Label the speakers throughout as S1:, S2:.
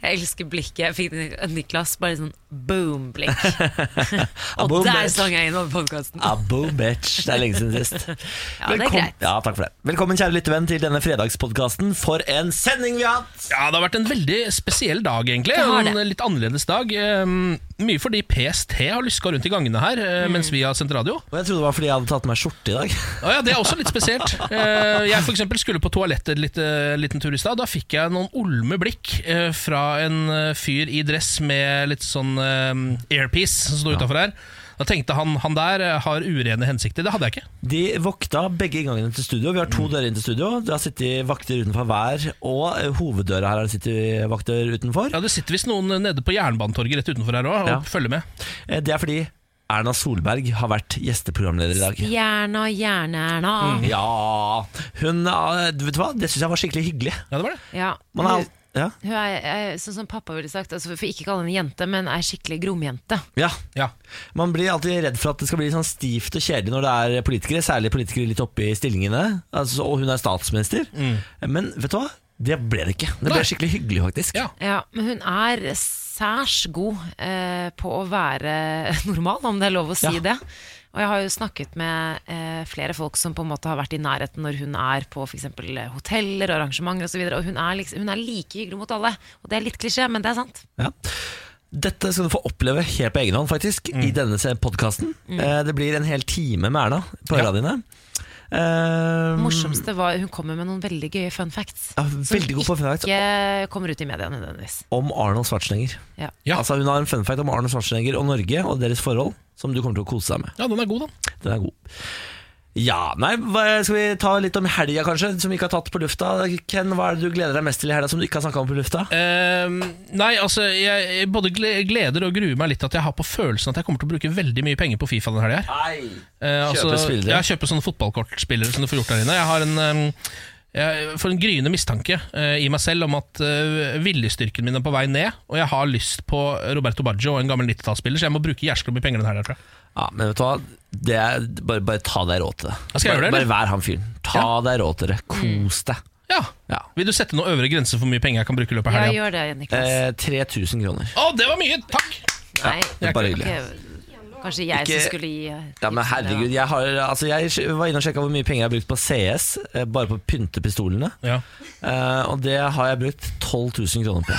S1: Jeg elsker blikket. Jeg fikk det av Niklas bare sånn boom-blikk.
S2: A
S1: Og
S2: boom
S1: der
S2: bitch.
S1: sang jeg inn over podkasten.
S2: A boom bitch. Det er lenge siden sist.
S1: Ja, det er
S2: Velkom-
S1: greit.
S2: Ja, takk for det. Velkommen, kjære lyttevenn, til denne fredagspodkasten. For en sending vi har hatt!
S3: Ja, det har vært en veldig spesiell dag, egentlig.
S1: Det har
S3: En
S1: det.
S3: litt annerledes dag. Eh, Mye fordi PST har luska rundt i gangene her eh,
S1: Mm.
S3: mens vi har sendt radio.
S2: Og jeg trodde det var fordi jeg hadde tatt meg skjorte i dag.
S3: Å ja, Det er også litt spesielt. Eh, Jeg for eksempel skulle på toalettet litt, eh, liten tur i stad. Da fikk jeg noen olme blikk eh, fra en eh, fyr i dress med litt sånn eh, airpiece som sto utafor her. Da tenkte han han der eh, har urene hensikter. Det hadde jeg ikke.
S2: De vokta begge inngangene til studio. Vi har
S1: Mm.
S2: to dører inn til studio. Det har sittet vakter utenfor hver, og eh, hoveddøra her har det sittet vakter utenfor.
S3: Ja, Det sitter visst noen eh, nede på Jernbanetorget rett utenfor her òg og
S2: Ja.
S3: følger med.
S2: Eh, Det er fordi Erna Solberg har vært gjesteprogramleder i dag.
S1: Jerna, Jerne-Erna.
S2: Mm. Ja Hun eh, Vet du hva? Det syns jeg var skikkelig hyggelig.
S3: Ja, det var det.
S1: Ja.
S2: Man er, al- ja.
S1: Hun er, er sånn som pappa ville sagt, altså, vi får ikke kalle henne jente, men er skikkelig gromjente.
S2: Ja.
S3: Ja.
S2: Man blir alltid redd for at det skal bli sånn stivt og kjedelig når det er politikere, særlig politikere litt oppe i stillingene, altså, og hun er statsminister. Men vet du hva? Det ble det ikke. Det ble
S3: Mm. Nei.
S2: skikkelig hyggelig, faktisk.
S3: Ja.
S1: Ja, men hun er særs god eh, på å være normal, om det er lov å si
S2: Ja.
S1: det. Og jeg har jo snakket med eh, flere folk som på en måte har vært i nærheten når hun er på f.eks. hoteller og arrangementer osv., og, så videre, og hun, er liksom, hun er like hyggelig mot alle. Og det er litt klisjé, men det er sant.
S2: Ja. Dette skal du få oppleve helt på egen hånd, faktisk, i
S3: Mm.
S2: denne podkasten. Det blir en hel time med Erna på
S3: Ja.
S2: øra dine. Eh,
S1: Det morsomste var hun kommer med noen veldig gøye fun facts.
S2: Ja, veldig god på fun fact
S1: Ikke kommer ut i media nødvendigvis.
S2: om Arnold Schwarzenegger.
S1: Ja.
S3: Ja.
S2: Altså, hun har en fun fact om Arnold Schwarzenegger og Norge og deres forhold, som du kommer til å kose deg med.
S3: ja, den er god, da.
S2: Den er god. Ja, nei, hva- Skal vi ta litt om helga, kanskje, som vi ikke har tatt på lufta? Ken, hva er det du gleder deg mest til i helga som du ikke har snakka om på lufta?
S3: Eh, nei, altså jeg jeg både gle- gleder og gruer meg litt at jeg har på følelsen at jeg kommer til å bruke veldig mye penger på Fifa denne helga.
S2: Nei.
S3: Uh, altså,
S2: Kjøpe spillere.
S3: Jeg kjøper sånne fotballkortspillere som du får gjort der inne. Jeg har en eh, jeg får en gryende mistanke eh, i meg selv om at eh, viljestyrken min er på vei ned, og jeg har lyst på Roberto Baggio, en gammel 90-tallsspiller, så jeg må bruke jævla mye penger denne helga, tror jeg.
S2: Ja, men vet du hva? Det er, bare, bare ta deg råd til det.
S3: Skal
S2: bare,
S3: jeg gjøre det, eller?
S2: bare vær han fyren. Ta deg råd til det. Kos deg.
S3: Ja.
S2: Ja.
S3: Vil du sette noen øvre grense for hvor mye penger jeg kan bruke i løpet av
S1: Ja,
S3: helga?
S1: gjør det, Niklas.
S2: Eh, 3000 kroner.
S3: Å, det var mye! Takk!
S1: Nei,
S2: Det er bare hyggelig.
S1: ok, Kanskje jeg
S2: Ikke-
S1: som skulle gi eh,
S2: Ja, men
S1: tipsene,
S2: herregud, jeg, har, altså, jeg var inne og sjekka hvor mye penger jeg har brukt på CS, eh, bare på pyntepistolene.
S3: Ja.
S2: Eh, og det har jeg brukt 12 000 kroner på.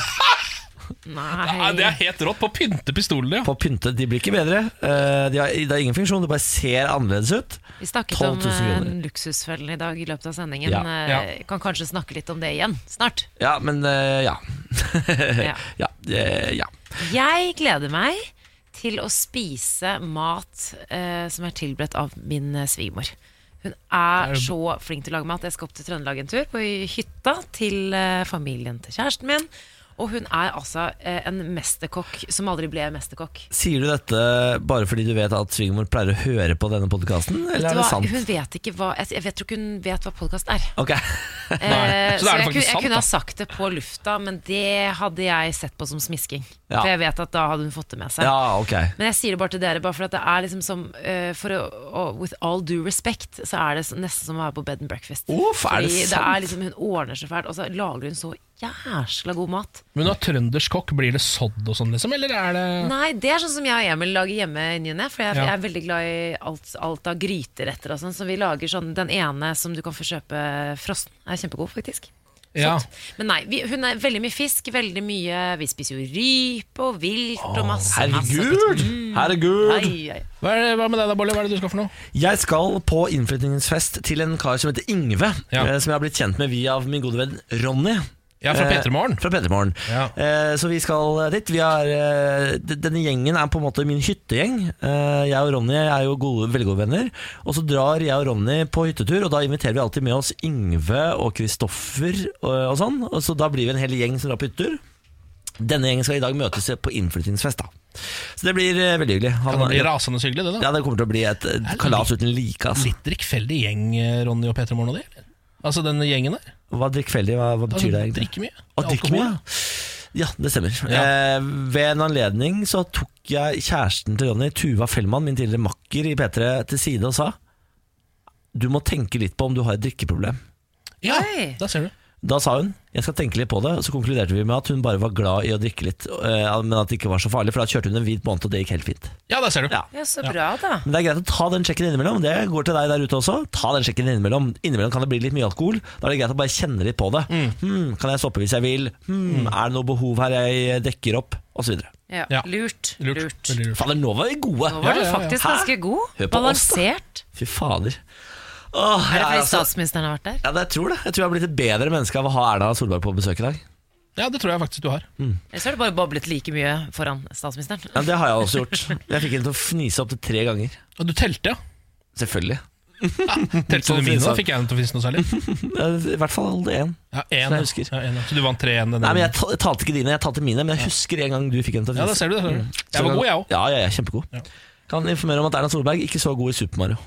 S3: Ja,
S1: Nei.
S3: det er helt rått på å pynte pistolene, ja.
S2: på pynte. De blir ikke bedre. Eh, de har, det er ingen funksjon, det bare ser annerledes ut.
S1: Vi snakket
S2: 12
S1: om
S2: 000
S1: eh,
S2: kroner.
S1: luksusfellen i dag i løpet av sendingen.
S2: Ja.
S1: Eh,
S3: Ja.
S1: Kan kanskje snakke litt om det igjen snart.
S2: Ja, men eh, ja.
S1: Ja.
S2: ja, eh, ja.
S1: Jeg gleder meg til å spise mat eh, som er tilberedt av min eh, svigermor. Hun er så flink til å lage mat. Jeg skal opp til Trøndelag en tur, på hytta til eh, familien til kjæresten min. Og hun er altså eh, en mesterkokk som aldri ble mesterkokk.
S2: Sier du dette bare fordi du vet at svigermor pleier å høre på denne podkasten, eller
S1: Vet
S2: er
S1: du
S2: det
S1: hva?
S2: sant?
S1: Hun vet ikke hva Jeg, jeg vet, tror ikke hun vet hva podkast er.
S2: Ok,
S1: Eh,
S3: Nei. Så da er det faktisk
S1: så jeg, kunne, jeg
S3: sant,
S1: kunne
S3: da.
S1: ha sagt det på lufta, men det hadde jeg sett på som smisking.
S2: Ja.
S1: For jeg vet at da hadde hun fått det med seg.
S2: Ja, ok.
S1: Men jeg sier det bare til dere, bare for at det er liksom som eh, for å, å- With all due respect, så er det så- nesten som å være på bed and breakfast.
S2: Uff, er det
S1: Fordi
S2: sant?
S1: er liksom, hun ordner så fælt, og så lager hun så jæsla god mat.
S3: Men når trøndersk kokk, blir det sodd og sånn, liksom? Eller er det
S1: Nei, det er sånn som jeg og Emil lager hjemme i ny og ne. For jeg,
S3: Ja.
S1: jeg er veldig glad i alt, alt av gryteretter og sånn. Så vi lager sånn den ene som du kan få kjøpe frossen. Er kjempegod, faktisk.
S2: Ah.
S3: Ja.
S1: Sånt. Men nei, vi, hun er veldig mye fisk, veldig mye Vi spiser jo rype og vilt og masse, masse Mm.
S2: Herregud! Herregud!
S1: Ai, ai.
S3: Hva, er det, hva med deg da, Bolle? Hva er det du skal for noe?
S2: Jeg skal på innflytningsfest til en kar som heter Ingve,
S3: Ja.
S2: eh, som jeg har blitt kjent med via min gode venn Ronny.
S3: Ja, fra
S2: Eh,
S3: P3morgen.
S2: Fra Petermorgen.
S3: Ja.
S2: Eh, så vi skal dit. Vi er, eh, d- denne gjengen er på en måte min hyttegjeng. Eh, jeg og Ronny er jo gode, veldig gode venner. Og så drar jeg og Ronny på hyttetur, og da inviterer vi alltid med oss eh, Yngve og Kristoffer og, og sånn. Og så da blir vi en hel gjeng som drar på hyttetur. Denne gjengen skal i dag møtes på innflyttingsfest. da Så det blir eh, veldig hyggelig. Han-
S3: Kan det bli rasende så hyggelig, det, da?
S2: ja, det kommer til å bli et eh,
S3: litt-
S2: kalas uten like. Altså.
S3: Litt drikkfeldig gjeng, eh, Ronny og Peter Morn og de? eller? Altså den gjengen der?
S2: Hva drikkfeldig, hva, hva betyr det
S3: Altså,
S2: egentlig?
S3: drikker mye.
S2: Å drikke
S3: Alkohol.
S2: mye? ja. Ja, det stemmer.
S3: Ja.
S2: Eh, ved en anledning så tok jeg kjæresten til Ronny, Tuva Fellmann, min tidligere makker i P3, til side og sa du må tenke litt på om du har et drikkeproblem.
S3: Ja,
S1: Oi.
S3: da ser du.
S2: Da sa hun jeg skal tenke litt på det, og så konkluderte vi med at hun bare var glad i å drikke litt, eh, men at det ikke var så farlig, for da kjørte hun en hvit måned, og det gikk helt fint.
S3: Ja, da ser du.
S2: Ja.
S1: Ja, så bra, da.
S2: Men det er greit å ta den sjekken innimellom. Det går til deg der ute også. Ta den sjekken Innimellom Innimellom kan det bli litt mye alkohol. Da er det greit å bare kjenne litt på det.
S1: Mm.
S2: Hmm, kan jeg stoppe hvis jeg vil? Hmm, Er det noe behov her jeg dekker opp? Og så videre.
S1: Ja.
S3: Ja.
S1: Lurt.
S3: Lurt.
S1: Lurt.
S3: Veldig lurt.
S2: Fader, nå var vi gode!
S1: Nå
S3: Ja,
S1: var du
S3: ja, ja.
S1: faktisk
S2: Hæ?
S1: ganske god.
S2: Hør på oss, da.
S1: Balansert.
S2: Fy fader. Åh,
S1: Er
S2: jeg
S1: det
S2: er
S1: fordi
S2: altså-
S1: statsministeren har vært der?
S2: ja, det, jeg tror det. Jeg tror jeg har blitt et bedre menneske av å ha Erna Solberg på besøk i dag.
S3: Ja, det tror jeg faktisk du har.
S2: Mm.
S1: Eller så har du bare boblet like mye foran statsministeren?
S2: Ja, Det har jeg også gjort. Jeg fikk henne til å fnise opptil tre ganger.
S3: Og du telte, ja.
S2: Selvfølgelig.
S3: Telte
S2: Sånn
S3: du mine,
S2: finnes
S3: da
S2: det.
S3: fikk jeg den til å finnes noe særlig.
S2: Ja, I hvert fall én.
S3: Ja, en,
S2: Som jeg husker.
S3: Ja, en, ja. Så du vant 3-1 den
S2: Nei, men
S3: gangen.
S2: jeg ta- jeg talte ikke dine, jeg talte mine, men jeg husker en gang du fikk henne til å
S3: Ja, da
S2: fnise.
S3: ser du det. ser du.
S2: Mm. Så
S3: Jeg var
S2: kan-
S3: god, jeg òg.
S2: Ja, ja, ja, kjempegod.
S3: Ja.
S2: Kan informere om at Erna Solberg ikke så god i Super Mario.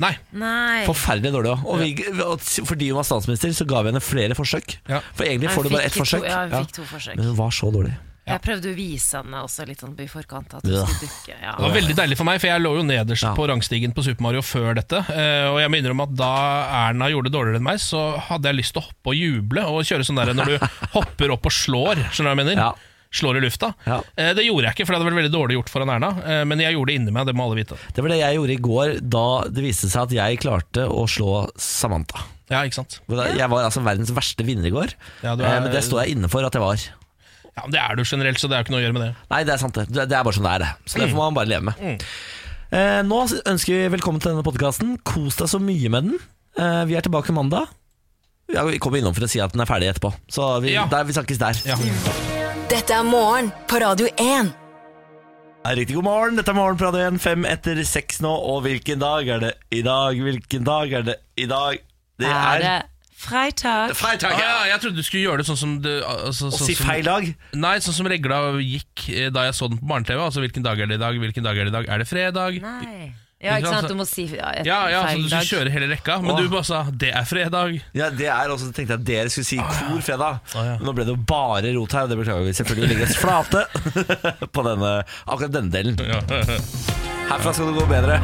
S3: Nei.
S1: Nei.
S2: Forferdelig dårlig òg. Og vi- og s- fordi hun var statsminister, så ga vi henne flere forsøk.
S3: Ja.
S2: For egentlig
S1: Jeg
S2: får du bare
S1: fikk
S2: ett
S1: to-
S2: forsøk.
S1: Ja,
S2: Ja.
S1: jeg fikk to forsøk.
S2: Men hun var så dårlig.
S1: Jeg prøvde å vise henne også litt sånn i forkant at hun
S2: Ja.
S1: skulle dukke. Ja.
S3: Det var veldig deilig for meg, for jeg lå jo nederst
S2: Ja.
S3: på rangstigen på Super Mario før dette. eh, Og jeg må innrømme at da Erna gjorde det dårligere enn meg, så hadde jeg lyst til å hoppe og juble. Og kjøre sånn der når du hopper opp og slår, skjønner du hva jeg mener?
S2: Ja.
S3: Slår i lufta.
S2: Ja.
S3: Eh, Det gjorde jeg ikke, for det hadde vært veldig dårlig gjort foran Erna. eh, Men jeg gjorde det inni meg, det må alle vite.
S2: Det var det jeg gjorde i går da det viste seg at jeg klarte å slå Samantha.
S3: Ja, ikke sant?
S2: Jeg var altså verdens verste vinner i går,
S3: Ja, du er-
S2: Eh, men det står jeg inne for at jeg var.
S3: Ja, men Det er du generelt, så det er jo ikke noe å gjøre med det.
S2: Nei, det er sant det. Det det er bare sånn det er, det. Så det
S3: Mm.
S2: får man bare leve med. Eh, nå ønsker vi velkommen til denne podkasten. Kos deg så mye med den. Eh, vi er tilbake mandag. Ja, vi kommer innom for å si at den er ferdig etterpå. Så vi,
S3: Ja.
S2: der, vi snakkes der.
S3: Ja.
S4: Dette er morgen på Radio 1.
S2: Ja, Riktig god morgen. Dette er Morgen på Radio 1, fem etter seks nå. Og hvilken dag er det i dag? Hvilken dag er det i dag? Det
S1: Er
S2: er,
S1: det Freitag?
S2: fredag!
S3: Ah,
S2: ja.
S3: ja, jeg trodde du skulle gjøre det sånn som det, altså,
S2: Å
S3: sånn
S2: si
S3: som-
S2: feil dag?
S3: Nei, sånn som regla gikk eh, da jeg så den på barne-TV. Altså hvilken dag er det i dag? Hvilken dag er det i dag? Er det fredag?
S1: Nei. Ja, ikke sant? Du må si ja, et
S3: Ja, ja, så
S1: feil
S3: du
S1: dag.
S3: skulle kjøre hele rekka, men
S2: Åh.
S3: du bare sa 'det er fredag'.
S2: Ja, det er også, tenkte jeg at dere skulle si kor fredag.
S3: Ah, ja.
S2: Men Nå ble det jo bare rot her, og det beklager vi selvfølgelig. Vi legger oss flate på denne, akkurat denne delen.
S3: Ja,
S2: Herfra skal det gå bedre.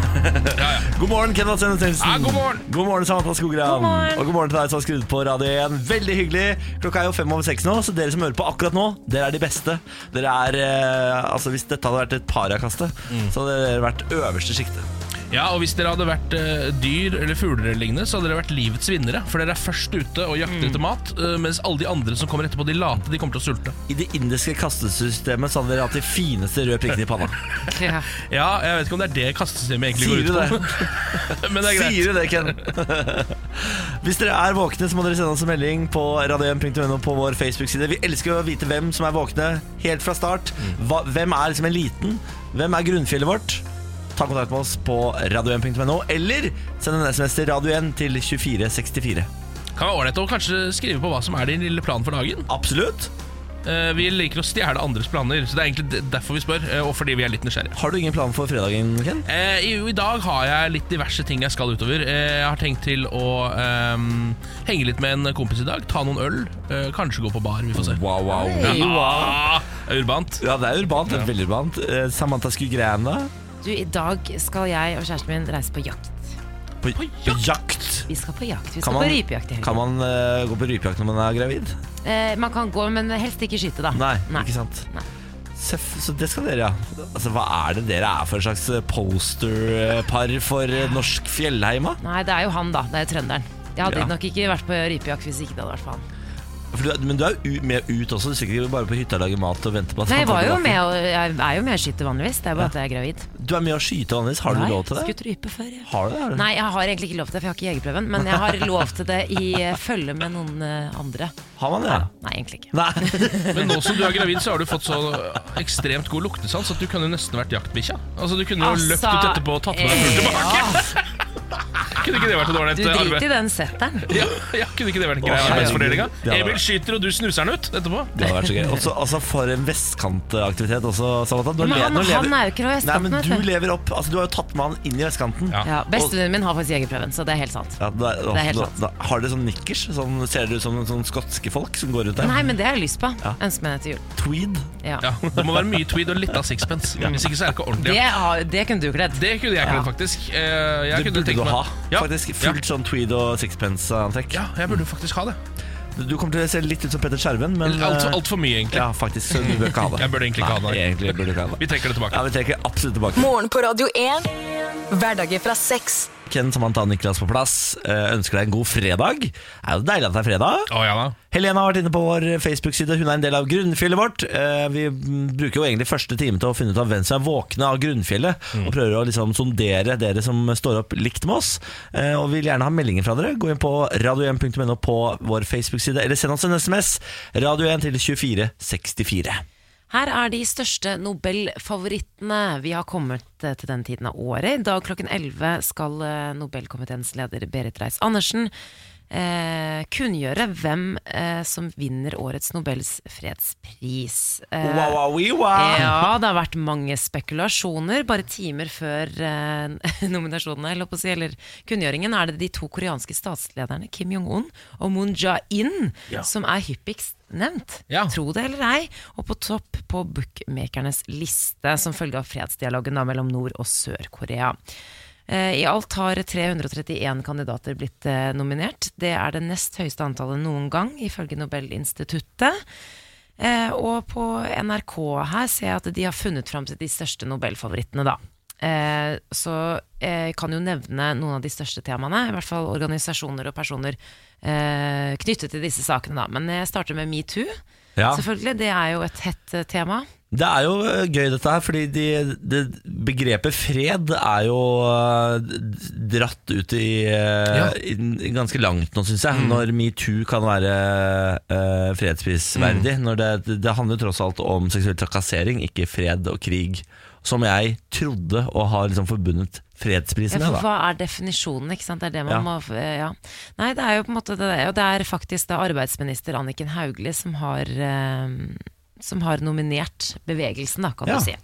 S3: ja, ja.
S2: God morgen, Kenneth Sennes Nilsen.
S3: Ja, god morgen.
S2: God morgen, Samantha Skogran. Og god morgen til deg som har skrudd på Radio 1. Veldig hyggelig. Klokka er jo fem over seks nå, så dere som hører på akkurat nå, dere er de beste. Dere er eh, Altså, hvis dette hadde vært et parakaste,
S3: Mm.
S2: så hadde dere vært øverste sjiktet.
S3: ja, og hvis dere hadde vært eh, dyr eller fugler eller lignende, så hadde dere vært livets vinnere. For dere er først ute og jakter etter mat, eh, mens alle de andre som kommer etterpå, de late, de kommer til å sulte.
S2: I det indiske kastesystemet så hadde dere hatt de fineste røde prikkene i panna.
S1: Ja.
S3: Ja, jeg vet ikke om det er det kastesystemet egentlig
S2: Sier du
S3: går ut
S2: det?
S3: på, men det er greit.
S2: Sier du det, Ken? Hvis dere er våkne, så må dere sende oss en melding på radio1.no på vår Facebook-side. Vi elsker å vite hvem som er våkne helt fra start.
S3: Mm.
S2: Hva, hvem er liksom eliten? Hvem er grunnfjellet vårt? Ta kontakt med oss på radio1.no, eller send en SMS til radio1 til 2464.
S3: Kan være ålreit å kanskje skrive på hva som er din lille plan for dagen.
S2: Absolutt.
S3: Eh, Vi liker å stjele andres planer, så det er egentlig d- derfor vi spør, eh, og fordi vi er litt nysgjerrige.
S2: Har du ingen plan for fredagen, Ken?
S3: Eh, i, I dag har jeg litt diverse ting jeg skal utover. Eh, jeg har tenkt til å ehm, henge litt med en kompis i dag. Ta noen øl. Eh, kanskje gå på bar. Vi får se.
S2: Wow, wow.
S3: Ja, Ah, urbant.
S2: Ja, det er urbant. det er Veldig urbant. Eh, Samantha Skugran, da?
S1: Du, i dag skal jeg og kjæresten min reise på jakt.
S2: På,
S3: jakt.
S2: jakt.
S1: Vi skal på jakt. Vi
S2: Kan
S1: skal
S2: man-
S1: på rypejakt i helgen.
S2: Kan man eh, gå på rypejakt når man er gravid?
S1: Eh, man kan gå, men helst ikke skyte, da.
S2: Nei, ikke sant
S1: Nei.
S2: Seff, Så det skal dere, ja Altså, hva er det dere er for en slags eh, posterpar for eh, norsk fjellheima?
S1: Nei, det er jo han, da. Det er jo trønderen. Jeg hadde
S2: Ja.
S1: nok ikke vært på rypejakt hvis ikke det hadde vært for han.
S2: For du, men du er jo u- med ut også, du sikkert bare på hytta og lager mat og venter på at
S1: Nei,
S2: han
S1: jeg, var
S2: kommer
S1: jo
S2: tilbake.
S1: med, og jeg er jo med og skyter vanligvis. Det er bare at jeg er gravid.
S2: Du er med å skyte, Anders, har du
S1: Nei,
S2: lov til det?
S1: Skutt rype før, ja.
S2: Har du det? Har du-
S1: Nei, jeg har egentlig ikke lov til det, for jeg har ikke jegerprøven. Men jeg har lov til det i eh, følge med noen eh, andre.
S2: Har man det?
S1: Nei, egentlig ikke.
S2: Nei,
S3: Men nå som du er gravid, så har du fått så ekstremt god luktesans at du
S1: Altså,
S3: kunne nesten vært jaktbikkja. Altså, du kunne jo løpt ut etterpå og tatt med deg fullt tilbake.
S1: eh,
S3: Kunne ikke det vært et
S1: Altså, Du
S3: ålreit
S1: driter i
S3: arbeid?
S1: den setteren.
S3: Ja, ja, kunne ikke det vært en grei
S2: Å, herregud.
S3: arbeidsfordelinga?
S2: Det hadde
S3: Emil
S2: vært-
S3: skyter, og du snuser den ut etterpå?
S2: Det hadde vært så gøy. Også, altså For en vestkantaktivitet også, Samantha. Nå
S1: Men
S2: le-
S1: han-
S2: nå lever-
S1: han er jo ikke noe vestkant,
S2: Nei, men
S1: vet
S2: du
S1: du.
S2: lever opp Altså Du har jo tatt med han inn i vestkanten.
S3: Ja.
S1: Ja, Bestevennen min har faktisk jegerprøven, så det er helt sant.
S2: Ja, da, da,
S1: Det er helt
S2: da,
S1: sant.
S2: da, har dere sånn nikkers? Sånn, ser dere ut som sånn skotske folk som går rundt der?
S1: Nei, men det har jeg lyst på.
S2: Ja.
S1: Ønsker meg det til jul.
S2: Tweed?
S1: Ja.
S3: Ja, Det må være mye tweed og litt av sixpence. Hvis ikke så er det ikke ordentlig.
S1: Det, har, det kunne du kledd.
S3: Det kunne jeg
S1: Ja.
S3: kledd, faktisk. Eh, Jeg
S2: Det
S3: kunne
S2: burde
S3: tenkt
S2: du
S3: meg-
S2: ha.
S3: Ja,
S2: Faktisk
S3: ja,
S2: Fullt sånn tweed og sixpence-antrekk.
S3: Ja, jeg burde faktisk ha det.
S2: Du kommer til å se litt ut som Petter Skjerven, men
S3: Altfor
S2: eh,
S3: alt for mye, egentlig.
S2: Ja, faktisk. Så du bør ikke ha det.
S3: Jeg burde egentlig ikke ha det.
S2: Nei, egentlig burde du ikke ha det.
S3: Vi trekker det tilbake.
S2: Ja, Vi trekker absolutt tilbake.
S4: Morgen på Radio 1. Hverdager fra seks.
S2: Ken, Samantha og Niklas på plass. Eh, ønsker deg en god fredag. Det er jo deilig at det er fredag.
S3: Å ja da.
S2: Helena har vært inne på vår Facebook-side. Hun er en del av grunnfjellet vårt. Eh, Vi mm, bruker jo egentlig første time til å finne ut av hvem som er våkne av grunnfjellet, og prøver å liksom sondere dere som står opp likt med oss. Eh, Og vil gjerne ha meldinger fra dere. Gå inn på radio1.no på vår Facebook-side, eller send oss en SMS. Radio1 til 2464.
S1: Her er de største Nobelfavorittene. Vi har kommet eh, til den tiden av året. I dag klokken 11 skal eh, Nobelkomiteens leder Berit Reiss-Andersen eh, kunngjøre hvem eh, som vinner årets Nobels fredspris. Eh,
S2: Wow-wow-wee-wow!
S1: Ja, det har vært mange spekulasjoner. Bare timer før eh, nominasjonene, eller, på å si, eller kunngjøringen, er det de to koreanske statslederne Kim Jong-un og Moon Jae-in som er hyppigst nevnt.
S3: Ja.
S1: Tro det eller ei. Og på topp på bookmakernes liste som følge av fredsdialogen da, mellom Nord- og Sør-Korea. Eh, I alt har 331 kandidater blitt eh, nominert. Det er det nest høyeste antallet noen gang, ifølge Nobelinstituttet. Eh, og på NRK her ser jeg at de har funnet fram til de største Nobelfavorittene, da. Eh, så eh, jeg kan jo nevne noen av de største temaene, i hvert fall organisasjoner og personer eh, knyttet til disse sakene, da. Men jeg starter med metoo,
S2: Ja.
S1: selvfølgelig. Det er jo et hett eh, tema.
S2: Det er jo eh, gøy dette her, fordi de, det, begrepet fred er jo eh, dratt ut i, eh,
S3: Ja.
S2: i, i ganske langt nå, syns jeg. Når metoo kan være eh, fredsprisverdig. Når det, det handler jo tross alt om seksuell trakassering, ikke fred og krig. Som jeg trodde og har liksom forbundet fredspris
S1: Ja,
S2: med.
S1: for
S2: Da.
S1: hva er definisjonen, ikke sant? Det er det man
S2: Ja.
S1: må eh, ja. Nei, det er jo på en måte det, og det er faktisk da arbeidsminister Anniken Hauglie som har eh, som har nominert bevegelsen, da, kan
S2: Ja.
S1: du si.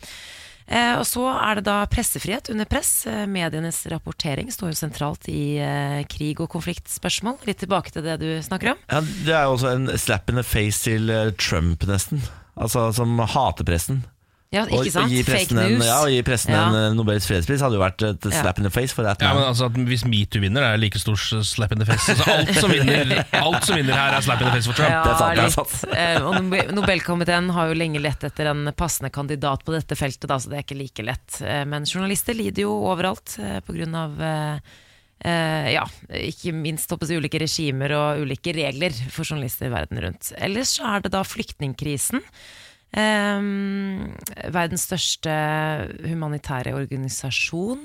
S1: Eh, og så er det da pressefrihet under press. Eh, Medienes rapportering står jo sentralt i eh, krig- og konfliktspørsmål. Litt tilbake til det du snakker om.
S2: Ja, det er jo også en slap in the face til eh, Trump, nesten. Altså Som hater pressen.
S1: Ja,
S2: Og-
S1: ikke sant?
S2: Og gi
S1: Fake
S2: pressen, en,
S1: news.
S2: ja, og gi pressen
S1: Ja.
S2: en eh, Nobels fredspris hadde jo vært et slap in the face for that
S3: Ja,
S2: man.
S3: men altså at Hvis metoo vinner, er det like stor slap in the face. Altså, alt, som vinner, alt som vinner her, er slap in the face for Trump.
S1: Ja,
S2: Det er sant, det er
S1: litt.
S2: sant.
S1: Eh, og Nobe- Nobelkomiteen har jo lenge lett etter en passende kandidat på dette feltet, da, så det er ikke like lett. Eh, Men journalister lider jo overalt eh, på grunn av eh, eh, ja, ikke minst håper jeg, ulike regimer og ulike regler for journalister verden rundt. Ellers så er det da flyktningkrisen. Ehm, verdens største humanitære organisasjon,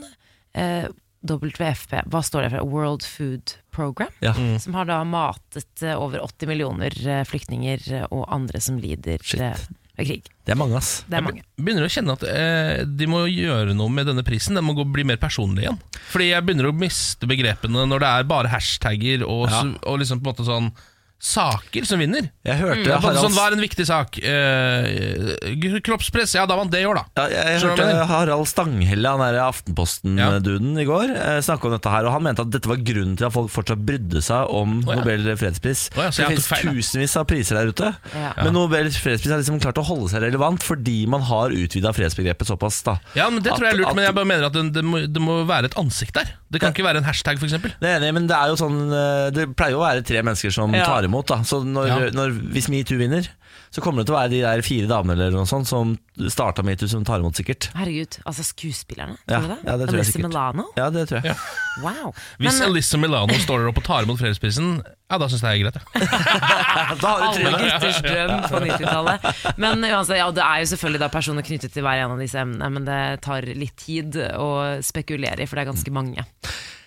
S1: eh, WFP, hva står det for? World Food Program,
S2: Ja.
S3: Mm.
S1: som har da matet eh, over 80 millioner eh, flyktninger eh, og andre som lider
S2: Shit.
S1: eh, av krig.
S2: Det er mange, ass.
S1: Det er mange.
S3: Begynner å kjenne at eh, de må gjøre noe med denne prisen. Den må gå, bli mer personlig igjen. Fordi jeg begynner å miste begrepene når det er bare hashtagger og, s- og liksom på en måte sånn saker som vinner.
S2: Jeg hørte
S3: Det er på en måte
S2: Harald,
S3: sånn, Hva er en viktig sak? Eh, kroppspress, ja da vant det i år, da.
S2: ja, jeg
S3: Skjønner du hva jeg
S2: hørte
S3: mener?
S2: Harald Stanghelle, han der Aftenposten-duden, i går eh, snakke om dette her. Og han mente at dette var grunnen til at folk fortsatt brydde seg om
S3: Å, ja.
S2: Nobel fredspris.
S3: Å, ja, så
S2: det
S3: jeg
S2: finnes
S3: tok feil, da.
S2: tusenvis av priser der ute,
S1: Ja.
S2: men Nobel fredspris har liksom klart å holde seg relevant fordi man har utvida fredsbegrepet såpass, da.
S3: Ja, men Det tror jeg er
S2: At-
S3: lurt, men
S2: at-
S3: jeg bare mener at det, det, må, det må være et ansikt der. Det kan ikke være en hashtag, f.eks.
S2: Det er enig, men det er jo sånn eh, Det pleier jo å være tre mennesker som
S1: Ja.
S2: tar imot da. Så når,
S3: Ja.
S2: når, hvis MeToo vinner Så kommer det til å være de der fire damene Eller noe sånt som startet MeToo som tar imot sikkert
S1: Herregud, altså skuespillerne,
S2: Ja,
S1: tror du det?
S2: ja, det tror jeg
S1: Alyssa
S2: sikkert.
S1: Milano?
S2: Ja, det tror jeg
S1: Wow.
S3: Hvis
S1: Men,
S3: Elissa Milano står der oppe og tar imot fredsprisen, ja, da syns jeg det er greit. Ja.
S2: Da har du
S1: Alle
S2: trynet
S1: gutters drøm på 90-tallet. Men uansett, ja, det er jo selvfølgelig da personer knyttet
S2: Mm.
S1: til hver en av disse emnene, men det tar litt tid å spekulere i, for det er ganske mange.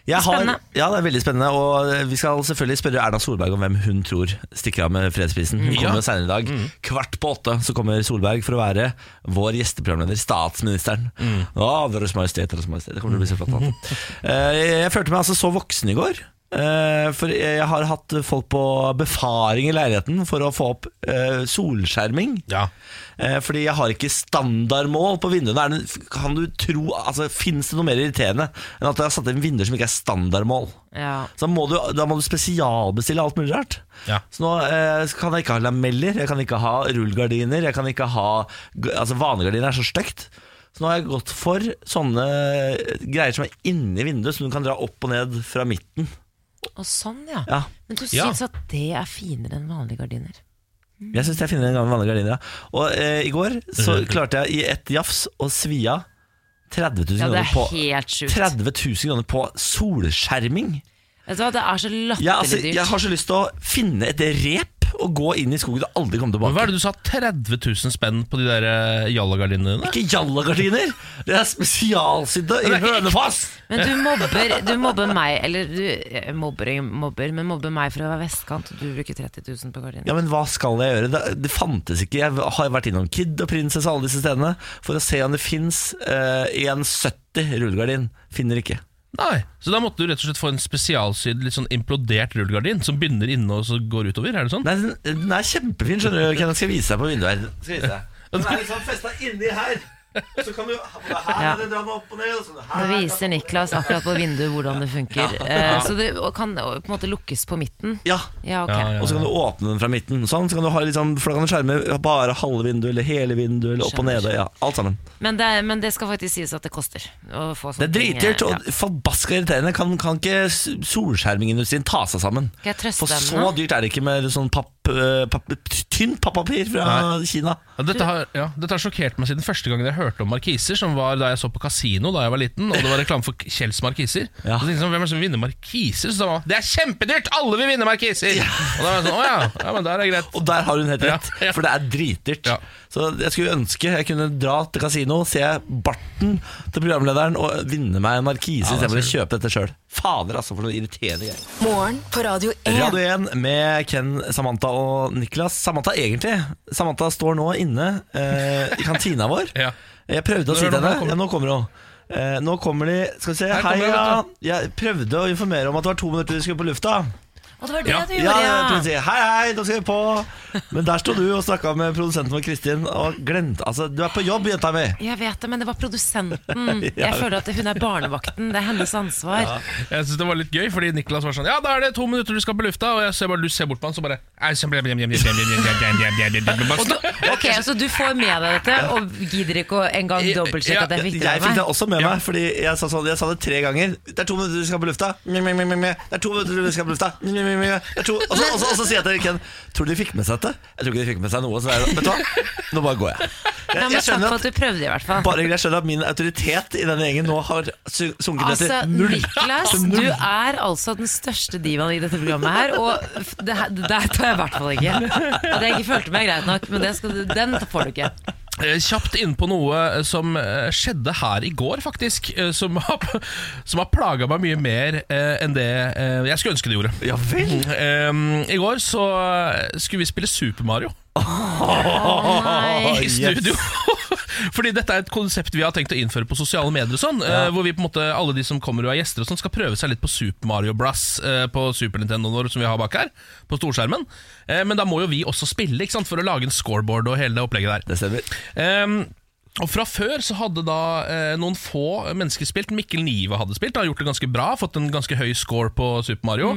S2: Jeg har,
S1: Spennende.
S2: ja, det er veldig spennende. Og eh, vi skal selvfølgelig spørre Erna Solberg om hvem hun tror stikker av med fredsprisen. Hun kommer jo senere i dag. Kvart på åtte så kommer Solberg for å være vår gjesteprogramleder, statsministeren. Å, deres majestet, deres majestet. Det kommer til å bli så flott. da. Eh, Jeg følte meg altså så voksen i går. Eh, For jeg har hatt folk på befaring i leiligheten for å få opp eh, solskjerming.
S3: Ja.
S2: Eh, Fordi jeg har ikke standardmål på vinduene. Er det, kan du tro, altså, Fins det noe mer irriterende enn at jeg har satt inn vinduer som ikke er standardmål?
S1: Ja.
S2: Så da må du, da må du spesialbestille alt mulig rart.
S3: Ja.
S2: Så nå eh, så kan jeg ikke ha lameller, jeg kan ikke ha rullegardiner, jeg kan ikke ha g- Altså, vanegardiner er så stygt. Så nå har jeg gått for sånne eh, greier som er inni vinduet, som du kan dra opp og ned fra midten.
S1: Og sånn, ja.
S2: Ja
S1: Men du
S3: Ja.
S1: syns at det er finere enn vanlige gardiner?
S2: Jeg syns jeg finner en gammel vanlig gardiner. ja. Og eh, i går så klarte jeg i ett jafs å svi av 30 000
S1: Ja, det
S2: kroner
S1: er
S2: på
S1: helt sjukt.
S2: 30 000 kroner på solskjerming.
S1: Vet du hva, Det er så
S2: Jeg,
S1: latterlig
S2: altså,
S1: dyrt.
S2: jeg har så lyst til å finne et rep og gå inn i skogen og aldri komme
S3: Men hva
S2: tilbake.
S3: er det du sa? 30 000 spenn på de der eh, jallagardinene dine?
S2: Ikke jallagardiner! Det er spesialsydde i Hønefoss!
S1: Men du mobber, du mobber meg, eller du eh, mobber, og mobber, men mobber meg for å være vestkant, og du bruker 30 000 på gardiner.
S2: Ja, men hva skal jeg gjøre? Det, det fantes ikke. Jeg har vært innom Kid og Prinsesse og alle disse stedene for å se om det fins eh, 1,70 rullegardin. Finner ikke.
S3: Nei, Så da måtte du rett og slett få en spesialsydd, litt sånn implodert rullegardin som begynner inne og så går utover? Er det sånn?
S2: Nei, den, den er kjempefin, skjønner du. Kenneth skal vise deg på vinduet her. Skal vise deg. Den er liksom festa inni her. Så kan du her
S1: Ja.
S2: kan du dra den opp og ned. Og sånn,
S1: Nå
S2: her,
S1: viser Niklas akkurat på vinduet hvordan det funker. Eh, Så det og kan og på en måte lukkes på midten.
S2: Ja.
S1: Ja, ok.
S3: Ja, ja.
S2: Og så kan du åpne den fra midten. Sånn, så kan du ha liksom, for da kan du skjerme bare halve vinduet eller hele vinduet eller opp og
S1: Skjønner,
S2: nede. Ja, alt sammen.
S1: Men, det, er- men det skal faktisk sies at det koster. Å få
S2: Det er
S1: sånne ting, eh,
S2: dritdyrt
S1: ja.
S2: og forbaska irriterende. Kan, kan ikke s- solskjermingindustrien ta seg sammen?
S1: Skal jeg trøste
S2: For
S1: dem
S2: så
S1: nå?
S2: dyrt er det ikke med sånn papp, eh, papp, tynt pappapir fra Kina.
S3: Ja, dette, har, ja, dette har sjokkert meg siden første gangen jeg hørte om markiser, som var da jeg så på Casino da jeg var liten, og det var reklame for Kjells markiser.
S2: Ja.
S3: Så tenkte jeg sånn, Hvem er det som vinner markiser? Så da var det er kjempedyrt! Alle vil vinne markiser! Og da var jeg sånn, å ja, ja men da er det greit.
S2: Og der har hun helt
S3: Ja,
S2: rett,
S3: ja.
S2: for det er dritdyrt.
S3: Ja.
S2: Så jeg skulle ønske jeg kunne dra til kasino, se barten til programlederen og vinne meg en markise
S3: Ja, det
S2: istedenfor å kjøpe dette sjøl. Fader, altså, for noe irriterende greier.
S4: Morgen på Radio 1.
S2: Radio 1 med Ken, Samantha og Niklas. Samantha egentlig. Samantha står nå inne eh, i kantina vår.
S3: Ja.
S2: Jeg prøvde å
S3: Nå
S2: si til
S3: hører du, nå
S2: henne Ja, nå
S3: kommer-
S2: kommer hun. Eh, nå kommer de Skal vi se.
S3: Her
S2: Hei,
S3: kommer hun,
S2: ja.
S3: vet
S2: Jeg prøvde å informere om at det var to minutter til vi skulle på lufta.
S1: Og det var det
S3: Ja.
S1: du
S2: Ja,
S1: gjorde,
S2: ja.
S1: ja!
S2: Trond sier, Hei, hei, da skal vi på Men der sto du og snakka med produsenten vår, Kristin, og glemte Altså, du er på jobb, jenta mi!
S1: Jeg vet det, men det var produsenten.
S2: Ja.
S1: Jeg føler at hun er barnevakten. Det er hennes ansvar.
S3: Jeg synes det var litt gøy, fordi Niklas var sånn Ja, da er det to minutter du skal på lufta, og jeg ser bare, du ser bort på han, så bare «Ei, så ble- ble- ble- ble- ble- ble- ble- ble- ble- ble- ble- ble- ble- ble-
S1: Ok, Så du får med deg dette, og gidder ikke å engang dobbeltsjekke at jeg fikk det
S2: Jeg fikk
S1: med
S2: det
S1: meg?
S2: også med meg, fordi jeg sa, sånn, jeg sa det tre ganger. Det er to minutter til vi skal på lufta. Mjau, mjau, mjau, mjau, mjau. Det er to minutter til vi skal på lufta. Mjau, mjau, mjau, mjau. Det er to- Og så og så- og så sier jeg til Ken Tror du de fikk med seg dette? Jeg tror ikke de fikk med seg noe. Så jeg, vet du hva, nå bare går jeg.
S1: Ja,
S2: Jeg,
S1: men
S2: jeg
S1: takk
S2: skjønner
S1: for
S2: at
S1: at du prøvde, i hvert fall.
S2: bare jeg skjønner at min autoritet i denne gjengen nå har su- sunket ned
S1: Altså,
S2: til null.
S1: Niklas,
S2: Til
S1: du
S2: null.
S1: er altså den største divaen i dette programmet her, og f- det her, det der tar jeg i hvert fall ikke. At jeg ikke følte meg greit nok, men det skal du, den får du ikke.
S3: Eh, Kjapt inn på noe eh, som eh, skjedde her i går, faktisk. eh, Som har, som har plaga meg mye mer eh, enn det eh, jeg skulle ønske det gjorde.
S2: Ja vel.
S3: Ehm, I går så skulle vi spille Super Mario
S2: Nei.
S3: i studio. Fordi dette er et konsept vi har tenkt å innføre på sosiale medier. og sånn eh, Hvor vi på en måte alle de som kommer og er gjester, og sånn skal prøve seg litt på Super Mario Bros. eh, på Super Nintendo vår, som vi har bak her. På storskjermen Eh, Men da må jo vi også spille ikke sant, for å lage en scoreboard og hele det opplegget der.
S2: Det stemmer.
S3: Ehm, og Fra før så hadde da eh, noen få mennesker spilt. Mikkel Nive hadde spilt, har gjort det ganske bra, fått en ganske høy score på Super Mario.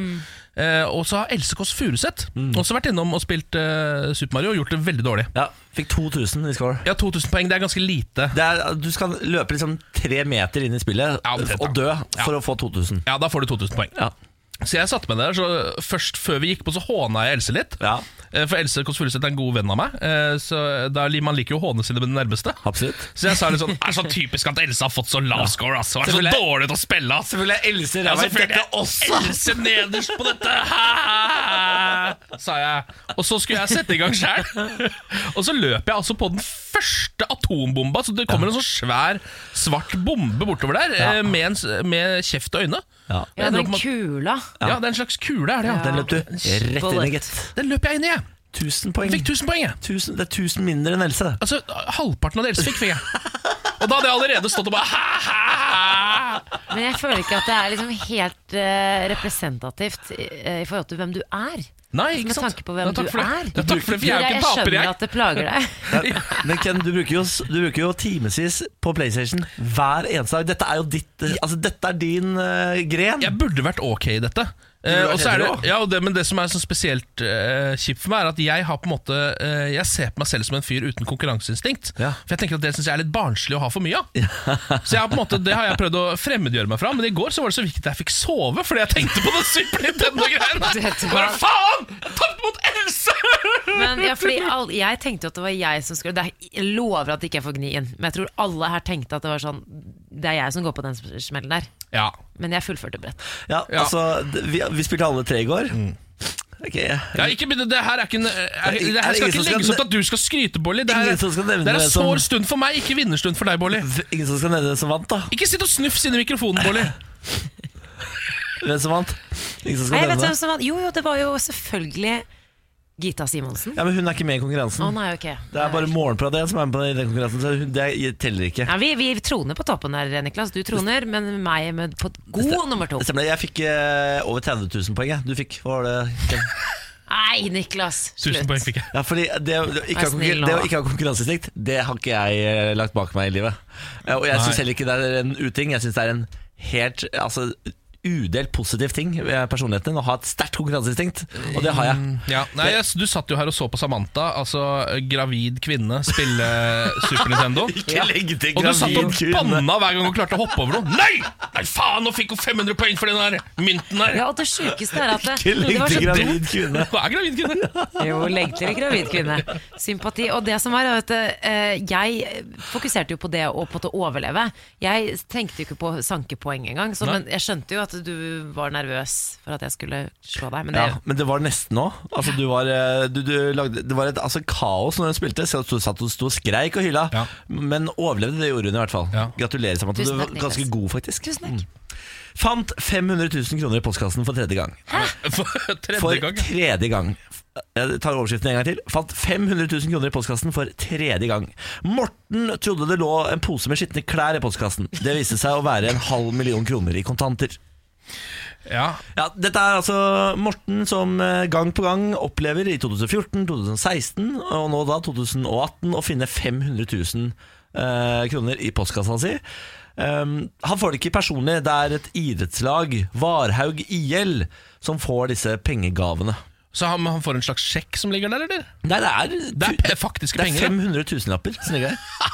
S3: Eh, og så har Else Kåss Furuseth
S2: Mm.
S3: også vært innom og spilt eh, Super Mario og gjort det veldig dårlig.
S2: Ja, fikk 2000 i score.
S3: Ja, 2000 poeng, det er ganske lite.
S2: Det er, du skal løpe liksom tre meter inn i spillet
S3: Ja, omtrent, ja.
S2: og dø
S3: Ja.
S2: for å få 2000.
S3: Ja, da får du 2000 poeng.
S2: Ja.
S3: Så jeg satte meg der, så først før vi gikk på så håna jeg Else litt.
S2: Ja.
S3: Eh, For Else Kåss Furuseth er en god venn av meg, eh, så da, man liker jo å håne sine nærmeste.
S2: Absolutt.
S3: Så jeg sa litt sånn, det er så typisk at Else har fått så lav score, ass. Hun er så
S2: Selvfølgelig.
S3: dårlig til å spille, ass.
S2: Selvfølgelig er Else
S3: Ja,
S2: ræva i
S3: selvfølgelig.
S2: dette også!
S3: Else nederst på dette, sa jeg. Og så skulle jeg sette i gang sjæl. Og så løp jeg altså på den første atombomba. Så det kommer en sånn svær, svart bombe bortover der eh, med, en, s- med kjeft og øyne.
S2: Ja.
S3: Jeg
S1: Ja,
S3: ender
S1: den
S3: opp med at-
S1: kula.
S3: ja, det er en slags kule, er det, ja.
S2: Den løp du rett inn i, gitt.
S3: Den løp jeg inn i, jeg.
S2: 1000 poeng.
S3: Fikk 1000 poeng, jeg.
S2: Tusen, det er 1000 mindre enn Else.
S3: Altså, halvparten av det Else fikk, fikk jeg. Og da hadde jeg allerede stått og bare ha, ha, ha.
S1: Men jeg føler ikke at det er liksom helt eh, representativt i, eh, i forhold til hvem du er.
S3: Nei,
S1: Altså,
S3: ikke
S1: med
S3: sant?
S1: tanke på hvem
S3: Ja, takk
S1: du
S3: for det.
S1: er.
S3: Ja, takk for det, for jeg er jo ikke en taper,
S1: skjønner
S3: jeg.
S1: at det plager deg.
S2: Men Ken, du bruker, jo, du bruker jo timesis på PlayStation hver eneste dag. Dette er jo ditt Altså, dette er din eh, gren.
S3: Jeg burde vært ok i dette. Eh,
S2: Du har
S3: og så er det,
S2: vært helt rå.
S3: ja, og det, men det som er så spesielt eh, kjipt for meg, er at jeg har på en måte eh, Jeg ser på meg selv som en fyr uten konkurranseinstinkt.
S2: Ja.
S3: For jeg tenker at det syns jeg er litt barnslig å ha for mye av. Så jeg har på en måte, det har jeg prøvd å fremmedgjøre meg fra, men i går så var det så viktig at jeg fikk sove fordi jeg tenkte på den Super Nintendo-greia. Hva
S1: Dette var-
S3: faen?! Tapt mot Else!
S1: Men ja, fordi all, Jeg tenkte jo at det var jeg som skulle det er, Jeg lover at ikke jeg får gnien, men jeg tror alle her tenkte at det var sånn Det er jeg som går på den smellen der.
S3: Ja,
S1: Men jeg fullførte brett.
S2: Ja,
S3: Ja. Mm.
S2: altså, d- vi, vi spilte alle tre i går. Ok,
S3: ja ikke begynne, Det her er ikke en er, Det
S2: Er det
S3: her
S2: ingen
S3: skal ikke
S2: som skal
S3: legges opp til
S2: ne-
S3: at du skal skryte, Bolli. Det her
S2: Ingen som skal
S3: er
S2: nevne
S3: det er en
S2: det som-
S3: sår stund for meg, ikke vinnerstund for deg, Bolli.
S2: V- Ingen som skal nevne hvem som vant, da.
S3: Ikke sitt og snufs inn i mikrofonen, Bolli.
S2: Hvem som vant? Ingen som skal
S1: Nei, jeg vet
S2: nevne
S1: hvem som vant. Jo, jo, det var jo selvfølgelig Gita Simonsen. Å
S2: Ja, men Hun er ikke med i konkurransen.
S1: nei, ok.
S2: det er bare Morgenpraten som er med på den, i den konkurransen. Så hun, det teller ikke.
S1: ja, vi, vi troner på toppen her, Niklas. Du troner, men meg med på god nummer to.
S2: Det stemmer, jeg fikk eh, over 30 000 poeng. Jeg. Du fikk, hva var det? Ken?
S1: Nei, Niklas.
S3: Tusen poeng
S1: Slutt.
S3: fikk jeg.
S2: Ja, fordi det, å- det, å ikke
S1: Vær
S2: ha
S1: snill
S2: konkur-
S1: nå,
S2: det
S1: da.
S2: å ikke ha konkurranseinstinkt, det har ikke jeg eh, lagt bak meg i livet. Eh, Og jeg
S3: Nei.
S2: syns heller ikke det er en uting. Jeg syns det er en helt altså, udelt positiv ting ved personligheten din å ha et sterkt konkurranseinstinkt, og det har jeg.
S3: Mm, Ja, nei, jeg, Du satt jo her og så på Samantha, altså gravid kvinne, spille eh, Super Nintendo.
S2: Ikke legg til
S3: Og du satt og
S2: gravid kvinne.
S3: banna hver gang hun klarte å hoppe over noe. Nei! Nei, faen, nå fikk hun 500 poeng for den der mynten der!
S1: Ja, og det sjukeste er at det,
S2: Ikke
S1: det
S2: legg
S1: var så
S2: til gravid kvinne.
S3: Hun er gravid kvinne.
S1: Jo, legg til gravid kvinne. Sympati. Og det som er, er at eh, jeg fokuserte jo på det å på en måte overleve. Jeg tenkte jo ikke på sankepoeng engang, så,
S3: Nei.
S1: men jeg skjønte jo at du var nervøs for at jeg skulle slå deg. Men det,
S2: Ja, men det var nesten òg. Altså, du var, eh, du, du lagde- det var et altså, kaos når hun spilte. Så du satt og sto og skreik og hyla,
S3: Ja.
S2: men overlevde det gjorde hun i hvert fall.
S3: Ja.
S2: Gratulerer, Samantha. Du
S1: Tusen
S2: var
S1: takk, Niklas.
S2: ganske god, faktisk. Mm.
S1: Tusen takk.
S2: Fant 500 000 kroner i postkassen for tredje gang.
S3: For
S2: For
S3: tredje gang.
S2: tredje gang. Jeg tar overskriften en gang til. Fant 500 000 kroner i postkassen for tredje gang. Morten trodde det lå en pose med skitne klær i postkassen. Det viste seg å være en halv million kroner i kontanter.
S3: Ja.
S2: Ja, Dette er altså Morten som eh, gang på gang opplever i 2014, 2016 og nå da 2018 å finne 500 000 eh, kroner i postkassa si. Um, han får det ikke personlig. Det er et idrettslag, Varhaug IL, som får disse pengegavene.
S3: Så han, han får en slags sjekk som ligger der, eller?
S2: Nei, det er,
S3: Det er pe- faktiske
S2: det er
S3: penger.
S2: 500 000-lapper som ligger der.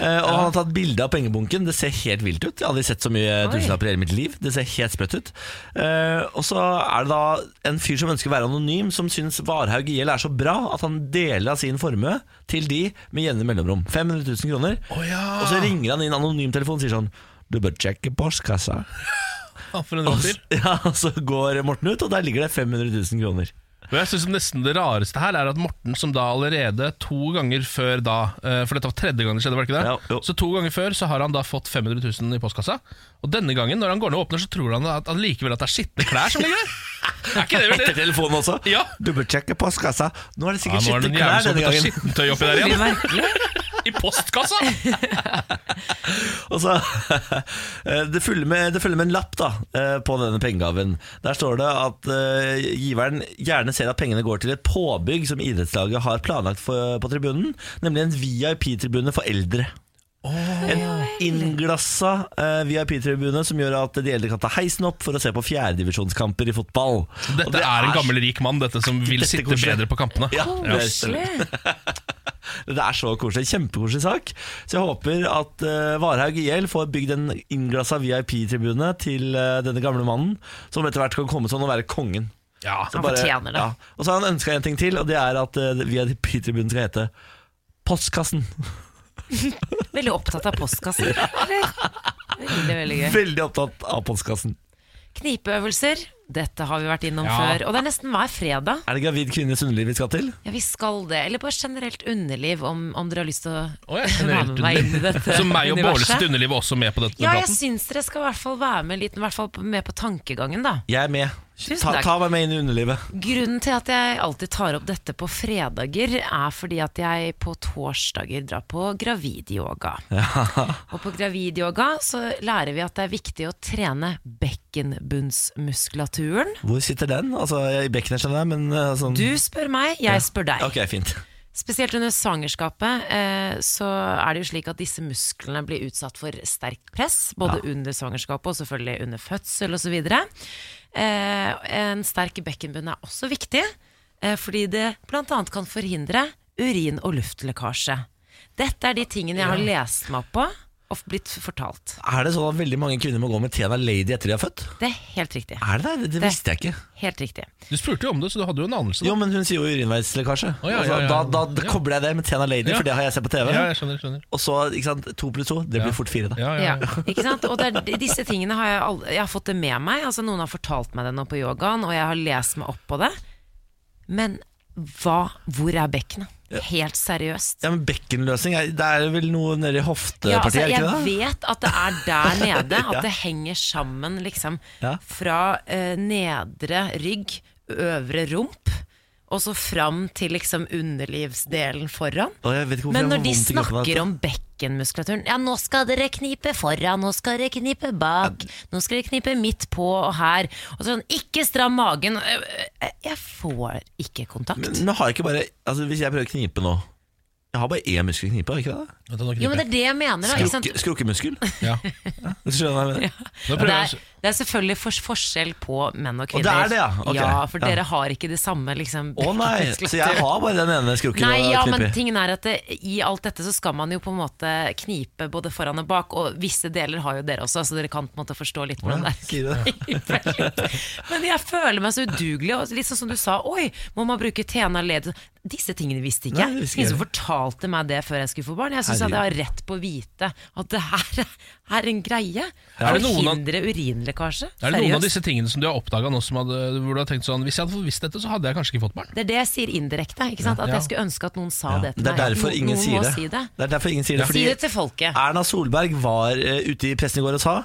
S2: Eh, og han har tatt bilde av pengebunken. Det ser helt vilt ut. Jeg har aldri sett så mye tusenlapper i hele mitt liv. Det ser helt sprøtt ut. Eh, og så er det da en fyr som ønsker å være anonym, som syns Varhaug IL er så bra at han deler av sin formue til de med jevne mellomrom. 500 000 kroner.
S3: Å ja.
S2: Og så ringer han inn anonym-telefonen og sier sånn Du bør sjekke postkassa.
S3: Han får en
S2: Og
S3: rådyr.
S2: så- Ja, og så går Morten ut, og der ligger det 500 000 kroner.
S3: Men jeg synes nesten Det rareste her er at Morten, som da allerede to ganger før da eh, For dette var tredje gang det skjedde, var det ikke
S2: Ja,
S3: det?
S2: jo.
S3: så to ganger før så har han da fått 500 000 i postkassa. Og denne gangen, når han går ned og åpner, så tror han at, at likevel at det er skitne klær som ligger der. Er ikke det
S2: Etter
S3: vel
S2: telefonen også.
S3: Ja.
S2: Dobbeltsjekke postkassa. Nå er det
S3: Ja,
S2: sikkert
S3: nå er det
S2: skitne klær
S3: en jævel som
S2: denne
S3: putter
S2: gangen.
S3: skittentøy oppi der
S1: det
S3: igjen.
S1: blir merkelig.
S3: I postkassa!
S2: Og så, eh, det, følger med, det følger med en lapp da, eh, på denne pengegaven. Der står det at eh, giveren gjerne ser at pengene går til et påbygg som idrettslaget har planlagt for, på tribunen, nemlig en VIP-tribune for eldre. en innglassa eh, VIP-tribune som gjør at de eldre kan ta heisen opp for å se på fjerdedivisjonskamper i fotball. Og
S3: Dette
S2: det
S3: er en gammel rik mann, dette, som vil
S2: Dette
S3: sitte
S2: koselig.
S3: bedre på kampene.
S2: ja, det stemmer.
S1: Koselig.
S2: Det er så koselig. Kjempekoselig sak. Så jeg håper at eh, Varhaug IL får bygd en innglassa VIP-tribune til eh, denne gamle mannen, som etter hvert kan komme sånn og være kongen.
S3: Ja.
S2: Så
S1: Han fortjener det.
S2: Ja. Og så har han ønska en ting til, og det er at eh, VIP-tribunen skal hete Postkassen.
S1: Veldig opptatt av postkasser. Eller? Veldig, veldig gøy.
S2: Veldig opptatt av postkassen.
S1: Knipeøvelser. Dette har vi vært innom
S3: Ja.
S1: før. Og det er nesten hver fredag.
S2: Er det gravid kvinnes underliv vi skal til?
S1: Ja, vi skal det. Eller bare generelt underliv, om, om dere har lyst til å
S3: Å, ja,
S1: være
S3: generelt
S1: med meg inn i
S3: underliv.
S1: dette
S3: Så meg og Bårles
S1: universet.
S3: underliv er også med på dette
S1: Ja, jeg
S3: praten.
S1: syns dere skal i hvert fall være med litt, i hvert fall med på tankegangen, da.
S2: Jeg er med.
S1: Tusen
S2: Ta,
S1: takk.
S2: ta meg med inn i underlivet.
S1: Grunnen til at jeg alltid tar opp dette på fredager, er fordi at jeg på torsdager drar på gravidyoga. Og på gravidyoga så lærer vi at det er viktig å trene bekkenbunnsmuskulaturen.
S2: Hvor sitter den? Altså, jeg er I bekkenet, skjønner jeg, men eh, sånn
S1: Du spør meg, jeg spør deg.
S2: Ok, fint.
S1: Spesielt under svangerskapet eh, så er det jo slik at disse musklene blir utsatt for sterkt press, både under svangerskapet og selvfølgelig under fødsel osv. Eh, en sterk bekkenbunn er også viktig, eh, fordi det bl.a. kan forhindre urin- og luftlekkasje. Dette er de tingene jeg har lest meg opp på og blitt fortalt.
S2: Er det sånn at veldig mange kvinner må gå med Tena Lady etter de har født?
S1: Det er helt riktig.
S2: Er det det? Det visste jeg ikke.
S1: Helt riktig.
S3: Du spurte jo om det, så du hadde jo en anelse.
S2: Jo,
S3: Da.
S2: men hun sier jo urinveislekkasje.
S3: Å, ja,
S2: Altså,
S3: ja, ja.
S2: Da, da
S3: Ja.
S2: kobler jeg det med Tena Lady,
S3: Ja.
S2: for det Ah. har jeg sett på TV.
S3: Ja, jeg skjønner, jeg skjønner.
S2: Og så, ikke sant, to pluss to, det blir fort fire, da.
S3: Ja, ja,
S1: Ja,
S3: ja.
S1: ikke sant? Og det er, de- disse tingene har jeg, all, jeg har fått det med meg. Altså, noen har fortalt meg det nå på yogaen, og jeg har lest meg opp på det. Men hva, hvor er bekkenet? Helt seriøst.
S2: Ja, men Bekkenløsning, er- det er vel noe nede i
S1: Ja,
S2: hoftepartiet,
S1: altså,
S2: er det
S1: jeg
S2: ikke det?
S1: vet at det er der nede, at det henger sammen liksom
S2: Ja.
S1: fra eh, nedre rygg, øvre rump, og så fram til liksom underlivsdelen foran.
S2: Å, jeg vet ikke hvorfor
S1: Men
S2: jeg
S1: når
S2: får vondt i
S1: de
S2: kroppen av
S1: snakker
S2: dette.
S1: om bekkenmuskulaturen Ja, nå skal dere knipe foran, nå skal dere knipe bak, nå skal dere knipe midt på og her. Og sånn, ikke stram magen. Øh, øh, Jeg får ikke kontakt.
S2: Men nå har jeg ikke bare Altså, hvis jeg prøver å knipe nå Jeg har bare én muskel å knipe, har jeg ikke det?
S3: Vent, nå kniper
S1: Jo, men det er det jeg mener. da, Ikke sant?
S2: Skrukke, skrukkemuskel?
S3: jeg. Ja.
S2: Skjønner du hva jeg mener?
S3: Nå
S1: Det
S3: prøver
S1: er,
S3: jeg å-
S1: det er selvfølgelig for, forskjell på menn og
S2: Og
S1: kvinner.
S2: det er det, ja? Ok.
S1: Ja, for
S2: Ja.
S1: dere har ikke det samme liksom,
S2: Å nei, så jeg har bare den ene skrukken
S1: Nei,
S2: å
S1: ja, men
S2: knipe i.
S1: tingen er at det, i alt dette så skal man jo på en måte knipe både foran og bak, og visse deler har jo dere også, så dere kan på en måte forstå litt hvordan
S2: Ja,
S1: det er.
S2: sier du det?
S1: Men jeg føler meg så udugelig. Og litt sånn som du sa, oi, må man bruke Tena led? Disse tingene visste ikke
S2: Nei, det
S1: jeg.
S2: visste ikke
S1: Ingen som
S2: jeg.
S1: fortalte meg det før jeg skulle få barn. Jeg syns jeg
S2: Herregud.
S1: har rett på å vite at det her er en greie.
S3: Er det noen av-
S1: Forhindre urinlekkasje.
S3: Er det noen av
S1: Seriøst.
S3: disse tingene som du har oppdaga nå, som hadde, hvor du har tenkt sånn Hvis jeg hadde visst dette, så hadde jeg kanskje ikke fått barn.
S1: Det er det jeg sier indirekte. Ikke sant? At
S3: Ja.
S1: jeg skulle ønske at noen sa det til
S2: Det er
S1: meg. at
S2: derfor
S1: no-
S2: ingen
S1: noen
S2: sier
S1: må
S2: det.
S1: Si det.
S2: Det er derfor ingen sier det,
S1: Si
S2: fordi
S1: det til folket.
S2: Erna Solberg var eh, ute i pressen i går og sa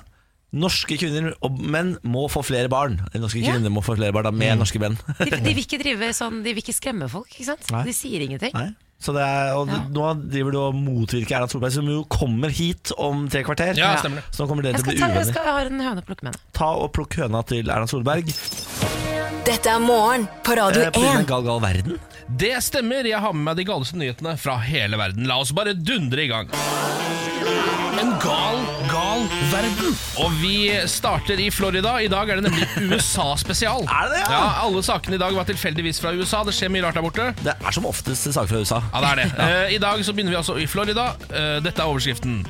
S2: Norske kvinner og menn må få flere barn. Eller, Norske
S1: Ja.
S2: kvinner må få flere barn da,
S3: Mm.
S2: med norske menn.
S1: De, de, vil ikke drive sånn, de vil ikke skremme folk. Ikke sant?
S2: Nei.
S1: De sier ingenting.
S2: Nei. Så det er, og
S1: Ja.
S2: Nå driver du og motvirker Erna Solberg, som jo kommer hit om tre kvarter.
S3: Ja, stemmer det.
S2: Så nå kommer dere
S1: Jeg
S2: til å
S1: skal,
S2: bli
S1: ta, jeg
S2: uvenner.
S1: skal ha en høne å plukke med. henne.
S2: Ta og Plukk høna til Erna Solberg.
S4: Dette er morgen på Radio
S2: Eh, på grunn av
S4: 1.
S2: Gal Gal Verden.
S3: Det stemmer, jeg har med meg de galeste nyhetene fra hele verden. La oss bare dundre i gang. En gal, gal verden. Og vi starter i Florida. I dag er det nemlig USA-spesial.
S2: Er det det, ja?
S3: Ja, Alle sakene i dag var tilfeldigvis fra USA. Det skjer mye rart der borte.
S2: Det er som oftest saker fra USA.
S3: Ja, det er det. Eh, I dag så begynner vi altså i Florida. Eh, dette er overskriften.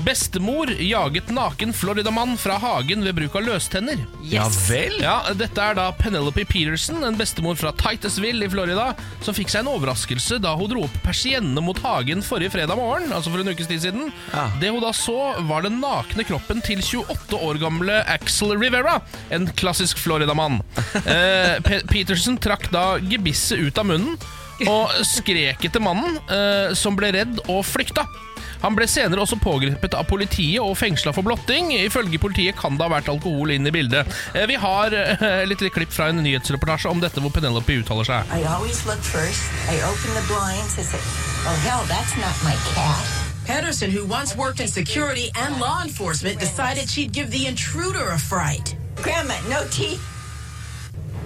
S3: Bestemor jaget naken Floridamann fra hagen ved bruk av løstenner.
S2: Ja vel?
S3: Ja, Dette er da Penelope Peterson, en bestemor fra Titusville i Florida, som fikk seg en overraskelse da hun dro opp persiennene mot hagen forrige fredag morgen. altså for en ukes tid siden.
S2: Ja.
S3: Det hun da så, var den nakne kroppen til 28 år gamle Axel Rivera, en klassisk Florida-mann. Eh, Pe Peterson trakk da gebisset ut av munnen og skrek etter mannen, eh, som ble redd og flykta. Han ble senere også pågrepet av politiet og fengsla for blotting. Ifølge politiet kan det ha vært alkohol inn i bildet. Eh, Vi har eh, litt klipp fra en nyhetsreportasje om dette hvor Penelope uttaler seg.
S5: I always look first. I open the blinds. I say, oh, hell, that's not my cat.
S6: Pedersen, who once worked in security and law enforcement, decided she'd give the intruder a fright.
S5: Grandma, no teeth.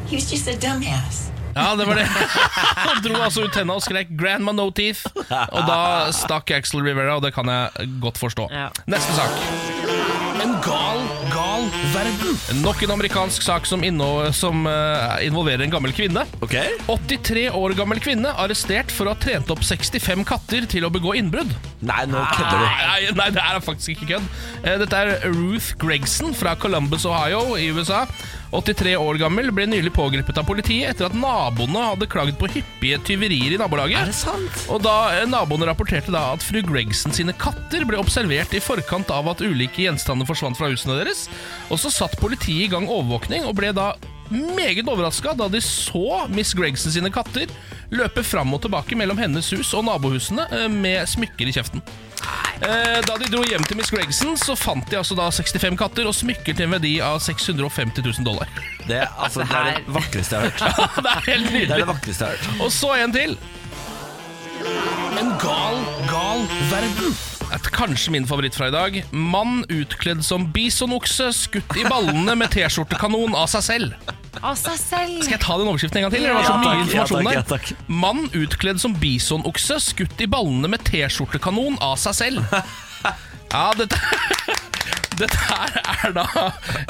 S5: He was just a dumbass.
S3: Ja, det var det. Han dro altså ut tenna og skrek 'Grandma no teeth'. Og da stakk Axel Rivera, og det kan jeg godt forstå.
S1: Ja.
S3: Neste sak. En gal, gal verden. Nok en amerikansk sak som, inno, som eh, involverer en gammel kvinne.
S2: Ok?
S3: 83 år gammel kvinne arrestert for å ha trent opp 65 katter til å begå innbrudd.
S2: Nei, nå kødder du.
S3: Nei, nei, det her er faktisk ikke kødd. Eh, Dette er Ruth Gregson fra Columbus, Ohio i USA. 83 år gammel ble nylig pågrepet av politiet etter at naboene hadde klaget på hyppige tyverier i
S2: Er
S3: nabolaget.
S2: det sant?
S3: Og da eh, Naboene rapporterte da at fru Gregson sine katter ble observert i forkant av at ulike gjenstander forsvant fra husene deres. Og Så satt politiet i gang overvåkning og ble da meget overraska da de så Miss Gregson sine katter løpe fram og tilbake mellom hennes hus og nabohusene eh, med smykker i kjeften. Eh, Da de dro hjem til Miss Gregson, så fant de altså da 65 katter og smykker til en verdi av 650 000 dollar.
S2: Det, er- altså, det er det vakreste jeg har hørt.
S3: det er helt
S2: Det er
S3: nydelig.
S2: det vakreste jeg har hørt.
S3: Og så en til. En gal, gal verden. Et, kanskje min favoritt fra i dag. Mann utkledd som bisonokse, skutt i ballene med T-skjortekanon av seg selv.
S1: Av seg selv.
S3: Skal jeg ta den overskriften en gang til? Det var så
S2: Ja,
S3: mye
S2: takk, ja,
S3: informasjon
S2: takk, ja,
S3: der.
S2: takk.
S3: Mann utkledd som bisonokse, skutt i ballene med T-skjortekanon av seg selv. Ja, dette Dette her er da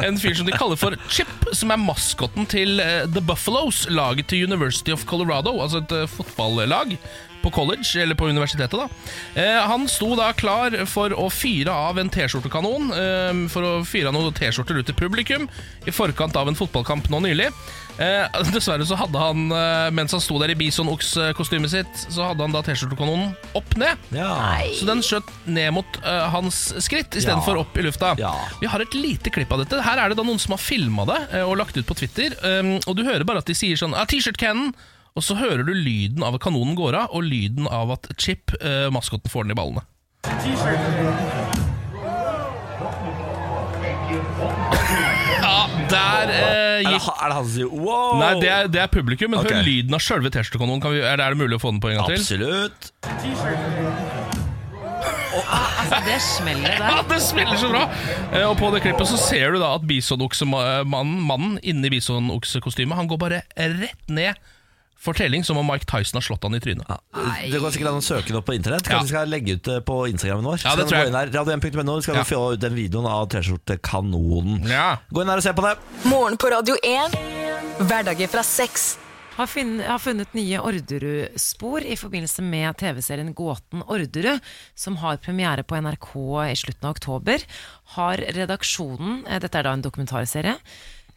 S3: en fyr som de kaller for Chip, som er maskotten til eh, The Buffaloes, laget til University of Colorado, altså et eh, fotballag på college, eller på universitetet da. Eh, han sto da klar for å fyre av en t-skjortekanon, eh, for å fyre av noen t-skjorter ut til publikum, i forkant av en fotballkamp nå nylig. Eh, dessverre så hadde han, eh, mens han sto der i Bison-Ox-kostymet sitt, så hadde han da t-skjortekanonen opp ned.
S2: Ja.
S3: Så den skjøt ned mot eh, hans skritt istedenfor
S2: Ja.
S3: opp i lufta.
S2: Ja.
S3: Vi har et lite klipp av dette. Her er det da noen som har filma det eh, og lagt ut på Twitter. Um, og du hører bare at de sier sånn ah, T-shirt cannon! Og så hører du lyden av at kanonen går av, og lyden av at Chip, eh, maskotten, får den i ballene. Ja, der eh,
S2: Er, det,
S3: gikk
S2: ha- er det han som sier wow?
S3: Nei, det er, det er publikum, men
S2: Ok.
S3: hør lyden av sjølve T-skjortekanonen. kan vi- Er det er det mulig å få den på en gang til?
S2: Absolutt.
S1: Altså, det smeller
S3: Ja,
S1: der.
S3: det smeller så bra! Eh, Og på det klippet så ser du da at bisonoksemannen mannen inni bisonoksekostymet Han går bare rett ned for telling, som om Mike Tyson har slått han i trynet.
S2: Det går sikkert an å søke det opp på internett. Kanskje
S3: Ja.
S2: vi skal legge ut det på Instagramen vår.
S3: Ja, det tror jeg.
S2: Radio1.no skal
S3: Ja.
S2: vi få ut den videoen av T-skjortekanonen.
S3: Ja.
S2: Gå inn her og se på det.
S4: Morgen på Radio 1. Hverdager fra seks.
S1: Har funnet, har funnet nye Orderud-spor i forbindelse med TV-serien Gåten Orderud, som har premiere på NRK i slutten av oktober. Har redaksjonen, eh, dette er da en dokumentarserie,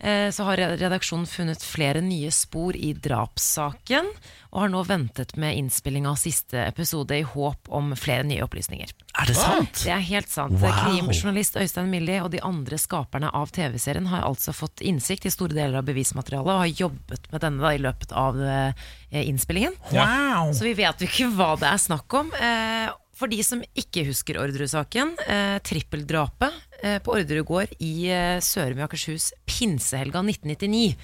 S1: eh, så har redaksjonen funnet flere nye spor i drapssaken, og har nå ventet med innspilling av siste episode i håp om flere nye opplysninger.
S2: Er det sant?
S1: Det er helt sant.
S2: Wow.
S1: Krimjournalist Øystein Millie og de andre skaperne av TV-serien har altså fått innsikt i store deler av bevismaterialet og har jobbet med denne da, i løpet av eh, innspillingen. Så vi vet jo ikke hva det er snakk om. Eh, for de som ikke husker Orderud-saken, eh, trippeldrapet eh, på Orderud gård i eh, Sørum i Akershus pinsehelga 1999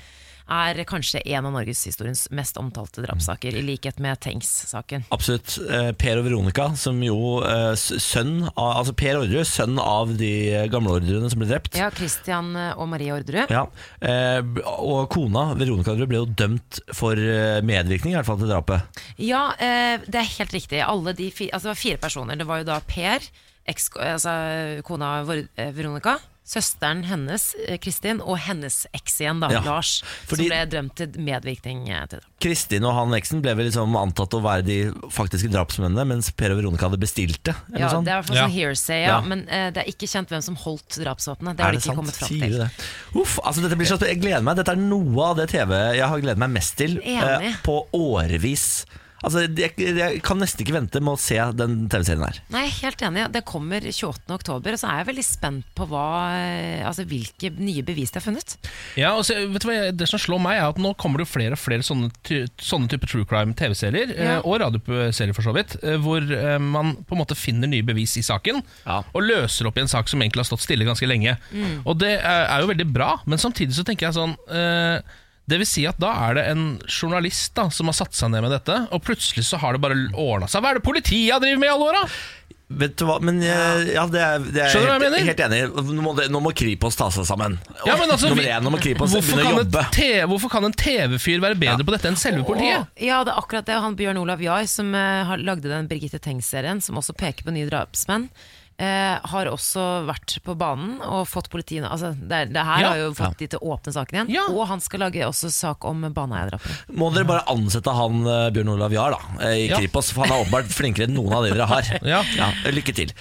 S1: er kanskje en av norgeshistoriens mest omtalte drapssaker, i likhet med Tengs-saken.
S2: Absolutt. Eh, Per og Veronica, som jo eh, s- sønn av, Altså Per Orderud, sønn av de eh, gamle ordrene som ble drept.
S1: Ja, Christian eh, og Marie Orderud.
S2: Ja, eh, Og kona, Veronica Orderud, ble jo dømt for eh, medvirkning, i hvert fall til drapet.
S1: Ja, eh, det er helt riktig. Alle de fi, altså det var fire personer. Det var jo da Per, eks, altså kona vår, eh, Veronica, søsteren hennes, eh, Kristin, og hennes eks igjen, da,
S2: Ja,
S1: Lars,
S2: fordi-
S1: som ble dømt til medvirkning eh, til det.
S2: Kristin og han eksen ble vel liksom antatt å være de faktiske drapsmennene, mens Per og Veronica hadde bestilt det. Eller
S1: Ja,
S2: noe sånt.
S1: det er i hvert fall
S3: Ja.
S1: sånn hearsay, ja,
S2: Ja.
S1: men eh, det er ikke kjent hvem som holdt drapsvåpenet. Det har de ikke kommet fram
S2: Sier du
S1: til.
S2: det? Uff, altså dette blir så Jeg gleder meg. Dette er noe av det TV jeg har gledet meg mest til eh,
S1: Enig.
S2: på årevis. Altså, jeg, jeg kan nesten ikke vente med å se den TV-serien her.
S1: Nei, jeg er helt enig. Det kommer 28. oktober, og så er jeg veldig spent på hva, eh, altså, hvilke nye bevis de har funnet.
S3: Ja, og så, vet du hva, Det som slår meg, er at nå kommer det jo flere og flere sånne, ty- sånne type true crime-TV-serier, eh,
S1: Ja.
S3: og radioserier for så vidt, eh, hvor eh, man på en måte finner nye bevis i saken,
S2: Ja.
S3: og løser opp i en sak som egentlig har stått stille ganske lenge.
S1: Mm.
S3: Og det er, er jo veldig bra, men samtidig så tenker jeg sånn eh, det vil si at Da er det en journalist da som har satt seg ned med dette, og plutselig så har det bare ordna seg. Hva er det politiet har drevet med i alle år, da?!
S2: Vet du hva, men eh, ja, det er, det er
S3: Skjønner du hva
S2: helt,
S3: jeg mener?
S2: helt enig. Nå må, det, nå må Kripos ta seg sammen.
S3: Ja, men altså,
S2: Nummer
S3: vi-
S2: én, nå må Kripos
S3: hvorfor,
S2: begynne å
S3: kan et
S2: jobbe.
S3: te- hvorfor kan en TV-fyr være bedre på dette enn selve politiet?
S1: Å, Ja, det er akkurat det. Han Bjørn Olav Jahr, som eh, har- lagde den Birgitte Tengs-serien, som også peker på nye drapsmenn, eh, har også vært på banen og fått politiet altså, det, er- det her
S3: Ja.
S1: har jo fått de til å åpne saken igjen.
S3: Ja.
S1: Og han skal lage også sak om baneeierdrapene.
S2: Må dere bare ansette han eh, Bjørn Olav Jahr da, eh, i
S3: Ja.
S2: Kripos, for han er åpenbart flinkere enn noen av dere har.
S3: Ja.
S2: lykke til.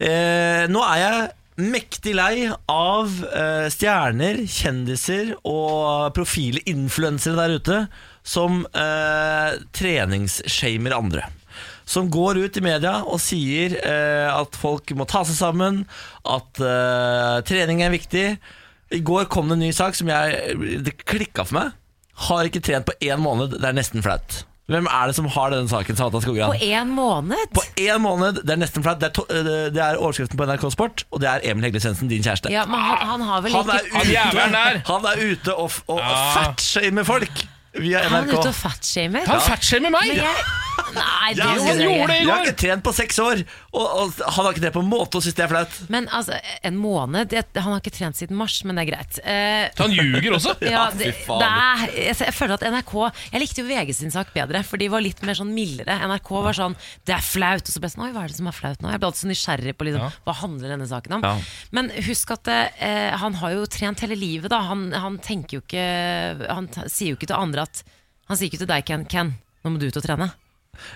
S2: Eh, nå er jeg mektig lei av eh, stjerner, kjendiser og profile influensere der ute som eh, treningsshamer andre. Som går ut i media og sier eh, at folk må ta seg sammen, at eh, trening er viktig. I går kom det en ny sak som jeg Det klikka for meg. Har ikke trent på én måned. Det er nesten flaut. Hvem er det som har denne saken? Satan Skogran?
S1: På én måned?
S2: På én måned. Det er nesten flaut. Det, er to- øh, det er overskriften på NRK Sport, og det er Emil Hegle Svendsen, din kjæreste.
S1: Ja, men han, han har vel
S2: Han
S1: ikke
S2: er
S3: Han jævelen der.
S2: ute, han er ute og, f- og
S3: Ja.
S2: fatshamer folk via
S1: Han er
S2: NRK.
S1: ute og fatshamer.
S3: Han fatshamer meg!
S1: Men jeg- Nei, det
S2: Jeg har
S1: synes jeg
S3: gjorde
S1: ikke.
S3: det i
S2: jeg har
S3: går.
S2: ikke trent på seks år, og, og han har ikke trent på en måte og syns det er flaut.
S1: Men altså, en måned jeg, Han har ikke trent siden mars, men det er greit. Eh,
S3: Så han ljuger også.
S1: ja,
S2: fy
S1: det,
S2: faen.
S1: det er, jeg, jeg føler at NRK Jeg likte jo VG sin sak bedre, for de var litt mer sånn mildere. NRK var sånn 'det er flaut', og så ble jeg sånn 'oi, hva er det som er flaut nå?' Jeg ble alltid så nysgjerrig på liksom,
S3: Ja.
S1: hva handler denne saken om.
S2: Ja.
S1: Men husk at eh, han har jo trent hele livet, da. Han, han tenker jo ikke Han t sier jo ikke til andre at Han sier ikke til deg, Ken, Ken, nå må du ut og trene.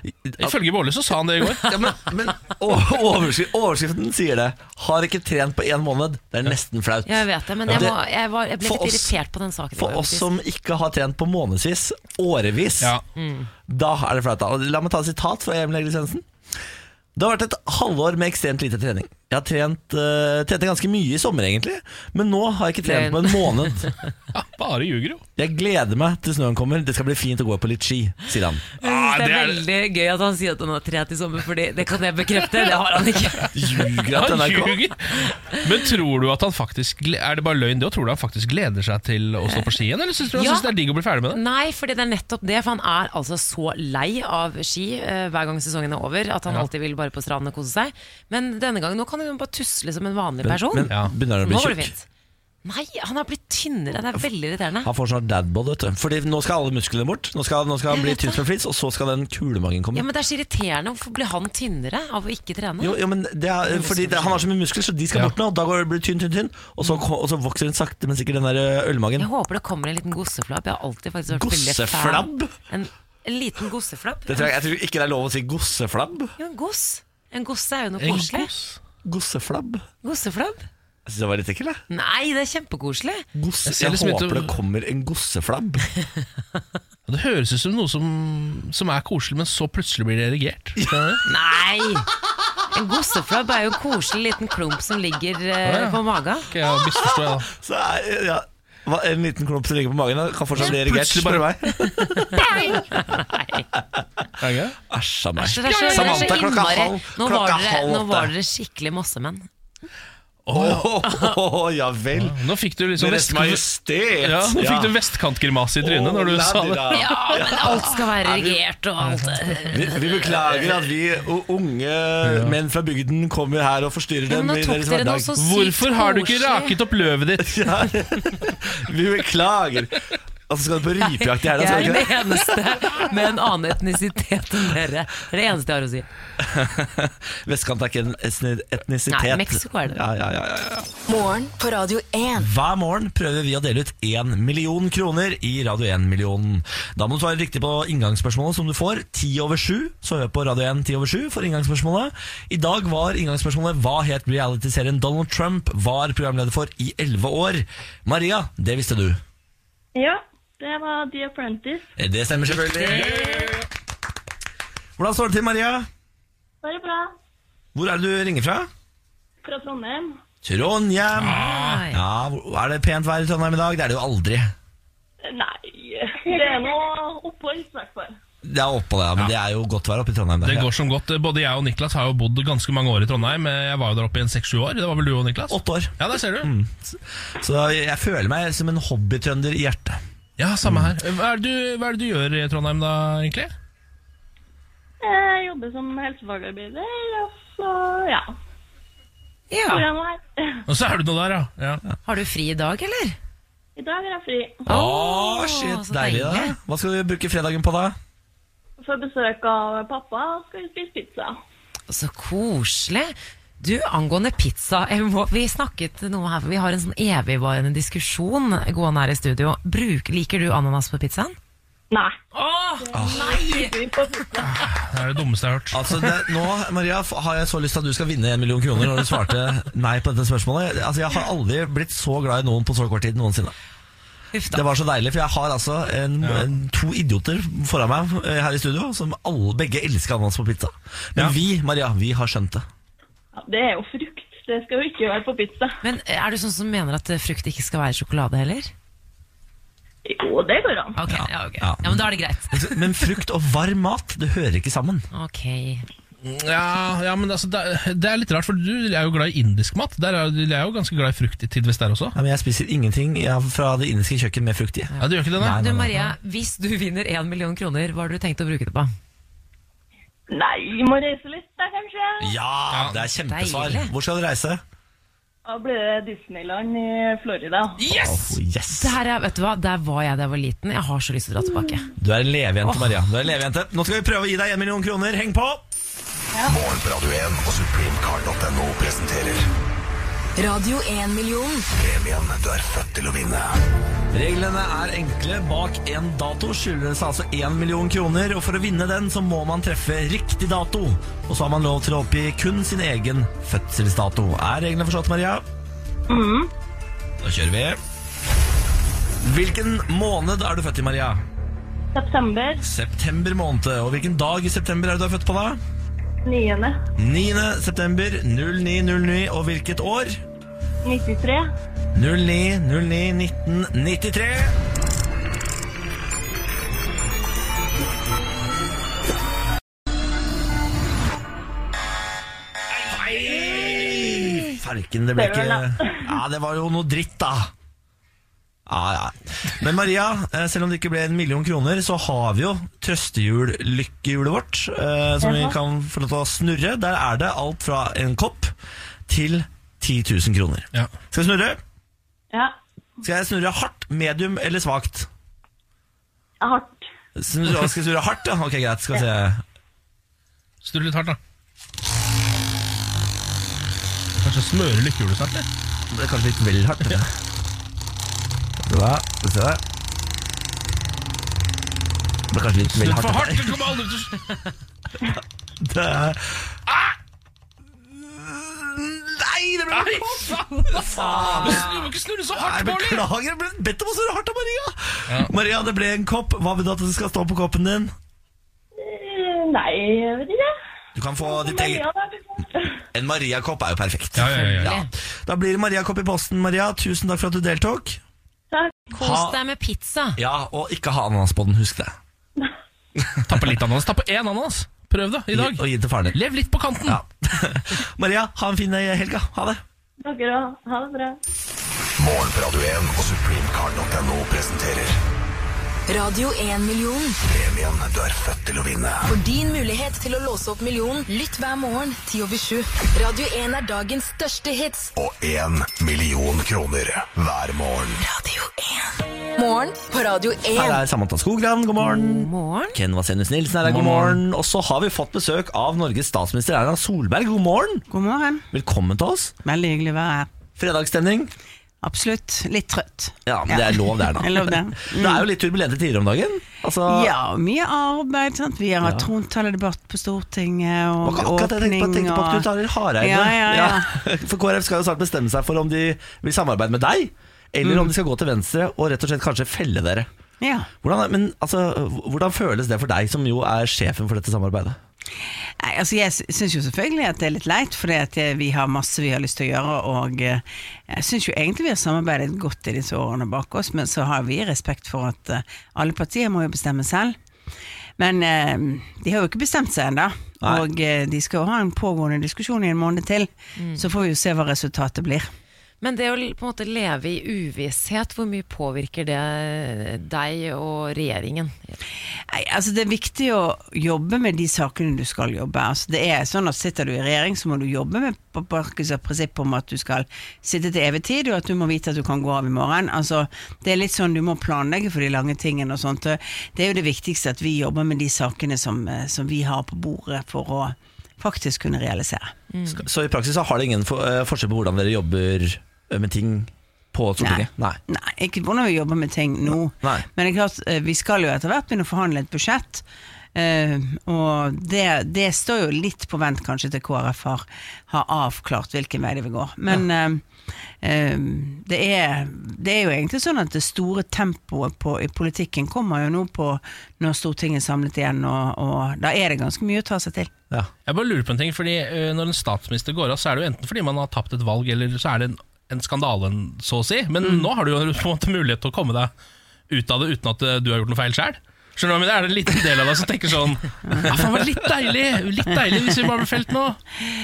S3: Ifølge Bårdli så sa han det i går.
S2: Ja, men Altså, men o- overskri- overskriften sier det. Har ikke trent på én måned. Det er nesten flaut.
S1: Jeg vet det, men jeg,
S2: Det-
S1: må, jeg, var, jeg ble
S2: For
S1: litt
S2: oss-
S1: irritert på den saken. i
S2: For
S1: går,
S2: oss
S1: faktisk.
S2: som ikke har trent på månedsvis, årevis, Mm.
S3: Ja.
S2: da er det flaut. da. Og La meg ta et sitat fra Emil Egil Svendsen. Det har vært et halvår med ekstremt lite trening. Jeg har trent, eh, trente ganske mye i sommer, egentlig, men nå har jeg ikke trent på en måned.
S3: Ja, bare ljuger, jo.
S2: Jeg gleder meg til snøen kommer. Det skal bli fint å gå på litt ski, sier han.
S3: Ah,
S1: det
S3: det
S1: er
S3: er-
S1: veldig gøy at han sier at han har trent i sommer, Fordi det kan jeg bekrefte. Det har han ikke.
S2: Ljuger at
S3: Han
S2: NRK
S3: ljuger. Men tror du at han faktisk gle- Er det bare løgn, det? Og tror du han faktisk gleder seg til å stå på ski igjen? Eller syns du han
S1: Ja.
S3: synes det er digg å bli ferdig med det?
S1: Nei, fordi det er nettopp det. For han er altså så lei av ski eh, hver gang sesongen er over at han
S3: Ja.
S1: alltid vil bare på stranden og kose seg. Men denne gangen nå kan han jo bare tusle som en vanlig
S2: Men,
S1: person.
S2: men
S3: Ja.
S2: begynner han å
S1: nå
S2: bli
S1: går det
S2: tjukk?
S1: fint. Nei, han har blitt tynnere. Det er veldig irriterende.
S2: Han får sånn dadbod, vet du. Fordi nå skal alle musklene bort. Nå skal, nå skal han bli
S1: Jeg vet
S2: tynn som flits, og så skal den kulemagen komme.
S1: Ja, men Det er så irriterende. Hvorfor blir han tynnere av å ikke trene?
S2: Jo, jo, men det er, fordi det, Han har så mye muskler, så de skal
S3: Ja.
S2: bort nå. Da går det blir det tynn, tynn, tynn. Og så, ko- og så vokser den sakte, men sikkert den der eh, ølmagen.
S1: Jeg håper det kommer en liten gosseflabb. Jeg har alltid faktisk vært veldig fan.
S2: Gosseflabb?
S1: En, en liten gosseflabb.
S2: Det tror jeg, jeg tror ikke det er lov å si gosseflabb.
S1: Jo, en goss. En gosse er jo noe
S3: En
S1: koselig.
S3: kos.
S2: Gosseflabb?
S1: Gosseflabb?
S2: Jeg syns det var litt ekkelt, jeg.
S1: Nei, det er kjempekoselig.
S2: Gosse,
S3: Jeg ser
S2: jeg
S3: liksom ut-
S2: håper det kommer en gosseflabb.
S3: Det høres ut som noe som, som er koselig, men så plutselig blir det erigert. Skjønner du?
S1: Nei! En gosseflabb er jo en koselig liten klump som ligger eh,
S3: ja.
S1: på maga.
S3: Ok, jeg misforstår, jeg, da.
S2: Så er, ja, hva- En liten klump som ligger på magen, da, kan fortsatt bli erigert.
S3: Plutselig
S2: Spør
S3: bare-
S2: meg.
S1: Nei.
S3: Er det ikke det?
S2: Æsj a meg.
S1: Så det er så, det er så
S2: Samantha, klokka
S1: innmari
S2: halv-
S1: Nå var
S2: klokka
S1: dere,
S2: halv
S1: nå
S2: åtte.
S1: var dere skikkelig mossemenn.
S2: Åh, ja vel.
S3: Nå fikk du liksom
S2: Deres
S3: vestkant,
S2: Majestet.
S3: ja, nå
S2: Ja.
S3: fikk du vestkantgrimase i trynet når du
S2: Åh,
S3: sa det.
S2: Nadira.
S1: Ja, Ah, men altså, alt skal være regert og alt. eh.
S2: Vi, vi beklager at vi og unge menn fra bygden kommer her og forstyrrer
S1: Ja,
S2: dem
S1: men nå
S2: i
S1: tok
S2: deres
S1: dere noe
S2: hverdag.
S1: så sykt
S3: Hvorfor har du ikke
S1: koselig.
S3: raket opp løvet ditt?
S2: Vi beklager. Altså, skal du på rypejakt i helga?
S1: Jeg
S2: skal du
S1: er
S2: ikke det?
S1: den eneste med en annen etnisitet enn dere. Det er det eneste jeg har å si.
S2: Vestkant er ikke en etni- etnisitet.
S1: Nei, Mexico er det.
S2: Ja, ja, ja, ja, ja.
S4: Morgen på Radio 1.
S2: Hver morgen prøver vi å dele ut 1 million kroner i Radio 1-millionen. Da må du svare riktig på inngangsspørsmålet som du får. 10 over 7, så hør på Radio 1 10 over 7 for inngangsspørsmålet. I dag var inngangsspørsmålet hva het reality-serien Donald Trump var programleder for i 11 år? Maria, det visste du.
S7: Ja, det var The Apprentice.
S2: Det stemmer selvfølgelig. Hvordan står det til, Maria?
S7: Bare bra.
S2: Hvor er det du ringer fra?
S7: Fra Trondheim.
S2: Trondheim.
S1: Nei.
S2: Ja, hvor- Er det pent vær i Trondheim i dag? Det er det jo aldri.
S7: Nei, det er noe opphold, i hvert fall.
S2: Det er oppå det, ja, men det er jo godt vær oppe i Trondheim. Der.
S3: Det går som godt. Både jeg og Niklas har jo bodd ganske mange år i Trondheim. Jeg var jo der oppe i en seks-sju år. Det var vel du og Niklas?
S2: Åtte år.
S3: Ja, der ser du.
S2: Så jeg føler meg som en hobbytrønder i hjertet.
S3: Ja, samme her. Hva er, det du, hva er det du gjør i Trondheim da, egentlig?
S7: Jeg jobber som helsefagarbeider, og så ja.
S1: Ja.
S7: Hvor er jeg nå her?
S3: Og så er du nå der, ja. ja.
S1: Har du fri i dag, eller?
S7: I dag er jeg fri.
S2: Å,
S1: Åh,
S2: shit,
S1: så
S2: deilig da.
S1: deilig.
S2: Hva skal du bruke fredagen på da?
S7: Får besøk av pappa, og skal vi spise pizza.
S1: Så koselig. Du, angående pizza, jeg må, vi snakket noe her, for vi har en sånn evigvarende diskusjon gående her i studio. Bruk, liker du ananas på pizzaen?
S7: Nei.
S1: Åh, nei!
S7: Vi på pizza.
S3: Det er det dummeste jeg har hørt.
S2: Altså, det, nå, Maria, f- har jeg så lyst til at du skal vinne en million kroner når du svarte nei på dette spørsmålet. Altså, Jeg har aldri blitt så glad i noen på så kort tid noensinne.
S1: Uff
S2: Det
S1: da.
S2: var så deilig, for jeg har altså en, en, to idioter foran meg eh, her i studio som alle, begge elsker ananas på pizza. Men vi, Maria, vi har skjønt det.
S7: Ja, det er jo frukt. frukt det skal jo ikke være på pizza.
S1: Men er du sånn som mener at eh, frukt ikke skal være sjokolade heller?
S7: Jo, det går an.
S1: Ok, ja, ok.
S2: ja.
S1: ja men da er det greit.
S2: Altså, Men frukt og varm mat, det hører ikke sammen.
S1: Ok.
S3: Mm, Ja, ja men altså, det, er- det er litt rart, for du er jo glad i indisk mat. Der er, du er jo ganske glad i frukt i tidvis der også.
S2: Ja, men jeg spiser ingenting jeg er fra det indiske kjøkken med frukt i.
S3: Ja, du gjør ikke det, da?
S2: Nei, nei,
S1: Du
S2: nei.
S1: Maria, hvis du vinner én million kroner, hva har du tenkt å bruke det på?
S7: Nei, må reise litt da, kanskje.
S2: Ja, det er kjempesvar.
S1: Deilig.
S2: Hvor skal du reise?
S7: Da blir det Disneyland i Florida.
S2: Oh, yes!
S1: Det her er, vet du hva, Der var jeg da jeg var liten. Jeg har så lyst til å dra tilbake.
S2: Du er en levejente, Maria. Du er en levejente. Nå skal vi prøve å gi deg en million kroner. Heng på!
S8: Morgen på Radio 1 og supremecar.no presenterer
S4: Radio 1-million.
S8: premien du er født til å vinne.
S2: Reglene er enkle. Bak en dato skylder det seg altså 1 million kroner, og for å vinne den så må man treffe riktig dato. Og så har man lov til å oppgi kun sin egen fødselsdato. Er reglene forstått, Maria? Da kjører vi. Hvilken måned er du født i, Maria?
S7: September
S2: September måned. Og hvilken dag i september er det du er født på, da?
S7: 9.
S2: 9. september 0909. Og hvilket år?
S7: 93.
S2: 09-09-1993. Nei, Farken, det ble
S7: Det
S2: ikke
S7: var da.
S2: Ja, det var jo noe dritt, da. Ja, ja. Men Maria, eh, selv om det ikke ble en million kroner, så har vi jo trøstehjul-lykkehjulet vårt, eh, som vi
S7: Jaha.
S2: kan få lov til å snurre. Der er det alt fra en kopp til 10 000 kroner.
S3: Ja.
S2: Skal vi snurre?
S7: Ja,
S2: Skal jeg snurre hardt, medium eller svakt?
S7: jeg har hardt.
S2: Snurre, skal jeg snurre hardt, ja? Ok, greit. Skal vi se.
S3: Snurr litt hardt, da. Kanskje smøre lykkehjulet snart? eller?
S2: Det er kanskje litt vel hardt. Ja. Se der. Se der. Det ble kanskje litt vel
S3: Snurr
S2: hardt.
S3: for hardt!
S2: dette
S3: Det kommer aldri til å
S2: her. Det er... Ah! Nei, det ble
S3: Nei, faen!
S2: faen!
S3: Du må ikke snurre så
S2: Nei,
S3: hardt, Barley!
S2: beklager, jeg ble bedt om å snurre hardt av Maria. Maria, det ble en kopp. Hva vil du at det skal stå på koppen din?
S7: Eh, Nei, jeg vet ikke.
S2: Du kan få ditt eget
S7: Maria, da.
S2: En Maria-kopp er jo perfekt.
S3: Ja, ja, ja, ja.
S2: Da blir det Maria-kopp i posten, Maria. Tusen takk for at du deltok.
S7: Takk.
S1: Kos deg med pizza.
S2: Ja, og ikke ha ananas på den, husk det.
S3: Ta på litt ananas. Ta på én ananas. Prøv det i dag.
S2: Og gi den til faren din.
S3: Lev litt på kanten.
S2: Ja. Maria, ha en fin eh, helg. da. Ha det.
S7: Dere òg. Ha det bra.
S8: Morgen på Radio 1 og supremecar.no presenterer
S4: Radio 1-million.
S8: premien du er født til å vinne.
S4: For din mulighet til å låse opp millionen, lytt hver morgen 10 over 7. Radio 1 er dagens største hits.
S8: Og én million kroner hver morgen.
S4: Radio 1. Morgen på Radio 1.
S2: Her er Samantha Skogran, god morgen.
S1: Morgen.
S2: Ken Vasenus Nilsen er her, god morgen. Og så har vi fått besøk av Norges statsminister Erna Solberg, god morgen.
S9: God morgen.
S2: Velkommen til oss.
S9: Veldig hyggelig å være her.
S2: Fredagsstemning.
S9: Absolutt. Litt trøtt.
S2: Ja, men det er lov, det, Erna.
S9: Jeg lov det. Mm.
S2: Det er jo litt turbulente tider om dagen. Altså,
S9: Ja, mye arbeid. Sant? Vi har hatt trontaledebatt på Stortinget
S2: det
S9: og
S2: var ikke akkurat det jeg tenkte på, jeg tenkte på at du tar i Hareide.
S9: Ja, ja, ja.
S2: For KrF skal jo snart bestemme seg for om de vil samarbeide med deg, eller
S9: Mm.
S2: om de skal gå til venstre og rett og slett kanskje felle dere.
S9: ja.
S2: Hvordan, er- men, altså, hvordan føles det for deg, som jo er sjefen for dette samarbeidet?
S9: Nei, altså jeg syns jo selvfølgelig at det er litt leit, for vi har masse vi har lyst til å gjøre. Og eh, jeg syns jo egentlig vi har samarbeidet godt i disse årene bak oss, men så har vi respekt for at eh, alle partier må jo bestemme selv. Men eh, de har jo ikke bestemt seg ennå.
S2: Nei.
S9: Og eh, de skal jo ha en pågående diskusjon i en måned til. Så får vi jo se hva resultatet blir.
S1: Men det å l- på en måte leve i uvisshet, hvor mye påvirker det eh, deg og regjeringen?
S9: Nei, altså Det er viktig å jobbe med de sakene du skal jobbe. Altså det er sånn at Sitter du i regjering, så må du jobbe med på Barkes prinsipp om at du skal sitte til evig tid, og at du må vite at du kan gå av i morgen. Altså Det er litt sånn du må planlegge for de lange tingene og sånt. Det er jo det viktigste at vi jobber med de sakene som, eh, som vi har på bordet for å faktisk kunne realisere.
S2: Skal- Så i praksis så har det ingen for, eh, forskjell på hvordan dere jobber eh, med ting på Stortinget? Nei.
S9: Nei, ikke hvordan vi jobber med ting nå.
S2: Nei.
S9: Men det er klart, eh, vi skal jo etter hvert begynne å forhandle et budsjett. Eh, og det, det står jo litt på vent kanskje til KrF har, har avklart hvilken vei det vil gå. Men eh, eh, det, er, det er jo egentlig sånn at det store tempoet på, i politikken kommer jo nå på når Stortinget er samlet igjen, og, og da er det ganske mye å ta seg til.
S2: Ja.
S3: Jeg bare lurer på en ting, fordi eh, Når en statsminister går av, så er det jo enten fordi man har tapt et valg, eller så er det en, en skandale, så å si. Men
S2: Mm.
S3: nå har du jo på en måte mulighet til å komme deg ut av det uten at eh, du har gjort noe feil sjøl. Skjønner du hva jeg mener? Er det en liten del av deg som tenker sånn Ja, faen, det var litt deilig Litt deilig hvis vi bare ble felt nå.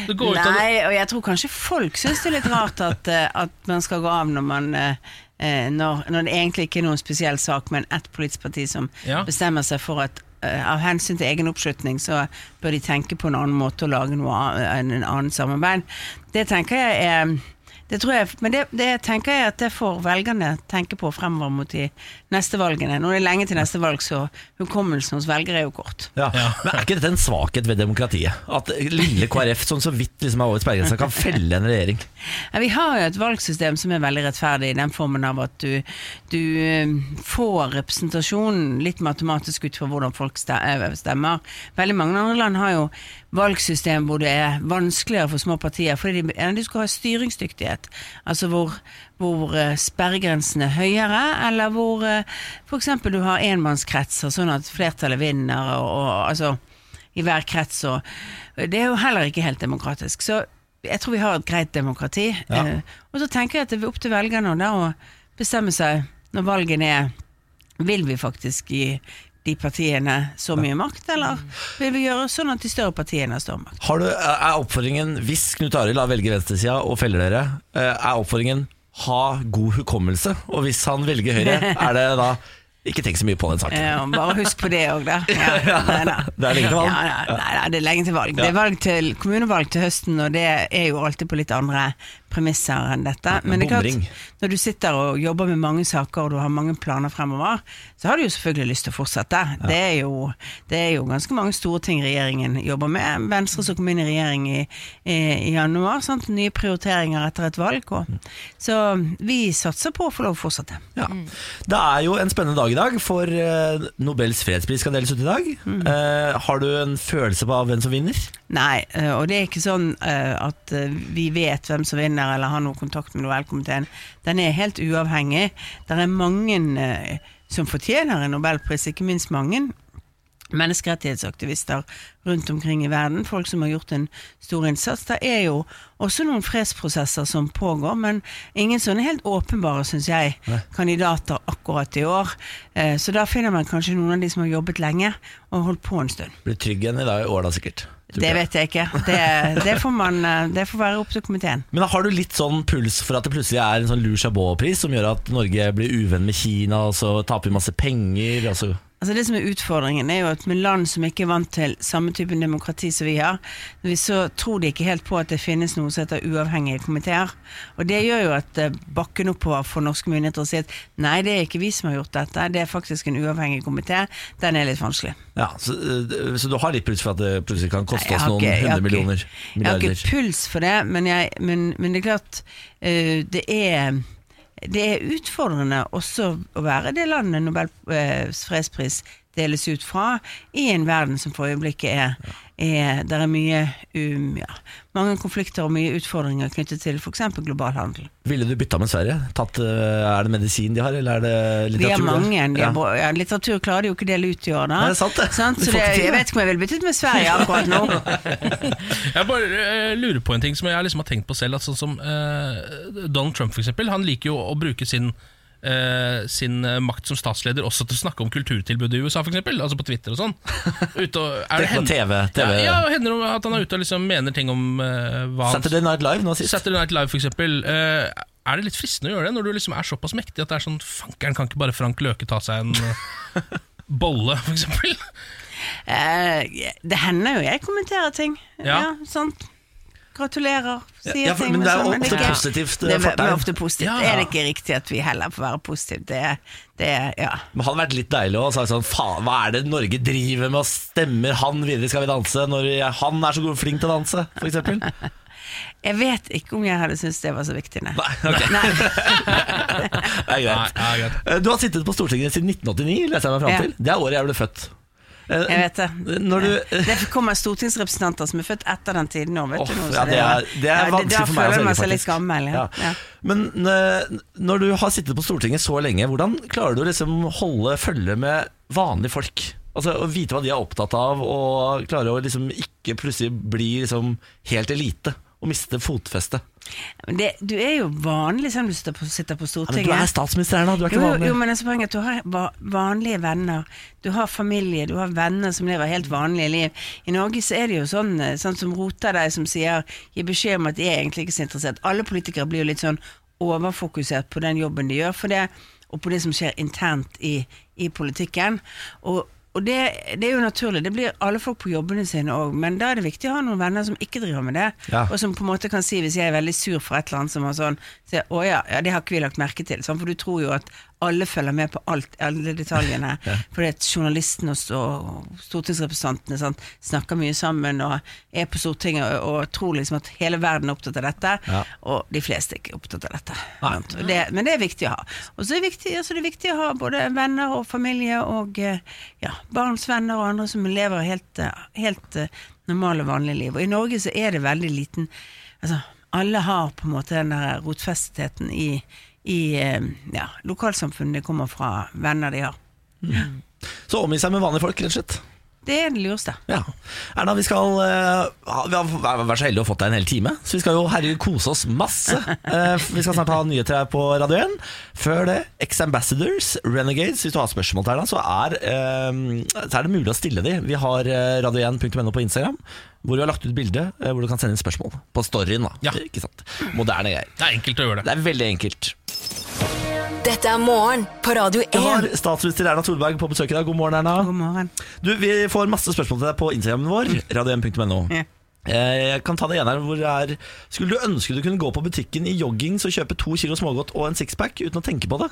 S3: Det går ut av det.
S9: Nei, og jeg tror kanskje folk syns det er litt rart at, eh, at man skal gå av når man eh, eh, når, når det egentlig ikke er noen spesiell sak, men ett politisk parti som
S3: Ja.
S9: bestemmer seg for at eh, av hensyn til egen oppslutning, så bør de tenke på en annen måte og lage noe an- en, en annen samarbeid. Det tenker jeg er det tror jeg, men det, det tenker jeg at det får velgerne tenke på fremover mot de neste valgene. Nå er det lenge til neste valg, så hukommelsen hos velgere er jo kort.
S2: Ja. Men er ikke dette en svakhet ved demokratiet? At lille KrF, som så vidt liksom er over sperregrensa, kan felle en regjering?
S9: Ja, vi har jo et valgsystem som er veldig rettferdig i den formen av at du, du eh, får representasjonen litt matematisk ut fra hvordan folk ste- eh, stemmer. Veldig mange andre land har jo valgsystem hvor det er vanskeligere for små partier, fordi de, ja, de skal ha styringsdyktighet. Altså hvor, hvor eh, sperregrensen er høyere, eller hvor f.eks. du har enmannskretser, sånn at flertallet vinner, og, og altså i hver krets. Og det er jo heller ikke helt demokratisk. Så jeg tror vi har et greit demokrati.
S2: Ja.
S9: Eh, Og så tenker jeg at det er opp til velgerne da å bestemme seg når valgene er Vil vi faktisk gi de partiene så mye makt, eller vil vi gjøre sånn at de større partiene har større makt?
S2: Har du, er oppfordringen, hvis Knut Arild har velger venstresida og feller dere, eh, er oppfordringen ha god hukommelse? Og hvis han velger høyre, er det da ikke tenk så mye på den saken.
S9: Eh, og Bare husk på det òg, da. Ja, nei, nei.
S2: Det er lenge til valg.
S9: Ja, ja, nei, nei, det er lenge til valg. Det er valg til kommunevalg til høsten, og det er jo alltid på litt andre premisser enn dette. Men det er
S2: Bomring.
S9: klart, når du sitter og jobber med mange saker og du har mange planer fremover, så har du jo selvfølgelig lyst til å fortsette. Det, er jo, det er jo ganske mange store ting regjeringen jobber med. Venstre som kom inn i regjering i, i, i januar, sant? nye prioriteringer etter et valg. Og. Så vi satser på å få lov å fortsette.
S2: Ja. Det er jo en spennende dag i dag, for eh, Nobels fredspris skal deles ut i dag.
S9: Mm.
S2: Eh, har du en følelse på hvem som vinner?
S9: Nei, eh, og det er ikke sånn eh, at eh, vi vet hvem som vinner eller har noe kontakt med Nobelkomiteen. Den er helt uavhengig. Det er mange eh, som fortjener en nobelpris, ikke minst mange menneskerettighetsaktivister rundt omkring i verden, folk som har gjort en stor innsats. Det er jo også noen fredsprosesser som pågår, men ingen sånne helt åpenbare, syns jeg, kandidater akkurat i år. Eh, Så da finner man kanskje noen av de som har jobbet lenge og holdt på en stund.
S2: Blir trygg igjen i dag i år, da sikkert. tror
S9: Det
S2: jeg.
S9: vet jeg ikke. Det, det, får man, eh, det får være opp til komiteen.
S2: Men har du litt sånn puls for at det plutselig er en sånn Lou Chabot-pris som gjør at Norge blir uvenn med Kina, og så taper vi masse penger? Og så
S9: Altså Det som er utfordringen, er jo at med land som ikke er vant til samme type demokrati som vi har, så tror de ikke helt på at det finnes noe som heter uavhengige komiteer. Og det gjør jo at eh, bakken oppover for norske myndigheter sier at nei, det er ikke vi som har gjort dette, det er faktisk en uavhengig komité. Den er litt vanskelig.
S2: Ja, så, eh, så du har litt puls for at det plutselig kan koste
S9: Nei,
S2: oss
S9: jeg har
S2: noen
S9: ikke- jeg
S2: hundre
S9: har ikke-
S2: millioner?
S9: Jeg har ikke
S2: Milliarder?
S9: puls for det, men, jeg, men, men det er klart eh, det, er, det er utfordrende også å være det landet Nobels fredspris deles ut fra, i en verden som for øyeblikket er, er Der er mye um, ja, mange konflikter og mye utfordringer knyttet til f.eks. global handel.
S2: Ville du bytta med Sverige? Tatt, eh, er det medisin de har, eller er det
S9: De
S2: litteratur?
S9: har mange. De
S2: Ja.
S9: har, bra- ja, litteratur klarer de jo ikke å dele ut i år, da.
S2: Nei, det er sant, det.
S9: Sant?
S2: Du
S9: Så
S2: får
S9: det,
S2: ikke til
S9: jeg
S2: det.
S9: vet ikke om jeg ville byttet med Sverige akkurat nå.
S3: Jeg bare eh, lurer på en ting som jeg liksom har tenkt på selv. At sånn som eh, Donald Trump for eksempel, Han liker jo å bruke sin, eh, sin eh, makt som statsleder også til å snakke om kulturtilbudet i USA, for eksempel, Altså på Twitter og sånn. Ute og, er
S2: Tenk på
S3: hen-
S2: TV, TV.
S3: Ja, ja, hender det at han er ute og liksom mener ting om eh, hva han
S2: Saturday Night Live nå sist.
S3: Saturday Night Live, for eksempel. eh, er det litt fristende å gjøre det når du liksom er såpass mektig at det er sånn Fankeren, kan ikke bare Frank Løke ta seg en eh, bolle, for eksempel?
S9: Eh, det hender jo jeg kommenterer ting.
S3: Ja.
S9: Ja, sant. Gratulerer, sier
S2: Ja, for-
S9: ting.
S2: men det er
S9: sånn,
S2: jo ofte
S9: ikke-
S2: positivt,
S9: Det er,
S2: eh, fortegn.
S9: men ofte positivt.
S3: Ja.
S9: Er det ikke riktig at vi heller får være positive? Det, er- det er- ja.
S2: Men hadde vært litt deilig å si sånn Faen, hva er det Norge driver med, og stemmer han videre i Skal vi danse når jeg, han er så god flink til å danse, for eksempel?
S9: Jeg vet ikke om jeg hadde syntes det var så viktig, nei.
S2: Nei, ok. Det er
S3: Nei,
S2: greit.
S3: ja, greit.
S2: Eh, Du har sittet på Stortinget siden 1989, leser jeg meg fram
S9: Ja.
S2: til. Det er året jeg ble født. Eh,
S9: Jeg vet det.
S2: Når du,
S9: Det kommer stortingsrepresentanter som er født etter den tiden nå, vet
S2: Åh,
S9: du noe,
S2: ja,
S9: så
S2: det er, det er
S9: ja,
S2: vanskelig for meg å
S9: Da føler man
S2: svelge,
S9: seg litt
S2: faktisk.
S9: gammel. Ja. Ja.
S2: Men eh, når du har sittet på Stortinget så lenge, hvordan klarer du å liksom holde følge med vanlige folk? Altså Å vite hva de er opptatt av, og klare å liksom ikke plutselig bli liksom helt elite og miste fotfestet.
S9: Men Det, du er jo vanlig selv om du sitter på, sitter på
S2: Ja, men
S9: Stortinget.
S2: du er statsminister, Erna. Du er
S9: jo,
S2: ikke
S9: jo,
S2: vanlig.
S9: jo, men altså poenget er at du har va- vanlige venner. Du har familie, du har venner som lever helt vanlige liv. I Norge så er det jo sånn, eh, sånn som roter deg, som sier gir beskjed om at de er egentlig ikke så interessert. Alle politikere blir jo litt sånn overfokusert på den jobben de gjør, for det, og på det som skjer internt i, i politikken. Og, og det, det er jo naturlig. Det blir alle folk på jobbene sine òg, men da er det viktig å ha noen venner som ikke driver med det,
S2: Ja.
S9: og som på en måte kan si hvis jeg er veldig sur for et eller annet som har sånn så jeg, Å ja, ja, det har ikke vi lagt merke til. Sånn, for du tror jo at alle følger med på alt, alle detaljene. Fordi at journalistene og, og stortingsrepresentantene sant, snakker mye sammen og er på Stortinget og, og tror liksom at hele verden er opptatt av dette.
S2: Ja.
S9: Og de fleste er ikke opptatt av dette. sant? Og det, men det er viktig å ha. Og så er det viktig, altså det er viktig å ha både venner og familie og eh, ja, barns venner og andre som lever helt, eh, helt eh, normale, vanlige liv. Og i Norge så er det veldig liten altså, Alle har på en måte den der rotfestheten i, i eh, ja, lokalsamfunnet de kommer fra, venner de har.
S2: Så omgi seg med vanlige folk, rett og slett.
S9: Det er det lureste.
S2: Ja. Erna, vi skal eh, ha- Vi har vær- vært så heldige å ha fått deg en hel time, så vi skal jo herregud kose oss masse. Eh, vi skal snart ha nyheter her på Radio 1. Før det, Ex-Ambassadors, Renegades. Hvis du har spørsmål til Erna, så er, eh, så er det mulig å stille de. Vi har eh, radio1.no på Instagram, hvor vi har lagt ut bilde eh, hvor du kan sende inn spørsmål. På storyen, da.
S3: Ja.
S2: Ikke sant? Moderne greier.
S3: Det er enkelt å gjøre det.
S2: Det er veldig enkelt.
S4: Dette er Morgen på Radio
S2: Vi har
S4: 1.
S2: statsminister Erna Solberg på besøk i dag. God morgen, Erna.
S9: God morgen.
S2: Du, Vi får masse spørsmål til deg på Instagramen vår,
S3: Mm.
S2: radio1.no.
S9: Ja.
S2: Eh, Jeg kan ta det ene her hvor det er Skulle du ønske du kunne gå på butikken i joggings og kjøpe to kilo smågodt og en sixpack uten å tenke på det?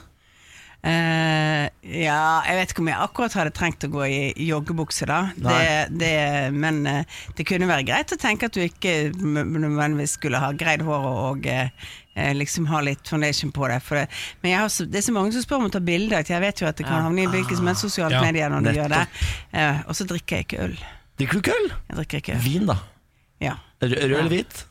S9: Eh, ja, jeg vet ikke om jeg akkurat hadde trengt å gå i joggebukse da. Det,
S2: Nei.
S9: det, men eh, det kunne være greit å tenke at du ikke m- nødvendigvis skulle ha greid hår og, og eh, eh, liksom ha litt foundation på det. For det men jeg har så, det er så mange som spør om å ta bilder, at jeg vet jo at det kan havne i hvilket som helst sosialt
S3: Ja,
S9: medie når du gjør det.
S2: nettopp.
S9: Eh, og så drikker jeg ikke øl.
S2: Drikker du ikke øl?
S9: Jeg drikker ikke øl.
S2: Vin, da.
S9: Ja.
S2: Rød, rød eller hvit?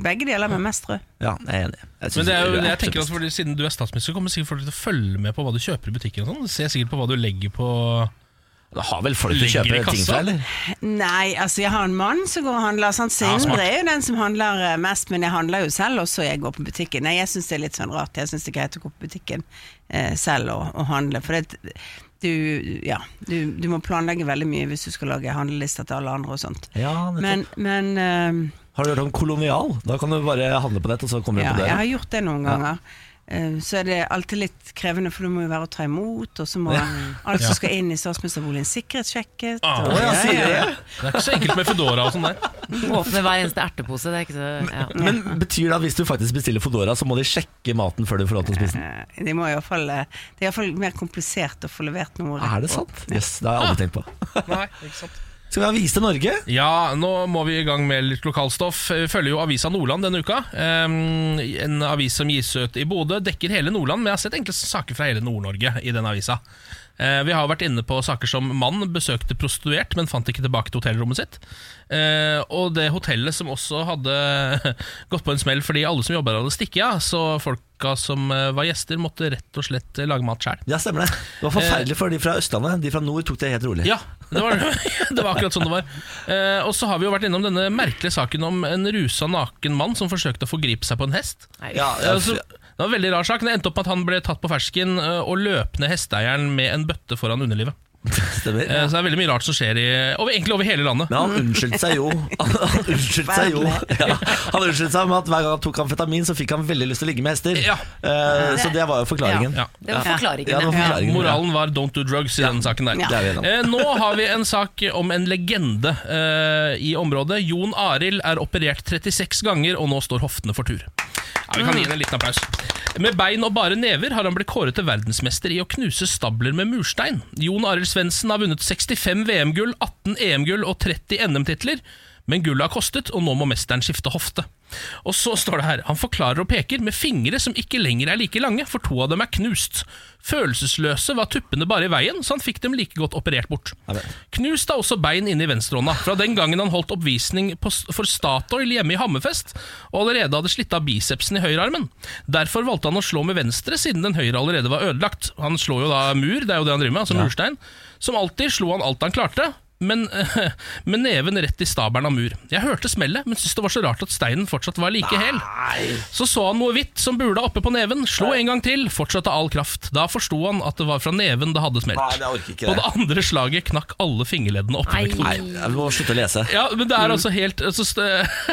S9: Begge deler, men mest rød.
S2: Ja, jeg er enig. Jeg synes
S3: Men det er jo,
S2: rød
S3: jeg tenker
S2: absolutt
S3: altså, fordi Siden du er statsminister, kommer sikkert folk til å følge med på hva du kjøper i butikken. og sånn Du ser sikkert på hva du legger på
S2: best. Det har vel folk som
S3: Ligger i
S2: kjøper ting
S3: kassa?
S2: fra, eller?
S9: Nei, altså jeg har en mann som går og handler. Sant? Så
S3: Ja,
S9: Indre
S3: smart.
S9: er jo den som handler eh, mest, men jeg handler jo selv også. Jeg går på butikken. Nei, jeg syns det er litt sånn rart. Jeg syns det er greit å gå på butikken eh, selv og, og handle. For det, du, ja, du, du må planlegge veldig mye hvis du skal lage handlelister til alle andre og sånt.
S2: Ja, nettopp.
S9: Men, men eh,
S2: Har du hørt om kolonial? Da kan du bare handle på nett, og så kommer du
S9: ja,
S2: på
S9: jeg
S2: døra.
S9: har gjort det noen ganger. Eh, Så er det alltid litt krevende, for du må jo være å ta imot, og så må alt som skal inn i statsministerboligen sikkerhetssjekkes.
S3: Ah,
S9: og-
S3: ja,
S9: ja,
S2: sier
S9: ja, ja.
S3: Det er ikke så enkelt med Foodora og sånn der.
S1: Åpne hver eneste ertepose. Det er ikke så ja.
S2: Men betyr det at hvis du faktisk bestiller Foodora, så må de sjekke maten før du får lov til å spise den?
S9: Eh, De må i hvert fall, eh, det er iallfall mer komplisert å få levert noe. rett
S2: Er det
S9: på.
S2: sant? Jøss, yes, det har jeg aldri tenkt på.
S3: Ah. Nei, ikke sant
S2: Skal vi ha Vise Norge?
S3: Ja, nå må vi i gang med litt lokalstoff. Vi følger jo Avisa Nordland denne uka. Ehm, En avis som gis ut i Bodø. Dekker hele Nordland, men jeg har sett egentlig saker fra hele Nord-Norge i den avisa. Eh, Vi har vært inne på saker som mann besøkte prostituert, men fant ikke tilbake til hotellrommet sitt. Eh, Og det hotellet som også hadde gått på en smell fordi alle som jobba der, hadde stikket av. Så folka som eh, var gjester, måtte rett og slett eh, lage mat sjæl.
S2: Ja, stemmer det. Det var forferdelig for de fra Østlandet. De fra nord tok det helt rolig.
S3: Eh. Ja, det var, det var akkurat sånn det var. Eh, og så har vi jo vært innom denne merkelige saken om en rusa naken mann som forsøkte å forgripe seg på en hest.
S2: Ja,
S3: Eh, altså, det var en veldig rar sak. men Det endte opp med at han ble tatt på fersken eh, og løp ned hesteeieren med en bøtte foran underlivet.
S2: stemmer.
S3: Eh, Så det er veldig mye rart som skjer i, over, egentlig over hele landet.
S2: Men han unnskyldte seg jo. Han, han unnskyldte seg jo ja, Han unnskyldte seg med at hver gang han tok amfetamin, så fikk han veldig lyst til å ligge med hester.
S3: Ja.
S2: Eh, så det var jo forklaringen.
S3: Ja.
S1: Det var
S2: Ja, det
S1: forklaringen.
S2: var
S1: ja.
S2: forklaringen.
S3: Moralen var 'don't do drugs' i den saken der.
S2: Ja. Det er vi enige om.
S3: Eh, nå har vi en sak om en legende eh, i området. Jon Arild er operert 36 ganger, og nå står hoftene for tur. Ja, vi kan gi henne en liten applaus. Med bein og bare never har han blitt kåret til verdensmester i å knuse stabler med E murstein. Jon Arild Svendsen har vunnet 65 VM-gull, 18 EM-gull og 30 NM-titler. Men gullet har kostet, og nå må mesteren skifte hofte. Og så står det her Han forklarer og peker med fingre som ikke lenger er like lange, for to av dem er knust. Følelsesløse var tuppene bare i veien, så han fikk dem like godt operert bort. Knust er også bein inne i venstrehånda, fra den gangen han holdt oppvisning på, for Statoil hjemme i Hammerfest, og allerede hadde slitt av bicepsen i høyrearmen. Derfor valgte han å slå med venstre, siden den høyre allerede var ødelagt. Han slår jo da mur, det er jo det han driver med, altså murstein. Som alltid slo han alt han klarte. Men, med neven rett i stabelen av mur. Jeg hørte smellet, men syntes det var så rart at steinen fortsatt var like hel. Så så han noe hvitt som bula oppe på neven, slo en gang til, fortsatte all kraft. Da forsto han at det var fra neven det hadde smelt.
S2: Nei, jeg orker ikke
S3: På det
S2: det.
S3: andre slaget knakk alle fingerleddene oppe
S1: Nei.
S3: ved knoten.
S2: Nei, Mm. jeg må slutte å lese.
S3: Ja, men det er altså helt altså, st-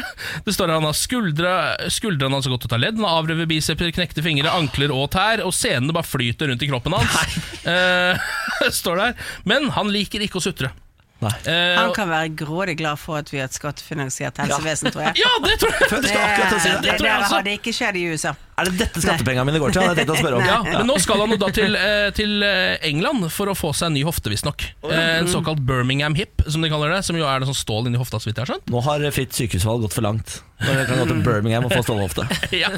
S3: Det står her han har skuldre, skuldrene hans har gått ut av ledd, han har avrevet biceper, knekte fingre, ankler og tær, og senene bare flyter rundt i kroppen hans. Eh, står det her. Men han liker ikke å sutre.
S2: Nei.
S3: Eh,
S9: Han kan være grådig glad for at vi har et skattefinansiert helsevesen, tror jeg.
S3: ja, det tror jeg!
S2: Jeg skulle akkurat til å si det.
S3: det tror jeg
S9: der
S3: også.
S9: har det ikke skjedd i USA.
S2: Er det dette skattepengene mine går til? Hadde jeg tenkt å spørre om.
S3: Ja, men nå skal han jo da til, eh, til eh, England for å få seg en ny hofte, visstnok. Eh, En såkalt Birmingham hip, som de kaller det. Som jo er det sånn stål inni hofta, så vidt jeg har skjønt.
S2: Nå har fritt sykehusvalg gått for langt. Nå kan jeg gå til Birmingham og få stålhofte.
S3: ja.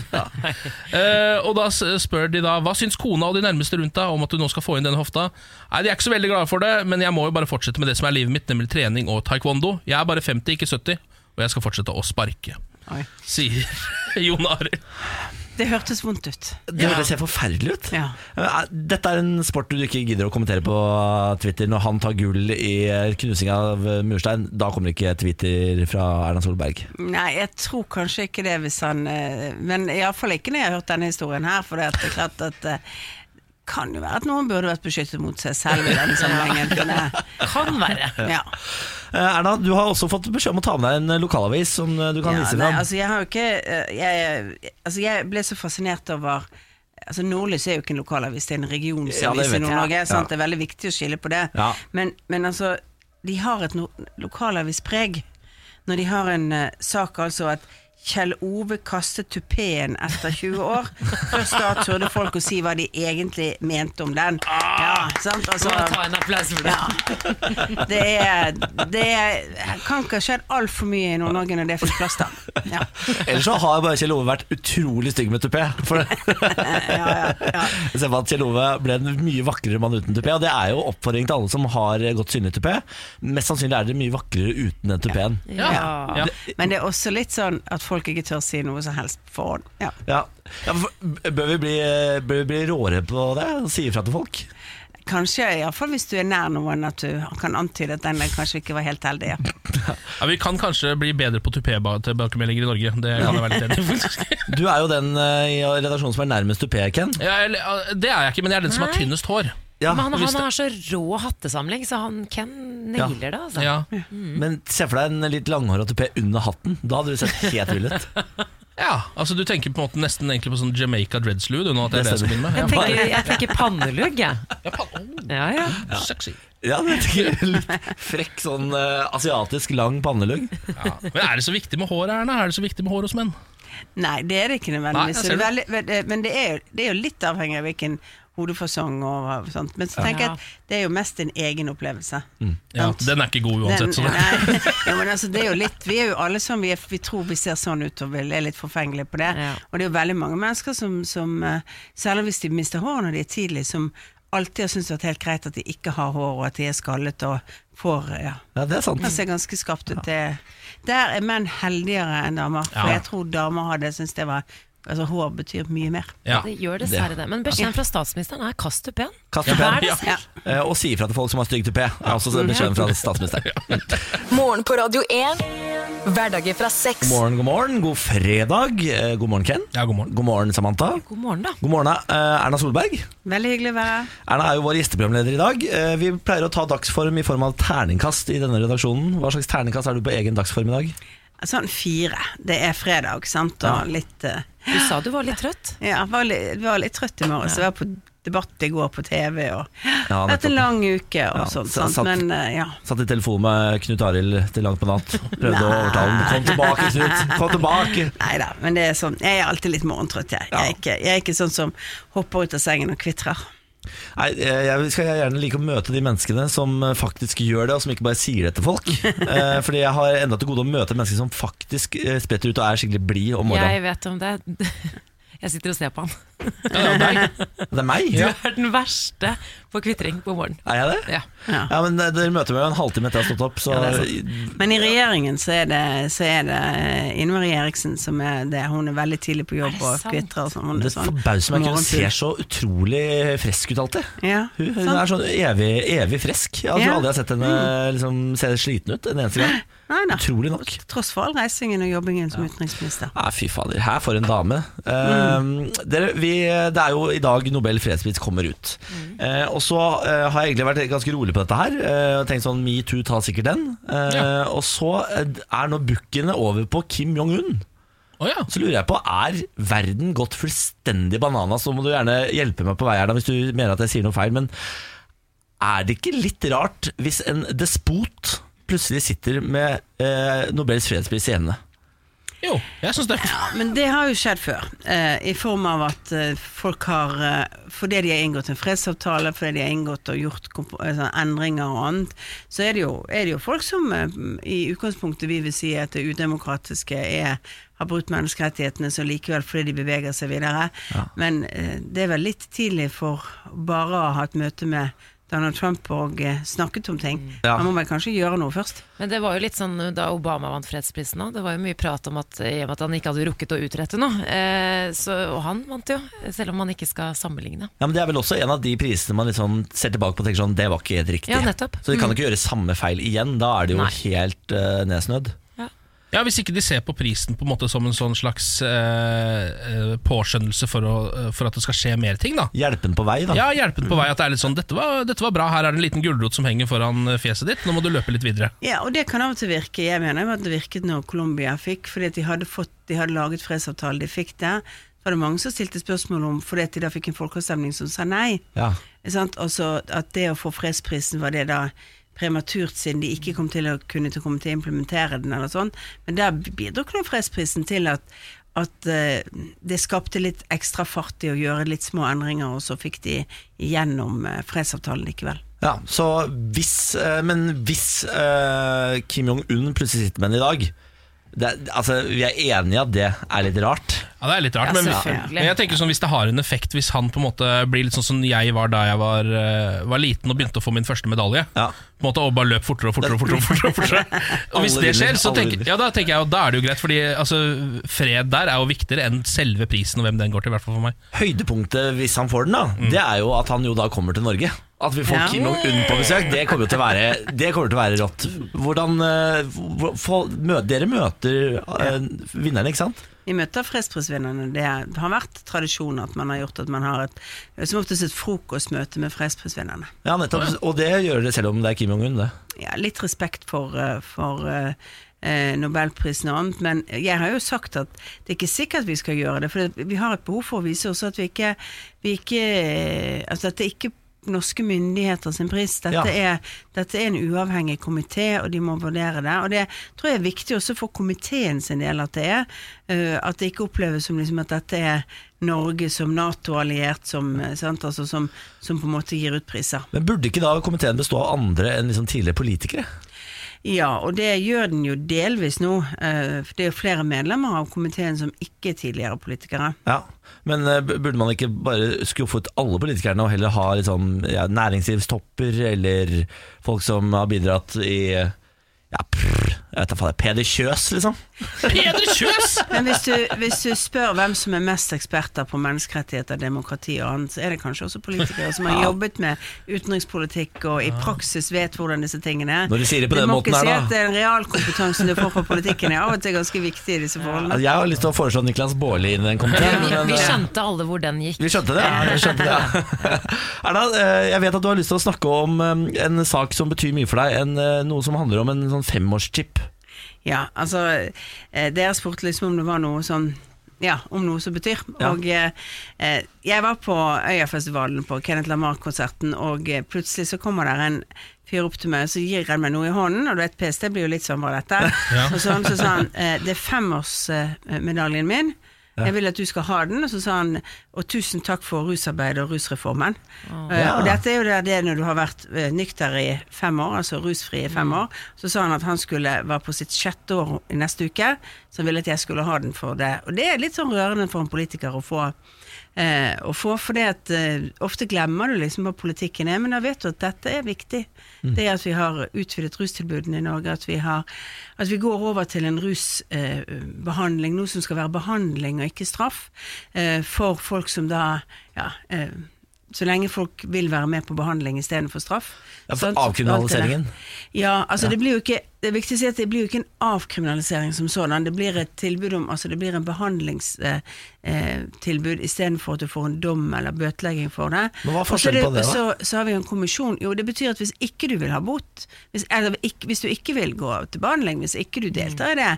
S3: Eh, og da s- spør de da Hva syns kona og de nærmeste rundt deg om at du nå skal få inn denne hofta? Nei, De er ikke så veldig glade for det, men jeg må jo bare fortsette med det som er livet mitt, nemlig trening og taekwondo. Jeg er bare 50, ikke 70, og jeg skal fortsette å sparke.
S9: Oi.
S3: Sier Jon Arild.
S9: Det hørtes vondt ut.
S2: Det høres helt forferdelig ut.
S9: Ja.
S2: Men er- Dette er en sport du ikke gidder å kommentere på Twitter. Når han tar gull i eh, knusing av murstein, da kommer det ikke Twitter fra Erna Solberg.
S9: Nei, jeg tror kanskje ikke det hvis han eh, Men iallfall ikke når jeg har hørt denne historien her, for det er klart at eh, kan jo være at noen burde vært beskyttet mot seg selv i denne sammenhengen. men,
S1: Kan være.
S9: eh, Ja.
S2: Eh, Erna, du har også fått beskjed om å ta med deg en lokalavis som eh, du kan
S9: Ja,
S2: vise
S9: nei,
S2: fram.
S9: altså jeg har jo ikke eh, jeg, altså jeg ble så fascinert over Altså Nordlys er jo ikke en lokalavis, det er en
S2: Ja, det
S9: regionsavis
S2: vet
S9: i Nord-Norge.
S2: jeg.
S9: sant?
S2: Ja.
S9: Det er veldig viktig å skille på det.
S2: Ja.
S9: Men, men altså, de har et no lokalavispreg når de har en eh, sak altså at Kjell Ove kastet tupeen etter 20 år. Først da turde folk å si hva de egentlig mente om den.
S2: Ah!
S9: Ja, sant? Altså,
S1: Må ta en applaus for det.
S9: ja. Det er, det er, kan ikke ha skjedd altfor mye i Nord-Norge når det fikk plass til ham. Ja.
S2: Ellers så har bare Kjell Ove vært utrolig stygg med tupé. For
S9: Ja, ja, ja.
S2: Jeg ser på at Kjell Ove ble en mye vakrere mann uten tupé, og det er jo oppfordring til alle som har godt synlig tupé. Mest sannsynlig er dere mye vakrere uten den tupeen.
S3: Ja. Ja.
S9: Men det er også litt sånn at folk ikke tør si noe som helst på forhånd. Ja.
S2: Ja. Ja, for- bør, vi bli, bør vi bli råere på det og si ifra til folk?
S9: Kanskje, iallfall hvis du er nær noen, at du kan antyde at den der kanskje ikke var helt heldig. Ja.
S3: Ja, vi kan kanskje bli bedre på tupé-tilbakemeldinger i Norge. Det kan jeg være litt enig i. faktisk.
S2: Du er jo den eh, i redaksjonen som er nærmest tupé, Ken.
S3: Ja, eller, eh, det er jeg ikke, men jeg er den som har
S1: Nei.
S3: tynnest hår.
S2: Ja,
S1: Men han,
S3: hvis det-
S1: han har så rå hattesamling, så han Ken nailer det, altså.
S3: Ja.
S2: Men se for deg en litt langhåra tupé under hatten. Da hadde du sett helt vill ut.
S3: ja, altså Du tenker på en måte nesten egentlig på sånn Jamaica dreadslue, du, nå at det er det jeg skal begynne med.
S1: Jeg tenker, jeg tenker pannelugg, jeg.
S3: Ja, faen.
S1: Ja, ja.
S3: Å, sexy.
S2: Ja, det tenker jeg. Litt frekk sånn eh, asiatisk lang pannelugg.
S3: Ja. Men er det så viktig med hår, Erna? Er det så viktig med hår hos menn?
S9: Nei, det er det ikke
S3: Nei,
S9: nødvendigvis.
S3: ser
S9: Så det er veldig- veldig- Men det er, jo, det er jo litt avhengig av hvilken hodefasong og sånt. Men så tenker jeg at det er jo mest din egen opplevelse.
S3: Ja,
S9: Sant?
S3: den er ikke god uansett. Så.
S9: Den- nei, ja, men altså, det er jo litt, vi er jo alle sånn, vi, er, vi tror vi ser sånn ut og vi er litt forfengelige på det.
S1: Ja.
S9: Og det er jo veldig mange mennesker som, som eh, særlig hvis de mister hår når de er tidlig, som alltid har syntes det har vært helt greit at de ikke har hår, og at de er skallet og får ja,
S2: Ja, det er sant.
S9: kan se ganske skarpt ut. Det, der er menn heldigere enn damer, for
S3: Ja.
S9: jeg tror damer hadde syntes det var Altså, hår betyr mye mer.
S3: Ja.
S1: Det gjør dessverre det. Men beskjeden fra statsministeren er kast tupeen.
S2: Kast tupéen.
S1: Ja.
S9: Ja.
S2: Eh, Og si ifra til folk som har stygg tupé. Er også beskjeden fra statsministeren.
S4: Morgen på Radio 1. Hverdager fra seks.
S2: God morgen, god morgen. God fredag. Eh, God morgen, Ken.
S3: Ja, god morgen.
S2: God morgen, Samantha.
S1: God morgen, da.
S2: God morgen, eh, Erna Solberg.
S9: Veldig hyggelig å være her.
S2: Erna er jo vår gjesteprogramleder i dag. Eh, Vi pleier å ta dagsform i form av terningkast i denne redaksjonen. Hva slags terningkast er du på egen dagsform i dag?
S9: Sånn fire. Det er fredag, sant, og litt eh,
S1: Du sa du var litt trøtt.
S9: Ja, jeg var litt, var litt trøtt i morges. Jeg var på debatt i går på TV. Og
S2: Ja,
S9: hatt en
S2: nettopp.
S9: lang uke og
S2: Ja,
S9: sånt.
S2: så-
S9: Sant?
S2: satt-
S9: Men eh, ja.
S2: Satt i telefon med Knut Arild til langt på natt. Prøvde å overtale ham. Kom tilbake, Knut! Kom tilbake!
S9: Nei da, men det er sånn, jeg er alltid litt morgentrøtt, jeg. Jeg er, ikke, jeg er ikke sånn som hopper ut av sengen og kvitrer.
S2: Nei, eh, jeg skal gjerne like å møte de menneskene som eh, faktisk gjør det, og som ikke bare sier det til folk. Eh, Fordi jeg har enda til gode å møte mennesker som faktisk eh, spretter ut og er skikkelig blid om morgenen.
S1: Jeg vet om det. Jeg sitter og ser på han.
S2: Det er meg?
S1: Du er den verste på kvitring på morgenen.
S2: Er jeg det?
S1: Ja.
S9: Ja.
S2: Ja, men eh, Dere møter meg jo en halvtime etter jeg har stått opp, så Mm.
S9: Men i regjeringen så er det, så er det eh, Ine Marie Eriksen som er det. Hun er veldig tidlig på jobb
S1: det
S9: og
S1: sant?
S9: kvitrer og sånn. Hun er
S2: det
S9: sånn
S2: forbauser meg ikke. Hun
S9: morgenfugl.
S2: ser så utrolig frisk ut alltid.
S9: Ja,
S2: Hun, hun
S9: sant?
S2: er sånn evig, evig frisk. Jeg tror
S9: Ja. Mm.
S2: aldri jeg har sett henne liksom, se sliten ut en eneste gang.
S9: Nei, nei.
S2: Utrolig nok.
S9: Tross for all reisingen og jobbingen som utenriksminister.
S2: Nei, fy fader, her for en dame.
S9: Mm.
S2: Eh, dere, vi, det er jo i dag Nobel fredspris kommer ut.
S9: Mm.
S2: Eh, og så eh, har jeg egentlig vært ganske rolig på dette her. eh, og tenkt sånn, Metoo tar sikkert den. Eh, Og så eh, er nå bukkene over på Kim Jong-un.
S3: Å ja.
S2: Så lurer jeg på, er verden gått fullstendig bananas? Så må du gjerne hjelpe meg på vei her da, hvis du mener at jeg sier noe feil. Men er det ikke litt rart hvis en despot plutselig sitter med eh, Nobels fredspris i hendene?
S3: Jo, jeg syns det.
S9: Men det har jo skjedd før, eh, i form av at eh, folk har eh, Fordi de har inngått en fredsavtale, fordi de har inngått og gjort komp- eh, sånn endringer og annet, så er det jo, er det jo folk som eh, i utgangspunktet vi vil si at det udemokratiske er har brutt menneskerettighetene så likevel fordi de beveger seg videre. Men eh, det er vel litt tidlig for bare å ha et møte med Donald Trump og eh, snakket om ting.
S2: Ja.
S9: Han må vel kanskje gjøre noe først.
S1: Men det var jo litt sånn da Obama vant fredsprisen òg. Det var jo mye prat om at, i og med at han ikke hadde rukket å utrette noe. Eh, så, og han vant jo, selv om man ikke skal sammenligne.
S2: Ja, men Det er vel også en av de prisene man liksom ser tilbake på og tenker sånn, det var ikke helt riktig.
S1: Ja, nettopp. Mm.
S2: Så de kan ikke gjøre samme feil igjen. Da er det jo
S1: Nei.
S2: helt eh, nedsnødd.
S3: Ja, Hvis ikke de ser på prisen på en måte som en sånn slags eh, eh, påskjønnelse for, å, eh, for at det skal skje mer ting, da.
S2: Hjelpen på vei, da.
S3: Ja, hjelpet på vei at det er litt sånn dette var, dette var bra, her er det en liten gulrot som henger foran eh, fjeset ditt, nå må du løpe litt videre.
S9: Ja, og det kan av og til virke. Jeg mener jo at det virket når Colombia fikk, fordi at de hadde, fått, de hadde laget fredsavtale, de fikk det. Så var det mange som stilte spørsmål om, fordi at de da fikk en folkeavstemning som sa nei.
S2: Ja.
S9: Ikke Sant? Altså at det å få fredsprisen var det da prematurt, siden de ikke kom til å kunne til å komme til å implementere den eller sånn. Men der bidro nå fredsprisen til at at eh, det skapte litt ekstra fart i å gjøre litt små endringer, og så fikk de igjennom eh, fredsavtalen likevel.
S2: Ja, så hvis, eh, Men hvis eh, Kim Jong-un plutselig sitter med den i dag det, er- altså, Vi er enige i at det er litt rart.
S3: Ja, Det er litt rart,
S1: Ja,
S3: men,
S1: selvfølgelig.
S3: men jeg tenker sånn hvis det har en effekt hvis han på en måte blir litt sånn som jeg var da jeg var, eh, var liten og begynte å få min første medalje.
S2: Ja.
S3: På en måte Og bare løp fortere og fortere. Og fortere, og fortere, og fortere. Og hvis
S2: Alle
S3: det
S2: vinner,
S3: skjer, så
S2: alle
S3: tenker,
S2: vinner.
S3: ja, da tenker jeg jo, da er det jo greit, Fordi altså, fred der er jo viktigere enn selve prisen og hvem den går til, i hvert fall for meg.
S2: Høydepunktet hvis han får den, da det er jo at han jo da kommer til Norge. Mm. At vi får
S9: Ja.
S2: Kim Jong-un på besøk, det kommer jo til å være, det kommer til å være rått. Hvordan, eh, hvor- for, mø, dere møter eh, vinnerne, ikke sant?
S9: Vi møter fredsprisvinnerne. Det har vært tradisjon at man har gjort at man har et, som oftest et frokostmøte med fredsprisvinnerne.
S2: Ja, nettopp. Og det gjør dere selv om det er Kim Jong-un, det.
S9: Ja, litt respekt for, eh, for eh, eh, Nobelprisen og annet, men jeg har jo sagt at det er ikke sikkert vi skal gjøre det. For vi har et behov for å vise også at vi ikke, vi ikke Altså at det er ikke norske myndigheter sin pris. Dette,
S2: Ja.
S9: er, dette er en uavhengig komité, og de må vurdere det. Og det tror jeg er viktig også for komiteen sin del at det er. eh, at det ikke oppleves som liksom at dette er Norge som Nato-alliert som, eh, sant? Altså som, som på en måte gir ut priser.
S2: Men burde ikke da komiteen bestå av andre enn liksom tidligere politikere?
S9: Ja, og det gjør den jo delvis nå. eh, For det er jo flere medlemmer av komiteen som ikke er tidligere politikere.
S2: Ja, Men eh, b- burde man ikke bare skuffet alle politikerne og heller ha liksom, ja, næringslivstopper eller folk som har bidratt i ja, prr, jeg vet da faen, Peder Kjøs, liksom?
S3: Peder Kjøs!
S9: Men hvis du, hvis du spør hvem som er mest eksperter på menneskerettigheter, demokrati og annet, så er det kanskje også politikere som har jobbet med utenrikspolitikk og i praksis vet hvordan disse tingene er.
S2: Når du sier det på den
S9: må
S2: måten
S9: ikke
S2: her, da.
S9: si at eh, den realkompetansen du får på politikken er av og til ganske viktig i disse
S2: Altså,
S9: forholdene.
S2: Jeg har lyst til å foreslå Niklas Baarli inn i den komiteen.
S1: Vi,
S2: men,
S1: vi
S2: eh,
S1: skjønte alle hvor den gikk.
S2: Vi skjønte det. Ja, vi skjønte det ja. Erna, eh, jeg vet at du har lyst til å snakke om eh, en sak som betyr mye for deg. En, eh, noe som handler om en sånn femårschip.
S9: Ja, altså eh, Dere spurte liksom om det var noe sånn ja, om noe som betyr.
S2: Ja.
S9: Og eh, eh, jeg var på Øyafestivalen, på Kenneth Lamarck-konserten, og eh, plutselig så kommer der en fyr opp til meg, og så gir han meg noe i hånden, og du vet PST blir jo litt sånn bare dette. Og sånn, så sa han eh, det er femårsmedaljen min. Jeg vil at du skal ha den. Og så sa han og tusen takk for rusarbeidet og rusreformen. Eh,
S2: Ja.
S9: Og dette er jo det, det er når du har vært eh, nykter i fem år, altså rusfri i fem år. Så sa han at han skulle være på sitt sjette år i neste uke, så han ville at jeg skulle ha den for det. Og det er litt sånn rørende for en politiker å få. Eh, å få for det at eh, Ofte glemmer du liksom hva politikken er, men da vet du at dette er viktig.
S2: Mm.
S9: Det at vi har utvidet rustilbudene i Norge, at vi, har, at vi går over til en rusbehandling, noe som skal være behandling og ikke straff, eh, for folk som da ja, eh, så lenge folk vil være med på behandling istedenfor straff.
S2: Ja, for
S9: sant? Alt det der.
S2: avkriminaliseringen.
S9: Ja, altså det blir jo ikke Det er viktig å si at det blir jo ikke en avkriminalisering som sådan. Det blir et tilbud om Altså det blir en behandlingstilbud eh, tilbud istedenfor at du får en dom eller bøtelegging for det.
S2: Men hva er
S9: Og så
S2: forskjellen
S9: er
S2: på det, da?
S9: Så, så har vi jo en kommisjon. Jo, det betyr at hvis ikke du vil ha bot, hvis, eller ikke, hvis du ikke vil gå til behandling, hvis ikke du deltar i det,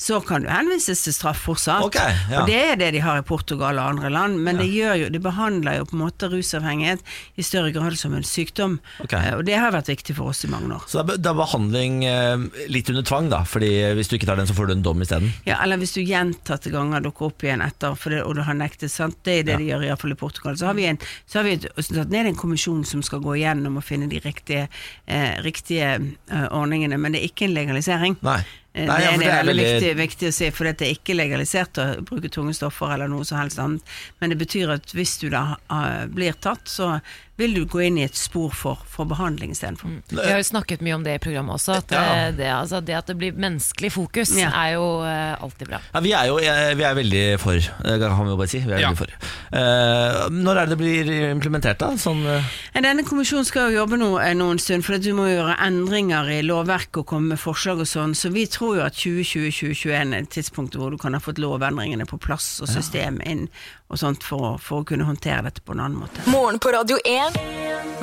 S9: så kan du henvises til straff fortsatt.
S2: Ok, ja.
S9: Og det er det de har i Portugal og andre land, men det gjør jo Det behandler jo på en måte rusavhengighet i større grad som en sykdom,
S2: Ok.
S9: Eh, og det har vært viktig for oss i mange år.
S2: Så det er, be- det er behandling eh, litt under tvang, da. Fordi eh, hvis du ikke tar den, så får du en dom isteden.
S9: Ja, eller hvis du gjentatte ganger dukker opp igjen etter, for det, og du har nektet, sant? det er det de gjør i hvert fall i Portugal. Så har vi, en, så har vi et, satt ned en kommisjon som skal gå igjennom og finne de riktige, eh, riktige eh, ordningene, men det er ikke en legalisering.
S2: Nei.
S9: Eh,
S2: Nei,
S9: det,
S2: ja,
S9: er
S2: for
S9: det er veldig viktig,
S2: veldig-
S9: viktig å si, for det er ikke legalisert å bruke tunge stoffer eller noe som helst annet. Men det betyr at hvis du da eh, blir tatt, så vil du gå inn i et spor for, for behandling istedenfor.
S1: Vi har jo snakket mye om det i programmet også. At
S2: Ja.
S1: eh, det, altså, det at det blir menneskelig fokus,
S9: Ja.
S1: er jo eh, alltid bra.
S2: Ja, vi er jo eh, vi er veldig for, det kan vi jo bare si. Vi er
S3: Ja.
S2: veldig for. Eh, når er det det blir implementert, da? Sånn, eh,
S9: Men Denne kommisjonen skal jo jobbe nå, eh, noen stund, for at du må gjøre endringer i lovverket og komme med forslag og sånn. Så vi tror jo at 2020-2021 er tidspunktet hvor du kan ha fått lovendringene på plass og system inn og sånt for, å- for å kunne håndtere dette på en annen måte.
S4: Morgen på Radio 1.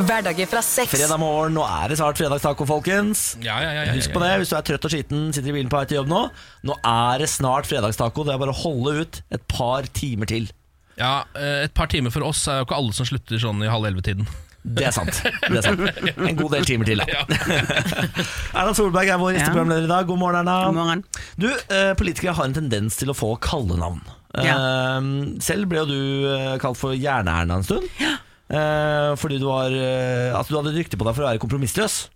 S4: Hverdager fra seks.
S2: fredag morgen, nå er det snart fredagstaco, folkens.
S3: Ja, ja, ja, ja, ja,
S2: Husk på
S3: ja.
S2: det hvis du er trøtt og skitten, sitter i bilen på vei til jobb nå. Nå er det snart fredagstaco. Det er bare å holde ut et par timer til.
S3: Ja, eh, Et par timer for oss er jo ikke alle som slutter sånn i halv elleve-tiden.
S2: Det er sant. Det er sant. En god del timer til, da.
S3: Ja.
S2: Erna Solberg er vår gjeste
S9: Ja.
S2: programleder i dag. God morgen, Erna.
S9: God morgen.
S2: Du, eh, Politikere har en tendens til å få kallenavn.
S9: Ja.
S2: Eh, selv ble jo du eh, kalt for Jerne-Erna en stund. Eh, fordi du, var, eh, altså, du hadde et rykte på deg for å være kompromissløs.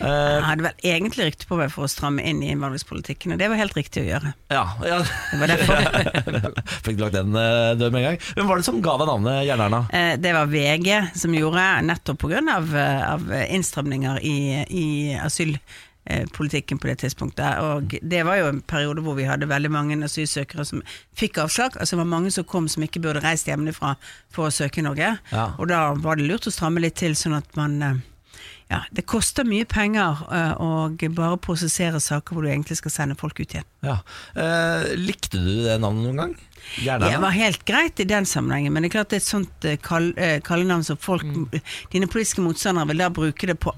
S2: Eh,
S9: Jeg hadde vel egentlig rykte på meg for å stramme inn i innvandringspolitikken, og det var helt riktig å gjøre.
S2: ja, ja.
S9: Det var derfor.
S2: Fikk lagt den eh, død med en gang. Hvem var det som ga deg navnet Jerne-Erna?
S9: Eh, Det var VG som gjorde, nettopp pga. Av, eh, av innstramninger i, i asylpolitikken på det tidspunktet. Og det var jo en periode hvor vi hadde veldig mange asylsøkere som fikk avslag. Altså det var mange som kom som ikke burde reist hjemmefra for å søke i Norge.
S2: Ja.
S9: Og da var det lurt å stramme litt til, sånn at man eh, ja, Det koster mye penger eh, å bare prosessere saker hvor du egentlig skal sende folk ut igjen.
S2: Ja. Eh, likte du det navnet noen gang?
S9: Det var
S2: Jerne-Erna?
S9: helt greit i den sammenhengen, men det er klart det er et sånt eh, kall, eh, kallenavn som folk Dine politiske motstandere vil da bruke det på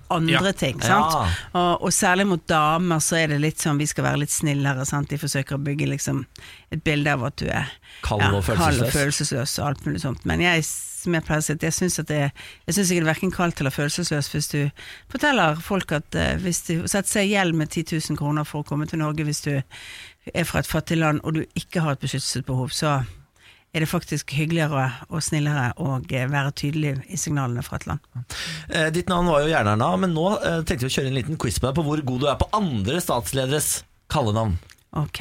S3: Ja.
S9: andre ting, sant?
S2: Ja.
S9: Og, og særlig mot damer så er det litt sånn vi skal være litt snillere, sant? De forsøker å bygge liksom et bilde av at du er
S2: Kald og
S9: kald og
S2: følelsesløs.
S9: følelsesløs og alt mulig sånt. Men jeg, som jeg pleier å si, at jeg syns at det Jeg syns ikke det er verken kaldt eller følelsesløs hvis du forteller folk at eh, hvis du setter seg i gjeld med 10 000 kroner for å komme til Norge hvis du er fra et fattig land og du ikke har et beskyttelsesbehov, så er det faktisk hyggeligere og snillere å eh, være tydelig i signalene fra et land.
S2: Eh, ditt navn var jo Jerne-Erna, men nå eh, tenkte vi å kjøre en liten quiz på deg på hvor god du er på andre statslederes kallenavn.
S9: Ok.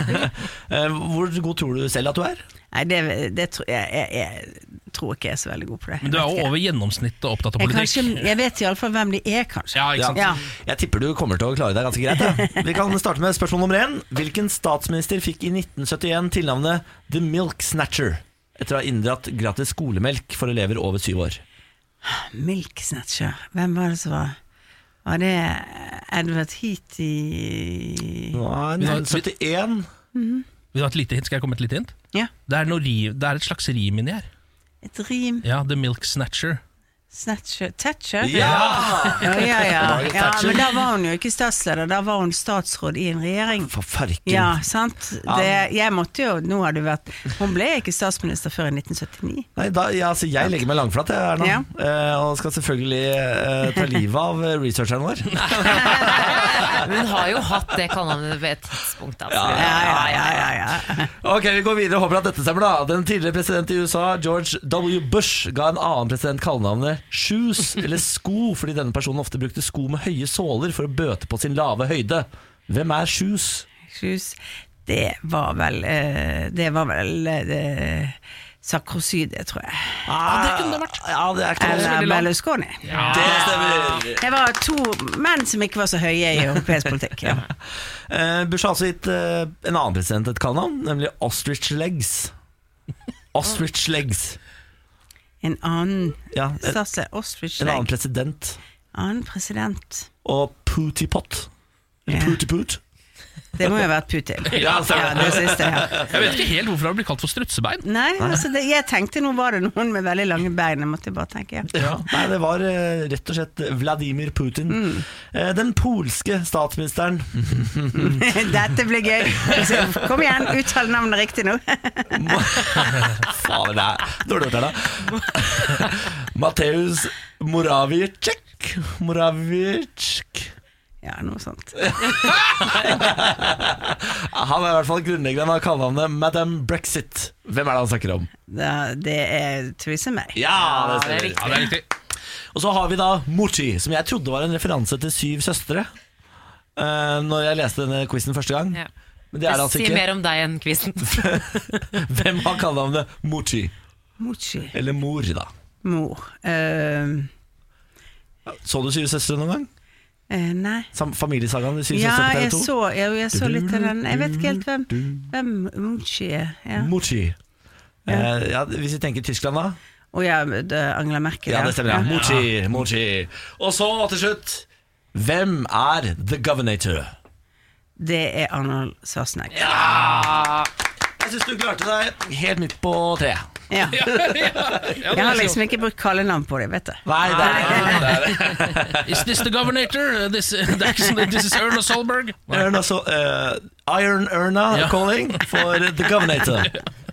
S2: Eh, hvor god tror du selv at du er?
S9: Nei, det, det tror jeg, jeg, jeg tror ikke jeg er så veldig god på det.
S3: Men du er
S9: Jeg vet
S3: jo
S9: ikke.
S3: over gjennomsnittet opptatt av
S9: jeg,
S3: politikk.
S9: kanskje, jeg vet iallfall hvem de er, kanskje.
S3: Ja, ikke sant?
S9: Ja.
S2: Jeg tipper du kommer til å klare deg ganske greit. Ja. Vi kan starte med spørsmål nummer én. Hvilken statsminister fikk i 1971 tilnavnet The Milk Snatcher? Etter å ha inndratt gratis skolemelk for elever over syv år.
S9: Milk Snatcher. Hvem var det som var Var det Edward Heath i
S2: Nei, 1971
S3: Vil du ha et lite hint? Skal jeg komme med et lite hint?
S9: Ja,
S3: Det er, noe rim, det er et slags rim inni her.
S9: et rim.
S3: Ja, The Milk Snatcher.
S9: Snatcher Thatcher?
S2: Ja!
S9: ja, ja, ja.
S2: Margaret
S9: ja.
S2: Thatcher.
S9: Men da var hun jo ikke statsleder, da var hun statsråd i en regjering.
S2: For farken.
S9: Ja, sant?
S2: Ja.
S9: Det, jeg måtte jo, nå har du vært Hun ble ikke statsminister før i 1979.
S2: Nei, da, ja, altså, jeg legger meg langflat, jeg, Erna.
S9: Ja.
S2: Eh, og skal selvfølgelig eh, ta livet av eh, researcheren vår.
S1: Hun har jo hatt det kallenavnet ved et tidspunkt. Altså.
S9: Ja, ja, ja, ja.
S2: Ok, Vi går videre og håper at dette stemmer. da Den tidligere president i USA, George W. Bush, ga en annen president kallenavnet Shoes, eller Sko, fordi denne personen ofte brukte sko med høye såler for å bøte på sin lave høyde. Hvem er Shoes?
S9: Sjus, det var vel eh, Det var vel eh, Sarkozy, det tror jeg.
S2: Ah, det kunne det vært. Ja, det er ikke noe
S9: Eller
S2: veldig langt.
S9: Berlusconi.
S2: Det stemmer.
S9: Det var to menn som ikke var så høye i europeisk politikk. Ja.
S2: Eh, Bush har også gitt eh, en annen president et kallenavn, nemlig Ostrich Legs. Ostrich Legs.
S9: En annen
S2: Ja, en,
S9: statsleder, Ostrich,
S2: en annen
S9: annen,
S2: president.
S9: annen president.
S2: og Putipot.
S9: Ja.
S2: Putiput.
S9: Det må jo ha vært Putin.
S2: Ja, altså. stemmer.
S9: det siste, ja.
S3: Jeg vet ikke helt hvorfor det har blitt kalt for strutsebein.
S9: Nei, altså det, jeg tenkte nå var det noen med veldig lange bein. Jeg måtte bare tenke. Ja.
S2: Nei, det var eh, rett og slett Vladimir Putin.
S1: Mm.
S2: Eh, Den polske statsministeren
S9: Dette blir gøy. Så, kom igjen, uttal navnet riktig nå.
S2: Ma- Fader, det er dårlig gjort her, da. Mateus Moravicek. Moravicek.
S9: Ja, noe sånt.
S2: Han er i hvert fall grunnleggeren av kallenavnet Madam Brexit. Hvem er det han snakker om?
S9: Da, det er Theresa May.
S2: Ja,
S1: det er
S3: Ja, det er riktig.
S2: Og så har vi da Morty, som jeg trodde var en referanse til Syv søstre. eh, når jeg leste denne quizen første gang.
S1: Ja.
S2: Men det er det altså
S1: Sier
S2: ikke. Mm.
S1: mer om deg enn quizen.
S2: Hvem har kallenavnet Morty?
S9: Mochi.
S2: Eller Mor, da.
S9: Mor. Ehm,
S2: Så du Syv søstre noen gang?
S9: eh, nei.
S2: Sam familiesagaen til Syv
S9: Ja,
S2: søstre
S9: jeg
S2: på TV 2?
S9: så, jeg, jeg så litt av den. Jeg vet ikke helt hvem, hvem Mochi er. Ja.
S2: Morty. Eh, ja, hvis vi tenker Tyskland, da.
S9: Og ja, det er Angela Merkel.
S2: Ja, det stemmer. ja Morty, Morty. Og så til slutt Hvem er The Governator?
S9: Det er Arnold Schwarzenegger. Ja.
S2: Jeg syns du klarte deg helt midt på tre.
S9: Jeg har liksom ikke brukt kallenavn på dem, vet du.
S2: Nei, det er
S3: Is this the governator? This, det er ikke sånn, this is Erna Solberg.
S2: Erna så, eh, Iron Erna
S3: Ja.
S2: calling for The Governator.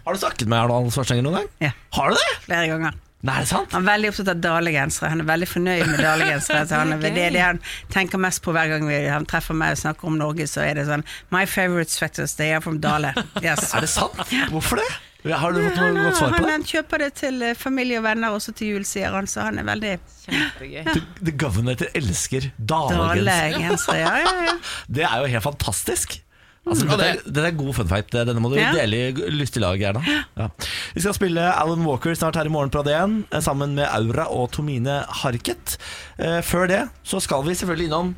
S2: Har du snakket med Arnold Schwarzenegger noen gang?
S9: Ja.
S2: Har du det?
S9: Flere ganger.
S2: Nei, er det sant?
S9: Han er veldig opptatt av dalegensere. Han er veldig fornøyd med dalegensere. Så han er, det er det han tenker mest på hver gang vi, han treffer meg og snakker om Norge, så er det sånn My favorite sweaters, they are from Dale. Yes.
S2: Er det sant? Hvorfor det? Har du fått
S9: Han,
S2: noe godt svar på
S9: han,
S2: det?
S9: han kjøper det til eh, familie og venner også til jul, sier han, så han er veldig
S1: Kjempegøy.
S2: The, the Governator elsker dalegenser.
S9: dalegenser. Ja, ja, ja.
S2: Det er jo helt fantastisk. Altså,
S3: Ja,
S2: dette, er, dette er god fun fact. Denne må du
S9: Ja.
S2: dele i lystig lag. Gjerne. Ja. Vi skal spille Alan Walker snart her i morgen på AD1, eh, sammen med Aura og Tomine Harket. Eh, før det så skal vi selvfølgelig innom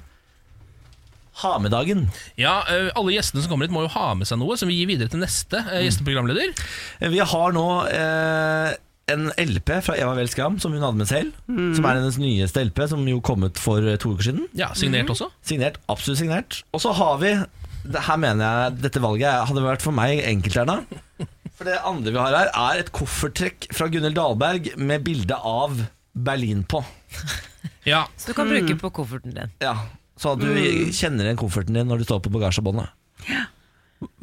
S2: ha med dagen.
S3: Ja, eh, Alle gjestene som kommer hit, må jo ha med seg noe som vi gir videre til neste eh, gjesteprogramleder.
S2: Eh, Vi har nå eh, en LP fra Eva Weel Skram som hun hadde med selv.
S9: Mm.
S2: Som er hennes nyeste LP, som jo kom ut for eh, to uker siden.
S3: Ja, Signert
S9: Mhm.
S3: også.
S2: Signert, absolutt signert. Og så har vi det Her mener jeg dette valget hadde vært for meg enkelt, Erna. For det andre vi har her, er et koffertrekk fra Gunhild Dahlberg med bilde av Berlin på.
S3: Ja,
S1: Så du kan bruke på kofferten din.
S2: Ja, Mm. Så du kjenner igjen kofferten din når du står på bagasjebåndet.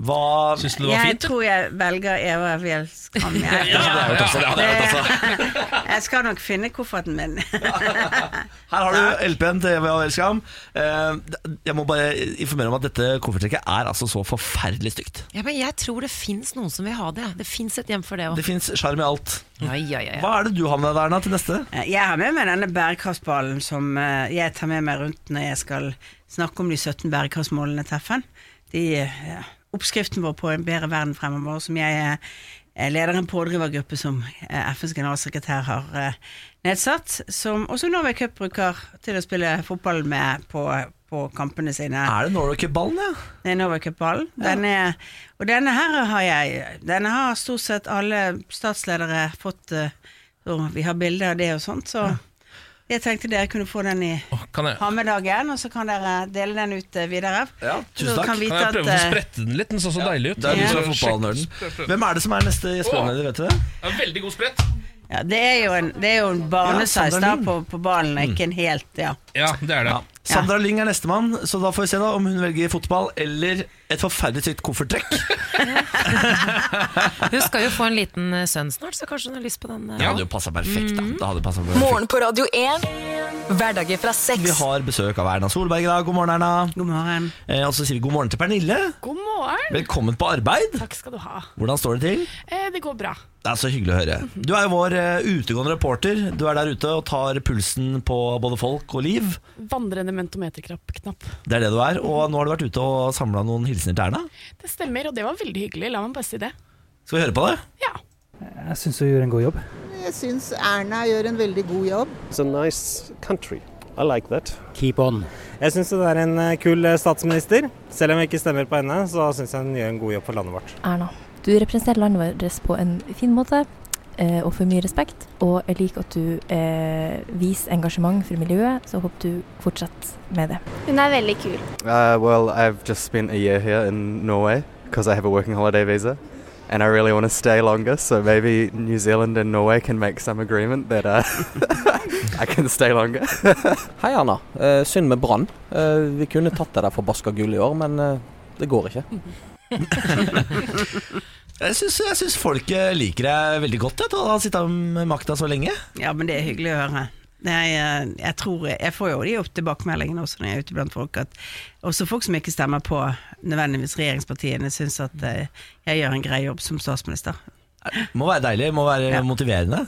S2: Hva
S3: Syns du det var
S9: Jeg
S3: fint?
S9: tror jeg velger Eva Wjelskram. Jeg,
S2: Ja, det er jo tøft, det er jo tøft, altså.
S9: jeg skal nok finne kofferten min.
S2: Her har du LP-en til Eva Weel Skram. Eh, Jeg må bare informere om at dette koffertrekket er altså så forferdelig stygt.
S1: Ja, men jeg tror det fins noen som vil ha det. Det fins et hjem for det òg.
S2: Det fins sjarm i alt.
S1: Ja, ja, ja, ja.
S2: Hva er det du har med deg, Erna, til neste?
S9: Eh, Jeg har med meg denne bærekraftballen som eh, jeg tar med meg rundt når jeg skal snakke om de 17 bærekraftsmålene til FN. De, eh, oppskriften vår på en bedre verden fremover, som jeg eh, er leder en pådrivergruppe som eh, FNs generalsekretær har eh, nedsatt, som også Norway Cup bruker til å spille fotball med på, på kampene sine.
S2: Er det Norway Cup-ballen, ja?
S9: Det er Norway Cup-ballen. Den er- Og denne her har jeg Denne har stort sett alle statsledere fått, eh, og vi har bilder av det og sånt, så jeg tenkte dere kunne få den i
S3: Åh, Kan jeg,
S9: ha med dagen, og så kan dere dele den ut eh, videre.
S2: Ja, tusen
S9: Så
S2: takk.
S9: Kan vite
S3: kan jeg prøve å
S9: at, eh,
S3: sprette den litt? Den så så deilig ut.
S2: Det er du
S9: Ja.
S2: som er fotballnerden. Hvem er det som er neste gjesteprogramleder, vet du det?
S3: Ja, Veldig god sprett.
S9: Ja, det er jo en, det er jo en barneseis
S2: Sandra
S9: da
S2: Lyng.
S9: på, på ballen, ikke
S2: Mm.
S9: en helt, ja.
S10: Ja, det er det.
S2: Sandra Lyng er nestemann, så da får vi se da om hun velger fotball eller et forferdelig tykt kofferttrekk.
S1: Hun skal jo få en liten eh, sønn snart, så kanskje hun har lyst på den. eh,
S2: Det hadde jo passa perfekt. da Det hadde passet perfekt.
S11: Morgen på Radio 1. Hverdager fra seks.
S2: Vi har besøk av Erna Solberg i dag. God morgen, Erna.
S9: God morgen.
S2: Eh, og så sier vi god morgen til Pernille.
S12: God morgen.
S2: Velkommen på arbeid.
S12: Takk skal du ha.
S2: Hvordan står det til?
S12: Eh, det går bra.
S2: Det er så hyggelig å høre. Du er jo vår eh, utegående reporter. Du er der ute og tar pulsen på både folk og liv.
S12: Vandrende mentometerknapp. knapp.
S2: Det er det du er. Og nå har du vært ute og samla noen hilsener til Erna.
S12: Det stemmer, og det var veldig hyggelig. La meg bare si det.
S2: Skal vi høre på det?
S13: Jeg syns hun gjør en god jobb.
S14: Jeg syns Erna gjør en veldig god jobb.
S15: It's a nice country. I like that.
S13: Keep on.
S16: Jeg syns hun er en eh, kul eh, statsminister. Selv om jeg ikke stemmer på henne, så syns jeg hun gjør en god jobb for landet vårt.
S17: Erna. Du representerer landet vårt på en fin måte eh, og får mye respekt. Og jeg liker at du eh, viser engasjement for miljøet, så jeg håper du fortsetter med det.
S18: Hun er veldig kul.
S4: Uh, well, I've just spent a year here in Norway because I have a working holiday visa, and I really want to stay longer. So maybe New Zealand and Norway can make some agreement that uh, I can stay longer.
S19: Hei, Erna. Eh, synd med Brann. Eh, vi kunne tatt det der forbaska gullet i år, men eh, det går ikke.
S2: Jeg syns, jeg syns folket liker deg veldig godt, jeg, til å ha sittet med makta så lenge.
S9: Ja, men det er hyggelig å høre. Jeg, jeg, tror, jeg får jo de opp tilbakemeldingene også når jeg er ute blant folk, at også folk som ikke stemmer på nødvendigvis regjeringspartiene, syns at eh, jeg gjør en grei jobb som statsminister.
S2: Må være deilig, må være motiverende.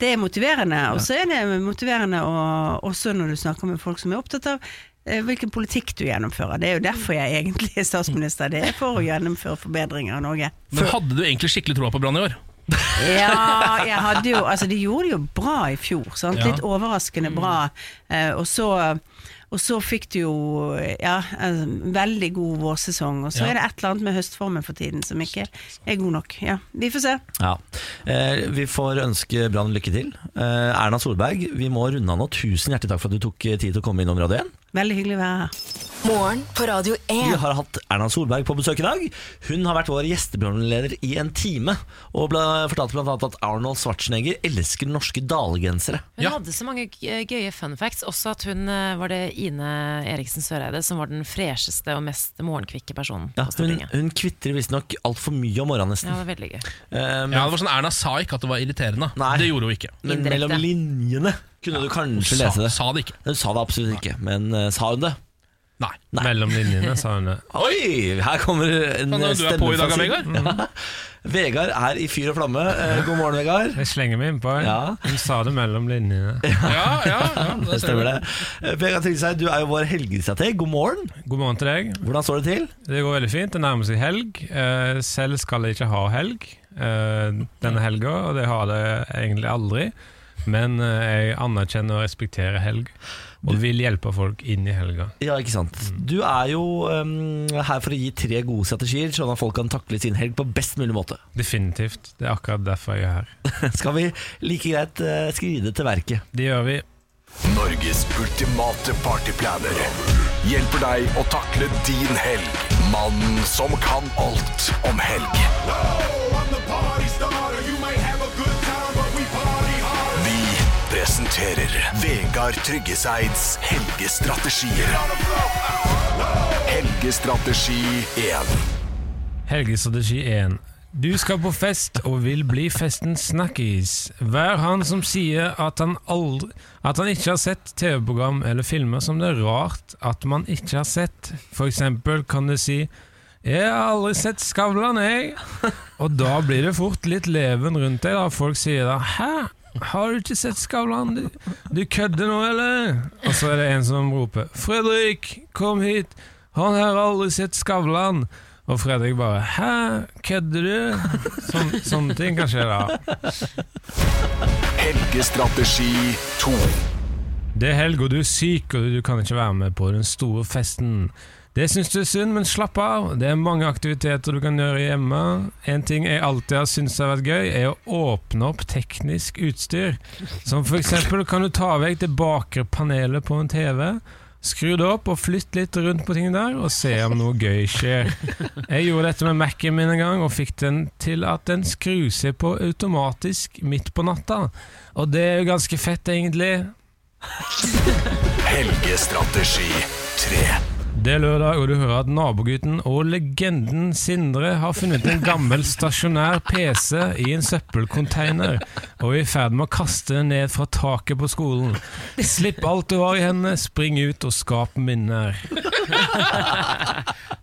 S9: Det er motiverende, og så er det motiverende å- også når du snakker med folk som er opptatt av eh, hvilken politikk du gjennomfører. Det er jo derfor jeg egentlig er statsminister, det er for å gjennomføre forbedringer av Norge.
S10: Men hadde du egentlig skikkelig troa på Brann i år?
S9: Ja, jeg hadde jo Altså, de gjorde det jo bra i fjor. Sant?
S10: Ja.
S9: Litt overraskende bra. Eh, og så og så fikk du jo ja, en veldig god vårsesong, og
S2: Ja.
S9: så er det et eller annet med høstformen for tiden som ikke er god nok. Ja, Vi får se.
S2: Ja. Eh, vi får ønske Brann lykke til. Eh, Erna Solberg, vi må runde av nå. Tusen hjertelig takk for at du tok eh, tid til å komme innom Radio 1.
S9: Veldig hyggelig å være her.
S11: Morgen på Radio 1.
S2: Vi har hatt Erna Solberg på besøk i dag. Hun har vært vår gjesteprogramleder i en time, og ble, fortalte bl.a. at Arnold Schwarzenegger elsker norske dalgensere.
S1: Hun hadde så mange g- eh, gøye fun facts. Også at hun eh, var det Ine Eriksen Søreide som var den fresheste og mest morgenkvikke personen.
S2: Ja, hun, hun kvitrer visstnok altfor mye om morgenen, nesten. Eh,
S1: Ja, det var veldig gøy.
S10: ja, det var sånn Erna sa ikke at det var irriterende. Det gjorde hun ikke.
S2: Men mellom linjene kunne du kanskje
S10: sa-
S2: lese det. Sa det ikke. Hun sa det absolutt ikke, men eh, sa hun det? Nei.
S3: Mellom linjene, sa hun det.
S2: Oi, her kommer en
S3: Faen,
S2: eh,
S3: du
S2: stemme
S3: er på i dag,
S2: fra
S3: Vegard.
S2: siden. Ja. Vegard er i fyr og flamme. Eh, God morgen, Vegard.
S3: Jeg slenger meg innpå.
S2: Ja.
S3: Hun sa det mellom linjene.
S2: det stemmer det. Eh, Vegard Tryggeseid, du er jo vår helgestrateg. God morgen.
S3: God morgen til deg.
S2: Hvordan står det til?
S3: Det går veldig fint. Det nærmer seg helg. Eh, Selv skal jeg ikke ha helg eh, denne helga, og det har jeg egentlig aldri. Men eh, jeg anerkjenner og respekterer helg, og vil hjelpe folk inn i helga.
S2: Ja, ikke sant. Du er jo eh, her for å gi tre gode strategier, sånn at folk kan takle sin helg på best mulig måte.
S3: Definitivt. Det er akkurat derfor jeg er her.
S2: Skal vi like greit eh, skride til verket?
S3: Det gjør vi.
S8: Norges ultimate partyplaner hjelper deg å takle din helg. Mannen som kan alt om helg. Vi presenterer Vegard Tryggeseids helgestrategier. Helgestrategi 1.
S3: Helgestrategi 1. Du skal på fest og vil bli festens snakkis. Vær han som sier at han, aldri, at han ikke har sett TV-program eller filmer som det er rart at man ikke har sett. For eksempel kan du si 'Jeg har aldri sett Skavlan, jeg'. Og da blir det fort litt leven rundt deg, da folk sier da 'Hæ? Har du ikke sett Skavlan? Du, du kødder nå, eller?' Og så er det en som roper 'Fredrik, kom hit! Han her har aldri sett Skavlan'. Og Fredrik bare 'hæ, kødder du?' Sånn, sånne ting kan skje, da.
S8: Helgestrategi 2.
S3: Det er helg, og du er syk, og du kan ikke være med på den store festen. Det syns du er synd, men slapp av. Det er mange aktiviteter du kan gjøre hjemme. En ting jeg alltid har syntes har vært gøy, er å åpne opp teknisk utstyr. Som for eksempel kan du ta vekk det bakre panelet på en TV. Skru det opp og flytt litt rundt på ting der, og se om noe gøy skjer. Jeg gjorde dette med Mac-en min en gang, og fikk den til at den skrur seg på automatisk midt på natta. Og det er jo ganske fett, egentlig.
S20: Helgestrategi 3.
S3: Det er lørdag, og du hører at nabogutten og legenden Sindre har funnet en gammel stasjonær PC i en søppelcontainer og er i ferd med å kaste den ned fra taket på skolen. Slipp alt du har i hendene, spring ut og skap minner.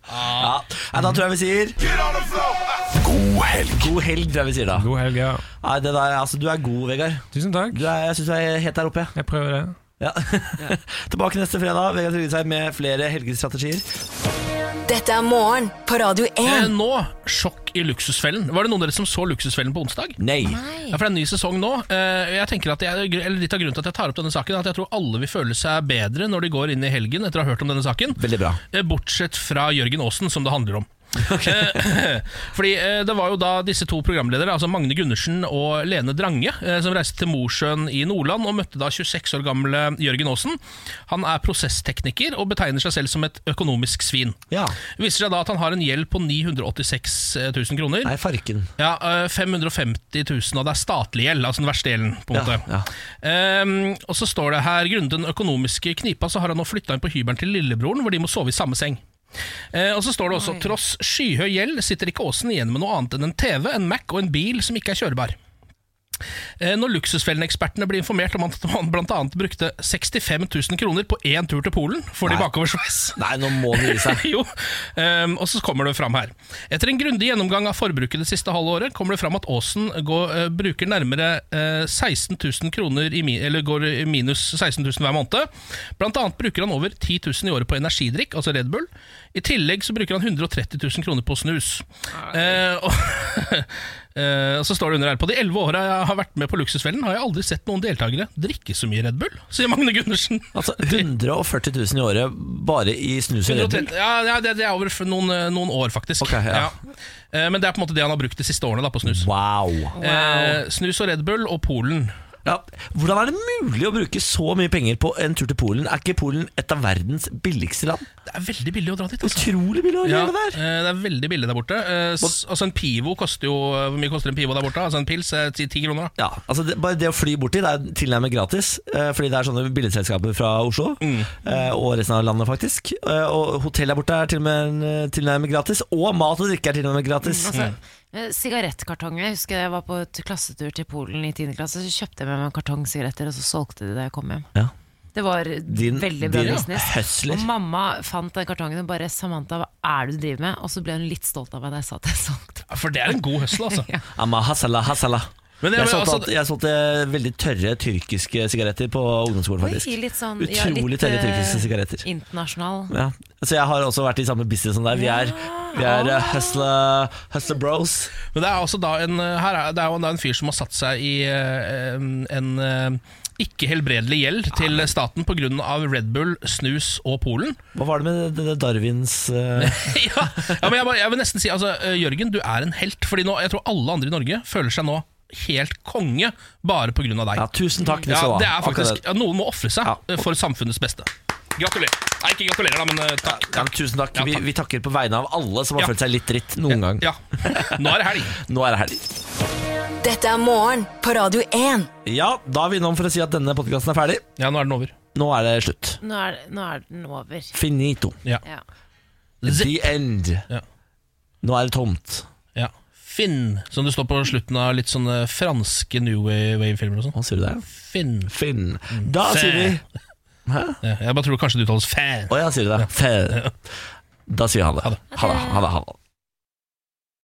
S2: Ja. Nei, da tror jeg vi sier God helg. God helg, tror jeg vi sier da.
S3: God helg, ja.
S2: Nei, det der, altså, du er god, Vegard.
S3: Tusen takk.
S2: Du er, jeg syns du er helt der oppe. Jeg,
S3: jeg prøver det.
S2: Ja. Tilbake neste fredag. Vegard Tryggeseid med flere helgestrategier.
S4: Dette er morgen på Radio 1.
S8: Eh, nå, sjokk i Luksusfellen. Var det noen av dere som så Luksusfellen på onsdag?
S2: Nei.
S8: Ja, for det er en ny sesong nå. Eh, Jeg tenker at jeg, eller Litt av grunnen til at jeg tar opp denne saken, er at jeg tror alle vil føle seg bedre når de går inn i helgen etter å ha hørt om denne saken.
S2: Veldig bra.
S8: Eh, Bortsett fra Jørgen Aasen, som det handler om. Eh, Fordi eh, Det var jo da disse to programledere, altså Magne Gundersen og Lene Drange, eh, som reiste til Mosjøen i Nordland og møtte da 26 år gamle Jørgen Aasen. Han er prosesstekniker og betegner seg selv som et økonomisk svin. Det viser seg da at han har en gjeld på 986 000 kroner.
S2: Nei, farken.
S8: Ja, eh, 550 000, og det er statlig gjeld, altså den verste gjelden. på en
S2: Ja,
S8: måte. Ehm, og så står det her, grunnet den økonomiske knipa, så har han nå flytta inn på hybelen til lillebroren, hvor de må sove i samme seng. Eh, og så står det også tross skyhøy gjeld sitter ikke Aasen igjen med noe annet enn en TV, en Mac og en bil som ikke er kjørbar. Eh, Når luksusfellenekspertene ble informert om at han bl.a. brukte 65 000 kroner på én tur til Polen for de
S2: Nei.
S8: bakoversveis
S2: Nei, nå må han gi seg.
S8: jo, ehm, og så kommer det fram her. Etter en grundig gjennomgang av forbruket det siste halve året, kommer det fram at Aasen går, eh, bruker nærmere eh, 16 000 kroner i, mi- eller går i minus 16 000 hver måned. Blant annet bruker han over 10 000 i året på energidrikk, altså Red Bull. I tillegg så bruker han 130 000 kroner på snus. Eh, og, eh, og så står det under her På de elleve åra jeg har vært med på Luksusfellen, har jeg aldri sett noen deltakere drikke så mye Red Bull, sier Magne Gundersen.
S2: Altså 140 000 i året bare i snus og Red Bull.
S8: 130 ja, ja, det, det er over for noen, eh, noen år, faktisk.
S2: ja.
S8: Eh, Men det er på en måte det han har brukt de siste årene da, på snus.
S2: Wow.
S8: Eh, snus og Red Bull og Polen.
S2: Ja, hvordan er det mulig å bruke så mye penger på en tur til Polen? Er ikke Polen et av verdens billigste land?
S8: Det er veldig billig å dra dit. Altså.
S2: Utrolig billig å
S8: Ja,
S2: gjøre det
S8: eh, det er veldig billig der borte. Eh, s- altså En pivo koster jo eh, Hvor mye koster en pivo der borte? Altså En pils er ti ti kroner. da.
S2: Ja, altså det, Bare det å fly borti det er tilnærmet gratis, eh, fordi det er sånne billedselskaper fra Oslo
S8: Mm.
S2: eh, og resten av landet, faktisk. Eh, og hotell der borte er til og med eh, tilnærmet gratis, og mat og drikke er tilnærmet
S8: Mm,
S2: gratis. Mm.
S1: Altså, eh, Sigarettkartonger. Jeg husker jeg var på et klassetur til Polen i 10. klasse. Så kjøpte jeg med meg en kartong sigaretter, og så solgte de det jeg kom hjem.
S2: Ja.
S1: Det var
S2: Din-
S1: veldig bra
S2: din
S1: business.
S2: hustler.
S1: Og mamma fant den kartongen og bare 'Samantha, hva er det du driver med?' Og så ble hun litt stolt av meg da jeg sa at jeg solgte.
S8: Ja, For det er en god høsle, altså.
S2: Amma hasala hasala.
S8: Men det-
S2: jeg,
S8: men
S2: solgte,
S8: altså-
S2: alt- jeg solgte veldig tørre tyrkiske sigaretter på ungdomsskolen,
S1: Oi,
S2: faktisk.
S1: litt sånn, ja,
S2: Utrolig
S1: litt,
S2: tørre
S1: eh,
S2: tyrkiske sigaretter.
S1: Internasjonal.
S2: Ja. Så jeg har også vært i samme business som deg. Vi er, vi er eh, hustler, hustler bros.
S8: Men det er altså da en, her er, det er jo da en fyr som har satt seg i eh, en eh, ikke helbredelig gjeld
S2: Ah,
S8: til staten pga. Red Bull, snus og Polen.
S2: Hva var det med denne Darwins eh,
S8: Ja, men jeg, bare, jeg vil nesten si altså, eh, Jørgen, du er en helt. Fordi nå, jeg tror alle andre i Norge føler seg nå helt konge bare pga. deg.
S2: Ja, tusen takk, det
S8: Ja,
S2: skal du ha.
S8: det er faktisk,
S2: Akkurat.
S8: ja, Noen må ofre seg eh, for samfunnets beste. Gratulerer. Nei, ikke gratulerer, da, men eh, takk.
S2: Ja, men tusen takk. Vi, vi takker på vegne av alle som har
S8: Ja.
S2: følt seg litt dritt noen gang.
S8: Ja. Nå er det helg.
S2: Nå er det helg.
S4: Dette er morgen på Radio 1.
S2: Ja, da er vi innom for å si at denne podkasten er ferdig.
S8: Ja, nå er den over.
S2: Nå er det slutt.
S1: Nå er, nå er den over.
S2: Finito.
S8: Ja.
S1: Ja.
S2: The end. Nå er det tomt.
S8: Ja. Finn, som det står på slutten av litt sånne franske New Wave-filmer og sånn.
S2: Hva sier du der?
S8: Finn.
S2: Finn. Da
S8: Fæ.
S2: sier vi Hæ?
S8: Ja, Jeg bare tror kanskje det uttales fæ.
S2: Å ja, sier du det? Fæ. Da sier han det. Ha det. Ha det. Ha det.